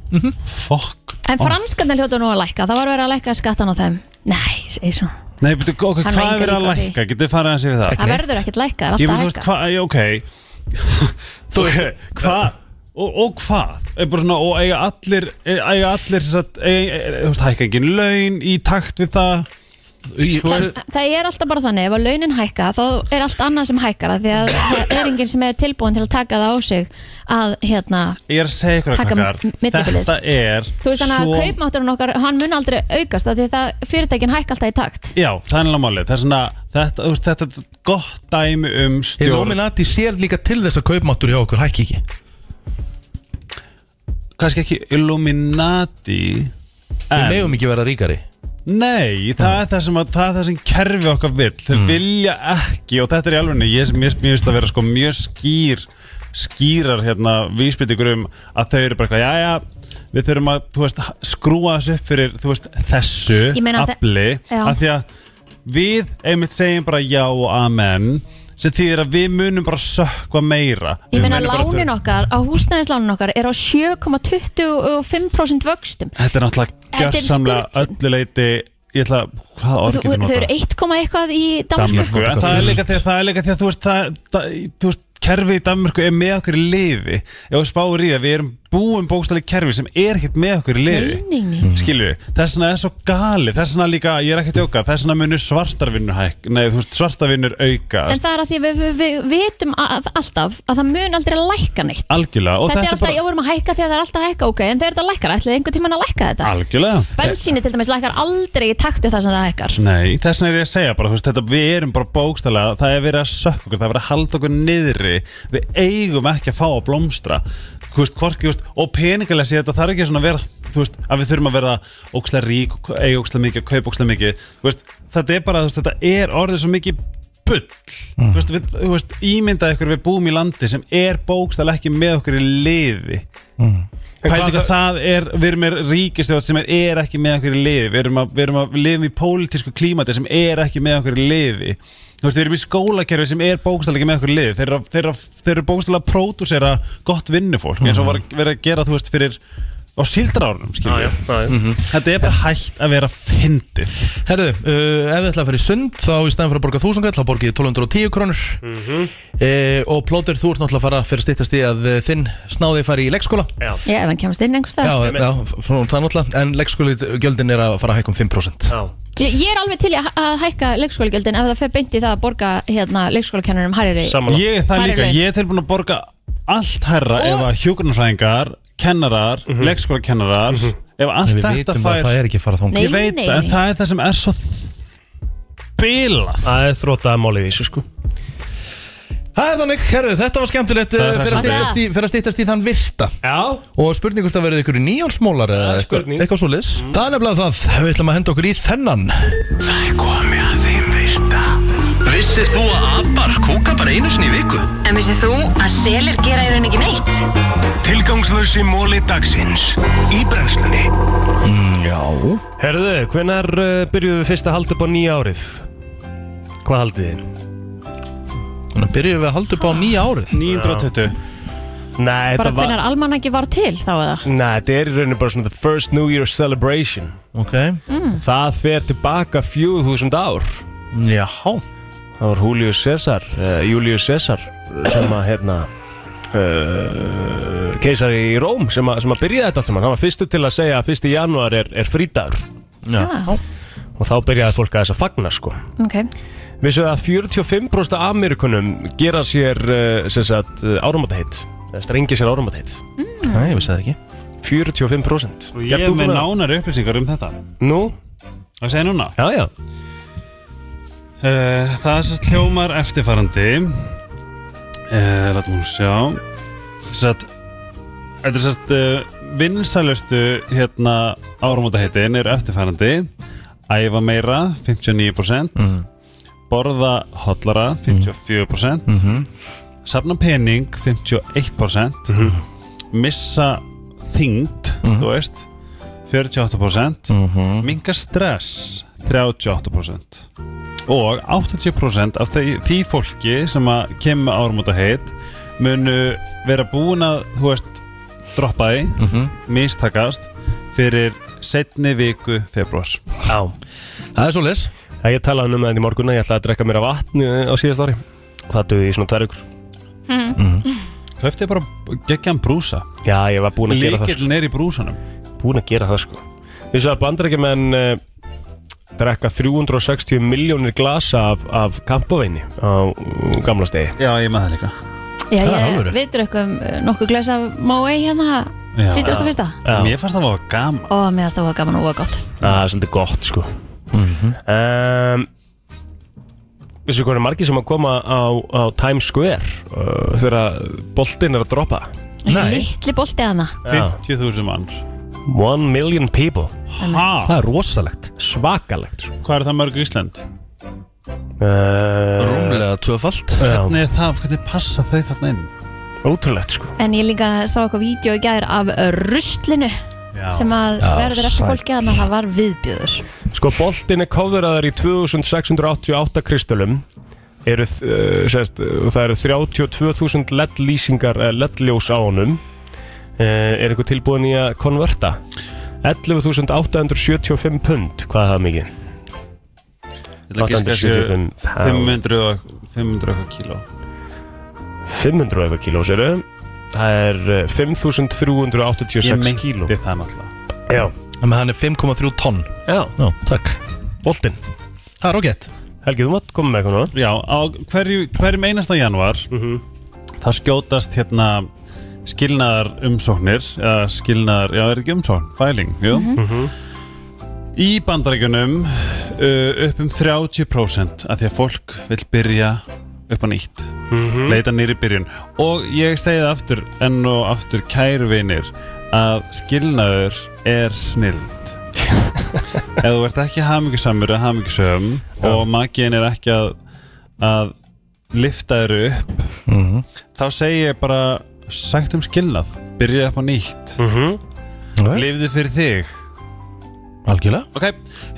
[SPEAKER 6] Fuck
[SPEAKER 3] En franskarnir hljóta nú að lækka, það var verið að lækka skattan á þeim Nei, segi svo
[SPEAKER 6] Nei, betur, ok,
[SPEAKER 3] Hann
[SPEAKER 6] hvað
[SPEAKER 3] var
[SPEAKER 6] er verið
[SPEAKER 3] engan
[SPEAKER 6] að
[SPEAKER 3] líka á því.
[SPEAKER 6] lækka? Getur þið farið að segja við það?
[SPEAKER 3] Það
[SPEAKER 1] neitt.
[SPEAKER 3] verður ekkert lækka, það
[SPEAKER 6] Ég
[SPEAKER 3] er
[SPEAKER 6] meina,
[SPEAKER 3] alltaf
[SPEAKER 6] þú veist,
[SPEAKER 3] hækka
[SPEAKER 6] hvað, já, ok
[SPEAKER 1] Þú veist,
[SPEAKER 6] Ok, hvað Og, og hvað? Er bara svona, og eiga allir eiga allir sem sagt eiga, eiga, þú veist, hækka engin laun í takt við það
[SPEAKER 1] Í-
[SPEAKER 3] Það, það er alltaf bara þannig, ef að launin hækka þá er allt annað sem hækkar það því að það er enginn sem er tilbúin til að taka það á sig að hérna
[SPEAKER 6] Ég er að segja ykkur að
[SPEAKER 3] Taka
[SPEAKER 6] krakkar,
[SPEAKER 3] m- millibilið.
[SPEAKER 6] Þetta er
[SPEAKER 3] þú veist þannig að
[SPEAKER 6] svo
[SPEAKER 3] kaupmátturinn okkar hann mun aldrei aukast af því að það fyrirtækin hækka alltaf í takt
[SPEAKER 6] Já, það er náttúrulega málið Það er svona, þetta, þú veist, þetta er gott dæmi um stjórn
[SPEAKER 1] Illuminati sér líka til þess að kaupmáttur hjá okkur hækki ekki
[SPEAKER 6] Kannski ekki Illuminati
[SPEAKER 1] Við
[SPEAKER 6] En,
[SPEAKER 1] megum ekki vera ríkari
[SPEAKER 6] nei, það er það sem, að, það er það sem kerfi okkar vill Þau
[SPEAKER 3] Mm.
[SPEAKER 6] vilja ekki, og þetta er í alvegni Ég mér mér finnst að vera sko mjög skýr skýrar hérna vísbyttingur um að þau eru bara eitthvað, já, já við þurfum að, þú veist, skrúa þessu upp fyrir, þú veist, þessu
[SPEAKER 3] Ég meina að þe-
[SPEAKER 6] afli,
[SPEAKER 3] Já.
[SPEAKER 6] af því að við einmitt segjum bara já og amen sem þýðir að við munum bara sökva meira
[SPEAKER 3] Ég
[SPEAKER 6] Við
[SPEAKER 3] meina
[SPEAKER 6] munum bara þurfa-
[SPEAKER 3] lánin okkar, á húsnæðislánin okkar er á 7,25% vöxtum
[SPEAKER 6] Þetta er náttúrulega
[SPEAKER 3] Þetta er
[SPEAKER 6] gjörsamlega öllu leiti Ég ætla, hvað orð
[SPEAKER 3] Þú-
[SPEAKER 6] getur
[SPEAKER 3] Þau
[SPEAKER 6] nota?
[SPEAKER 3] eru 1, eitthvað í
[SPEAKER 6] Danmörku,
[SPEAKER 3] Danmarku
[SPEAKER 6] en það er líka því að það er líka því að þú veist, það, það, þú veist kerfið í Danmörku er með okkur í liði ef við spáum í það, við erum búin bókstæli kerfi sem er ekkert með okkur í liði
[SPEAKER 3] Nei, nei, nei.
[SPEAKER 6] skilur við, það er svona er svo gali það er svona líka, ég er ekki að djóka, það er svona munur svartarvinnur hæk, nei þú veist svartarvinnur auka,
[SPEAKER 3] En það er að því að við, við, við vitum að, alltaf að það mun aldrei lækka neitt
[SPEAKER 6] algjörlega og
[SPEAKER 3] Þetta er
[SPEAKER 6] þetta,
[SPEAKER 3] alltaf, bara... já, við erum að hækka því að það er alltaf að hækka, ok En þegar þetta lækkar, ætlaði einhvern tímann að lækka þetta
[SPEAKER 6] bara algjörlega
[SPEAKER 3] Bensíni til dæmis lækkar aldrei í taktu það sem það hækkar
[SPEAKER 6] Nei, þess vegna er ég að segja bara, þú veist, þetta, við erum bara bókstælega, það er verið að sökka okkur, það er verið að halda okkur niðri, við eigum ekki að fá að blómstra, þú veist, hvorki, þú veist, og peningalega sé þetta þarf ekki svona að vera, þú veist, að við þurfum að vera ókslega rík, eiga ókslega mikið, kaupa ókslega mikið, þú veist, þetta er bara, þú veist, þetta er orðið svo mikið bull, þú veist, við, þú veist, ímyndað ykkur við búum í landi sem er bókstælega ekki með okkur í liði,
[SPEAKER 2] En
[SPEAKER 6] Pældu
[SPEAKER 2] hvað
[SPEAKER 6] hvað það er, við erum með ríkistjóð sem er, er ekki með okkur í liði Við erum að, við erum að við lifum í pólitísku klímati sem er ekki með okkur í liði Þú veist, við erum í skólakerfi sem er bókstælega ekki með okkur í liði Þeir eru, að- þeir eru, að- þeir eru bókstælega að pródúsera gott vinnufólk eins og var
[SPEAKER 1] Mhm.
[SPEAKER 6] verið að gera, þú veist, fyrir á síldarárunum, skiljum við
[SPEAKER 1] Mhm.
[SPEAKER 2] það
[SPEAKER 6] Þetta er bara hægt að vera fyndið
[SPEAKER 1] Herðu, uh, ef þið ætla að fara í sund þá í stæðan fyrir að borga 1000 kall, þá borgið þið 1210 krónur eh, og plóter þú ert náttúrulega að fara fyrir stýttast í að eh, þinn snáði fari í leikskóla
[SPEAKER 3] Já, ef hann kemst inn einhvers
[SPEAKER 1] Já,
[SPEAKER 3] stað
[SPEAKER 1] já f- svona það náttúrulega en leikskóli gjöldin er að fara að hækka um 5%
[SPEAKER 3] ég, ég er alveg til í að, að hækka leikskólagjöldin ef það fer beint í það að borga hérna, leikskólakennurum hærri
[SPEAKER 2] Samanlagt
[SPEAKER 6] Ég er það
[SPEAKER 3] Hvar er
[SPEAKER 6] líka,
[SPEAKER 3] laun?
[SPEAKER 6] ég er tilbúin að borga allt herra ef að hjúkurnarfræðingar, kennarar, leikskólakennarar Ef allt
[SPEAKER 1] Mhm. Við
[SPEAKER 6] þetta
[SPEAKER 1] vitum að
[SPEAKER 6] fær
[SPEAKER 1] það er ekki að fara þóng
[SPEAKER 3] Nei,
[SPEAKER 6] Ég veit
[SPEAKER 3] nei,
[SPEAKER 6] það, en
[SPEAKER 3] nei.
[SPEAKER 6] það er það sem er svo bilað
[SPEAKER 2] Það er þrótað málið í þessu sko
[SPEAKER 1] Það er þannig, herðu, þetta var skemmtilegt eh,
[SPEAKER 6] Það
[SPEAKER 1] fyrir að
[SPEAKER 6] er það sem
[SPEAKER 1] styttast í- fyrir að stýttast í þann virta
[SPEAKER 2] Já
[SPEAKER 1] og spurning hvort það verður ykkur í nýjálsmólar eða
[SPEAKER 2] er
[SPEAKER 1] eitthvað,
[SPEAKER 2] spurning.
[SPEAKER 1] eitthvað svo liðs Það er nefnilega það, við ætlum að henda okkur í þennan
[SPEAKER 5] Það er komið að þeim virta Vissir þú að abar kúka bara einu sinni í viku?
[SPEAKER 4] En vissið þú að selir gera í raun ekki neitt?
[SPEAKER 5] Tilgangslösi móli dagsins Í brennslunni
[SPEAKER 1] Já
[SPEAKER 2] Herðu, hvenar uh, byrjuðum við fyrst að halda upp á nýja árið? Hvað haldið þið?
[SPEAKER 1] Þannig að byrjum við að halda upp á nýja árið
[SPEAKER 6] 920
[SPEAKER 2] Nei,
[SPEAKER 3] bara
[SPEAKER 2] þetta var
[SPEAKER 3] hvernar almanaki var til þá eða
[SPEAKER 2] Nei, þetta er í rauninu bara svona the first New Year celebration
[SPEAKER 1] Ok,
[SPEAKER 2] Það fer tilbaka 4000 ár
[SPEAKER 1] jáhá
[SPEAKER 2] Það var Julius Caesar uh, Julius Caesar sem að hérna Uh, keisar í Róm sem að, sem að byrja þetta allt saman, hann var fyrstu til að segja að 1. janúar er, er frídagur
[SPEAKER 1] Já.
[SPEAKER 2] og þá byrjaði fólk að þess að fagna sko
[SPEAKER 3] ok,
[SPEAKER 2] Vissu að 45% af Amerikunum gera sér uh, sem sagt uh, áramataheit eða strengja sér áramataheit
[SPEAKER 1] Nei, ég vissi það ekki
[SPEAKER 2] 45%
[SPEAKER 6] Ég er með nánari upplýsingar um þetta
[SPEAKER 2] Nú,
[SPEAKER 6] Það segja núna
[SPEAKER 2] já já
[SPEAKER 6] uh, Það er sérst hljómar eftirfarandi uh, Látum hún sjá Sérst Þetta er sérst uh, vinsælustu hérna áramótaheitin er eftirfarandi Æfa meira 59% Borða hotlara 54% Safna pening 51% Missa þyngd þú veist 48% mm minga stress 38% og 80% af því, því fólki sem að kemur ármóta heit munu vera búin að þú veist, droppa því mistakast fyrir setni viku februar
[SPEAKER 2] Já
[SPEAKER 1] Það er svo les
[SPEAKER 2] Já, Ég talaði um það í morgun að ég ætlaði að drekka mér af vatni á síðast ári og það duði í svona tvær ykkur
[SPEAKER 6] Höfti bara geggjan brúsa
[SPEAKER 2] Já, ég var búin að gera það sko.
[SPEAKER 6] Líkillin er í brúsanum
[SPEAKER 2] Búin að gera það sko Við svo að bandarækjumenn uh, drekka 360 miljónir glasa af, af kampaveini á uh, gamla stegi
[SPEAKER 6] Já, ég með það líka
[SPEAKER 1] Það er
[SPEAKER 3] Já, ég,
[SPEAKER 1] alvöru.
[SPEAKER 3] við drukum uh, nokkuð glösa Móei hérna,
[SPEAKER 6] Já.
[SPEAKER 3] 31.
[SPEAKER 2] Já.
[SPEAKER 6] Mér fannst það var gaman
[SPEAKER 3] Ó, mér það var gaman og voða gott
[SPEAKER 2] Það er svolítið gott sko um, Vissu hvað er margir sem að koma á, á Times Square uh, þegar boltinn er að droppa
[SPEAKER 3] Þessi
[SPEAKER 1] Nei.
[SPEAKER 3] litli bolti hana
[SPEAKER 6] 50.000 manns
[SPEAKER 2] One million people
[SPEAKER 6] Ha,
[SPEAKER 1] Það er rosalegt
[SPEAKER 2] Svakalegt sko.
[SPEAKER 6] hvað er það mörg í Ísland?
[SPEAKER 2] uh,
[SPEAKER 1] Rúmlega tvöfalt
[SPEAKER 2] já,
[SPEAKER 6] Hvernig er það, hvernig passa þau þarna inn?
[SPEAKER 2] Ótrúlegt sko
[SPEAKER 3] En ég líka sá eitthvað vídeo í gær af ruslinu
[SPEAKER 6] Já.
[SPEAKER 3] sem að
[SPEAKER 1] Já,
[SPEAKER 3] verður eftir
[SPEAKER 1] sæll.
[SPEAKER 3] fólki hana, það var viðbjöður
[SPEAKER 2] Sko boltinn er kofveraðar í 2688 kristölum eru, uh, sest, uh, það eru 32.000 LED lýsingar uh, LED ljós á honum uh, er eitthvað tilbúin í að konverta 11.875 pund hvað er það mikið?
[SPEAKER 6] Ég ætla að giska þessu
[SPEAKER 2] 875 pound.
[SPEAKER 6] 500 og 500 eitthvað kíló
[SPEAKER 2] 500 eitthvað kílós eru það er uh, 5.386 kíló
[SPEAKER 6] meinti það náttúrulega
[SPEAKER 2] Já,
[SPEAKER 1] Þannig að hann er 5,3 tonn
[SPEAKER 2] já,
[SPEAKER 1] Já, takk
[SPEAKER 2] boltinn
[SPEAKER 1] Það er ágætt
[SPEAKER 2] Helgi, þú mátt koma með eitthvað núna
[SPEAKER 6] Já, á hverju, hverjum einasta januar það skjótast hérna skilnaðar umsóknir eða skilnaðar, já, er ekki umsókn fæling, jú Í bandarækjunum uh, upp um 30% að því að fólk vill byrja upp á nýtt leita nýri byrjun og ég segi það aftur enn og aftur kæru vinir að skilnaður er snild eða þú ert ekki hamingisamur eða hamingisöfum og magiðin er ekki að, að lifta þér upp þá segi ég bara sagt um skilnað, byrjaði upp á nýtt
[SPEAKER 2] mm -hmm.
[SPEAKER 6] lifðu fyrir þig
[SPEAKER 1] Algjörlega
[SPEAKER 6] Ok,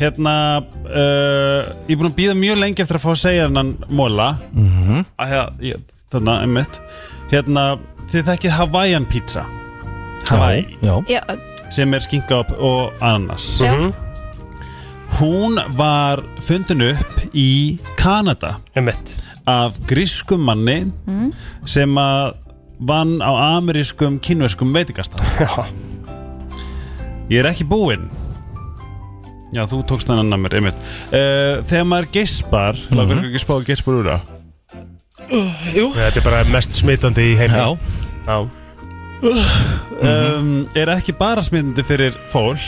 [SPEAKER 6] hérna uh, Ég er búin að býða mjög lengi eftir að fá að segja þennan móla mm -hmm. Þannig að þarna, einmitt Hérna, þið þekkið Hawaiian pizza Hawaii,
[SPEAKER 1] Já, já.
[SPEAKER 3] Já,
[SPEAKER 6] sem er skinka upp og ananas
[SPEAKER 3] já,
[SPEAKER 6] Hún var fundin upp í Kanada
[SPEAKER 2] Emmett
[SPEAKER 6] af grískum manni sem að vann á amerískum kínverskum veitingastaf Ég er ekki búinn Já, þú tókst hann annar mér, einmitt uh, Þegar maður geispar mm -hmm. Lágur ekki spá að geispar úr það
[SPEAKER 2] Eh, Þetta er bara mest smitandi í heimi
[SPEAKER 1] Já.
[SPEAKER 2] Já.
[SPEAKER 6] um, Er ekki bara smyndandi fyrir fólk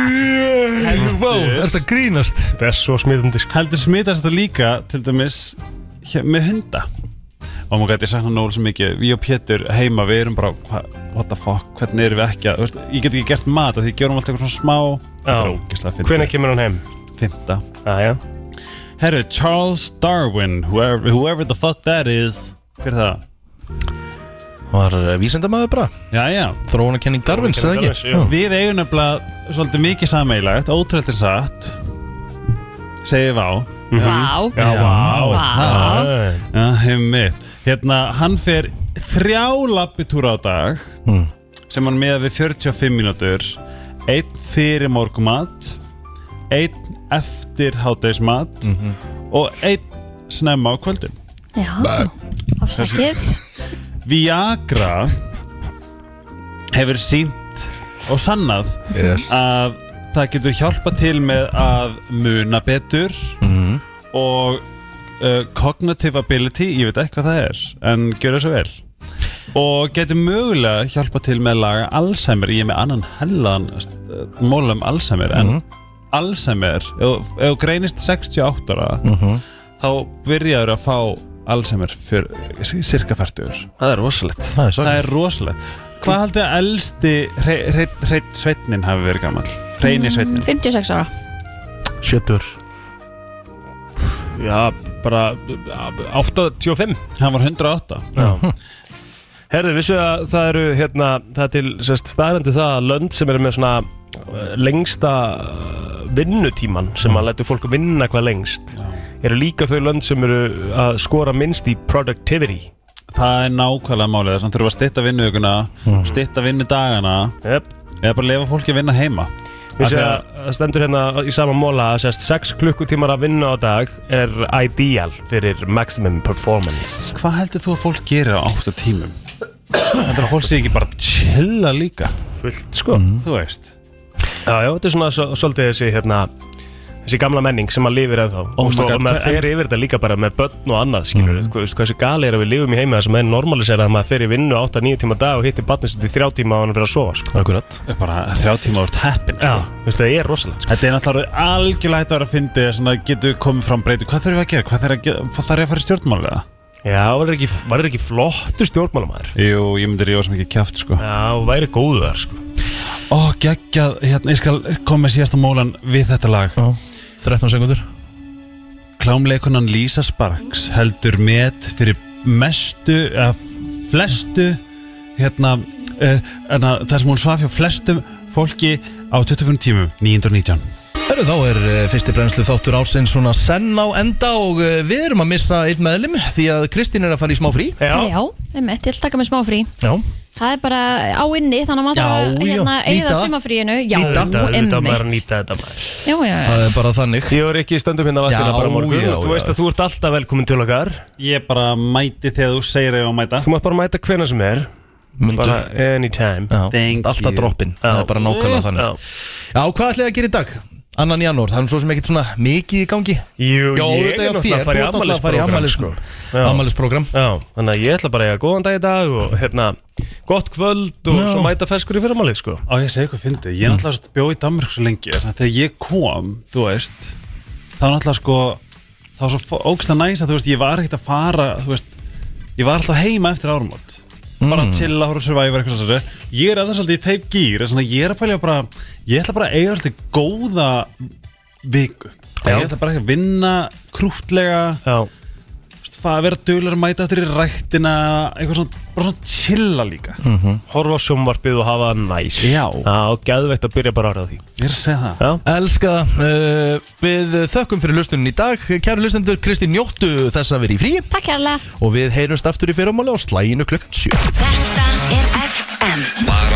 [SPEAKER 1] Vá, ert að grínast
[SPEAKER 2] Þetta er svo smitandi sko
[SPEAKER 6] Heldur smitast þetta líka Til dæmis hér, með hunda Og maður gæti sakna nóg sem mikið Við og Pétur heima, við erum bara hva, What the fuck, hvernig erum við ekki að þú veist, Ég get ekki gert mat af því gjörum alltaf eitthvað svona smá Þetta er
[SPEAKER 2] Já.
[SPEAKER 6] ógislega
[SPEAKER 2] Hvenær kemur hann heim?
[SPEAKER 6] Fymta
[SPEAKER 2] Aja
[SPEAKER 6] Herru, Charles Darwin whoever, whoever the fuck that is Hver er það?
[SPEAKER 1] Var vísendamaður bara
[SPEAKER 6] Jæja,
[SPEAKER 1] Þróunakenning Darwins, eða
[SPEAKER 2] Darwins,
[SPEAKER 1] ekki?
[SPEAKER 2] jú.
[SPEAKER 6] Við eigum nefnilega svolítið mikið sameigilegt, ótrúlega satt segið vá
[SPEAKER 3] vá
[SPEAKER 2] Já, vá
[SPEAKER 3] Vá
[SPEAKER 2] Æ,
[SPEAKER 6] Já, heimitt Hérna, hann fer þrjá lappitúra á dag sem hann meða við 45 mínútur einn fyrir morgumat einn eftir hátegismat og einn snemma á kvöldum
[SPEAKER 3] Já, afsakið
[SPEAKER 6] Viagra hefur sínt og sannað að það getur hjálpa til með að muna betur og uh, cognitive ability, ég veit ekki hvað það er en gjör það svo vel og getur mögulega hjálpa til með að laga Alzheimer, ég er með annan hellaðan uh, móla um Alzheimer en Alzheimer, ef ef þú greinist 68 ára þá byrjaður að fá Alzheimer fyr, cirka 40
[SPEAKER 2] Það er rosalegt
[SPEAKER 1] Það er
[SPEAKER 6] Það
[SPEAKER 1] sorgið
[SPEAKER 6] er rosalegt Hvað haldið að elsti hreitt sveitnin hafi verið gammal? Hreini sveitnin
[SPEAKER 3] 56 ára
[SPEAKER 1] Sjötur
[SPEAKER 2] Já, bara uh, 8.25
[SPEAKER 6] Hann var 108
[SPEAKER 2] Herðu, vissu að það eru hérna, það er til sérst staðarendu það að lönd sem eru með svona eh, lengsta eh, vinnutíman sem að letu fólk vinna hvað lengst eru líka þau lönd sem eru að skora minnst í productivity
[SPEAKER 6] Það er nákvæmlega málið þess að þurfa að stytta vinnuökuna,
[SPEAKER 2] Mm.
[SPEAKER 6] stytta vinnudagana
[SPEAKER 2] yep.
[SPEAKER 6] eða bara leifa fólki að vinna heima Af
[SPEAKER 2] Vissu
[SPEAKER 6] því
[SPEAKER 2] að það stendur hérna í sama móla að sérst 6 klukkutímar að vinna á dag er ideal fyrir maximum performance
[SPEAKER 6] Hvað heldur þú að fólk gerir á 8 tímum? Þetta er að fólk sé ekki bara að chilla líka
[SPEAKER 2] fullt sko mm.
[SPEAKER 6] Þú veist
[SPEAKER 2] Já, já, þetta er svona svo- svolítið þessi hérna þessi gamla menning sem að lifir eða þá
[SPEAKER 6] Oh my
[SPEAKER 2] og
[SPEAKER 6] God,
[SPEAKER 2] og maður
[SPEAKER 6] hvað-
[SPEAKER 2] fer yfir þetta líka bara með börn og annað skilur, mm. hvað, hversu gali er að við lifum í heima þessum enn normalisera að maður fer í vinnu 8-9 tíma á dag og hittir barnið sitt í 3 tíma og hann fyrir að sofa sko.
[SPEAKER 1] Akkurat
[SPEAKER 6] Það er bara þrjá tíma úr teppin
[SPEAKER 2] Já,
[SPEAKER 6] sko.
[SPEAKER 2] veistu, það er rosalegt sko.
[SPEAKER 6] Þetta er náttúrulega algjörlega hægt að vera að fyndi svona getur komið fram breyti Hvað þurfum við að gera? Hvað þarf, að gera? Hvað þarf ég að fara í stjórnmálega?
[SPEAKER 2] Já, var þetta ekki, var þetta ekki flottur stjórnmálamæður?
[SPEAKER 6] Jú, ég myndi rífa sem ekki kjáft sko
[SPEAKER 2] Já, og væri góðu þar sko.
[SPEAKER 6] Ó, geggjað, hérna, ég skal koma með síðasta mólan við þetta lag
[SPEAKER 1] 13 sekundur
[SPEAKER 6] Klámleikunan Lisa Sparks heldur met fyrir mestu, eða flestu, hérna, uh, hérna það sem hún svaf hjá flestum fólki á 25 tímum, 919.
[SPEAKER 1] Hörru, þá er eh, fyrsti brennslu þáttur ársins svona senn á enda og eh, við erum að missa einn meðlim því að Kristín er að fara í smá frí
[SPEAKER 2] Já,
[SPEAKER 3] Já, einmitt, ég ætla að taka mig smá frí
[SPEAKER 1] Já
[SPEAKER 3] Það er bara á inni, þannig að maður þarf
[SPEAKER 1] Já,
[SPEAKER 3] að
[SPEAKER 1] já,
[SPEAKER 3] hérna, eigða
[SPEAKER 1] nýta.
[SPEAKER 3] sumafríinu Já,
[SPEAKER 1] Nýta.
[SPEAKER 2] þetta er þetta maður að
[SPEAKER 3] einmitt
[SPEAKER 2] nýta þetta maður
[SPEAKER 3] Já, já, já
[SPEAKER 1] Það er bara þannig
[SPEAKER 2] Ég var ekki í stöndum hérna
[SPEAKER 1] Já,
[SPEAKER 2] vaktina bara á morgun
[SPEAKER 1] já,
[SPEAKER 2] og Þú
[SPEAKER 1] já.
[SPEAKER 2] veist að þú ert alltaf velkomin til okkar
[SPEAKER 6] Ég bara mæti þegar þú segir ef að mæta.
[SPEAKER 2] Þú mátt bara mæta hvena sem er Bara anytime
[SPEAKER 1] Já,
[SPEAKER 6] Thank
[SPEAKER 1] Alltaf
[SPEAKER 6] you.
[SPEAKER 1] droppin, það er bara nákvæmlega
[SPEAKER 2] Já.
[SPEAKER 1] þannig Já, hvað ætlaði að gera í dag? Annan janúar, það er svo sem ekkert svona mikið í gangi
[SPEAKER 2] Jú,
[SPEAKER 1] Já,
[SPEAKER 2] ég
[SPEAKER 1] þetta er
[SPEAKER 2] er
[SPEAKER 1] þér,
[SPEAKER 2] náttúrulega að
[SPEAKER 1] þú
[SPEAKER 2] fara í
[SPEAKER 1] ert náttúrulega að fara í
[SPEAKER 2] afmælisprogram,
[SPEAKER 1] ammælis
[SPEAKER 2] sko. Já.
[SPEAKER 1] ammælisprogram
[SPEAKER 2] Já, þannig að ég ætla bara að eiga góðan dag í dag og hérna, gott kvöld og
[SPEAKER 1] Já.
[SPEAKER 2] svo mæta ferskur í fyrramálið, sko.
[SPEAKER 6] Á ég segi eitthvað fyndi, ég er náttúrulega satt bjó í Danmark svo lengi, þannig að þegar ég kom, þú veist, þá náttúrulega sko, þá var svo ógæslega næs að þú veist, ég var ekkert að fara, þú veist, ég var alltaf heima eftir árumót, bara að chilla, horfa á Survivor eitthvað svo, ég er aðeins alltaf í þeim gýr, þannig að ég er að pælja bara, ég ætla bara að eiga alltaf góða viku, ég ætla bara ekki að vinna krútlega,
[SPEAKER 2] Já,
[SPEAKER 6] þú veist, fa- vera dölur að mæta eftir í ræktina, eitthvað svona, bara svona chilla líka,
[SPEAKER 2] horfa á sjónvarpið og hafa það næs.
[SPEAKER 6] Já.
[SPEAKER 2] Já, og geðveitt að byrja bara árað því.
[SPEAKER 6] ég er að segja það.
[SPEAKER 2] Já.
[SPEAKER 1] Elska, uh, við þökkum fyrir lustunin í dag Kæru lustendur, Kristín njóttu þess að vera í frí
[SPEAKER 3] Takk kærlega
[SPEAKER 1] Og við heyrumst aftur í fyrramáli á slæginu klukkan 7
[SPEAKER 4] Þetta er FM
[SPEAKER 5] Bara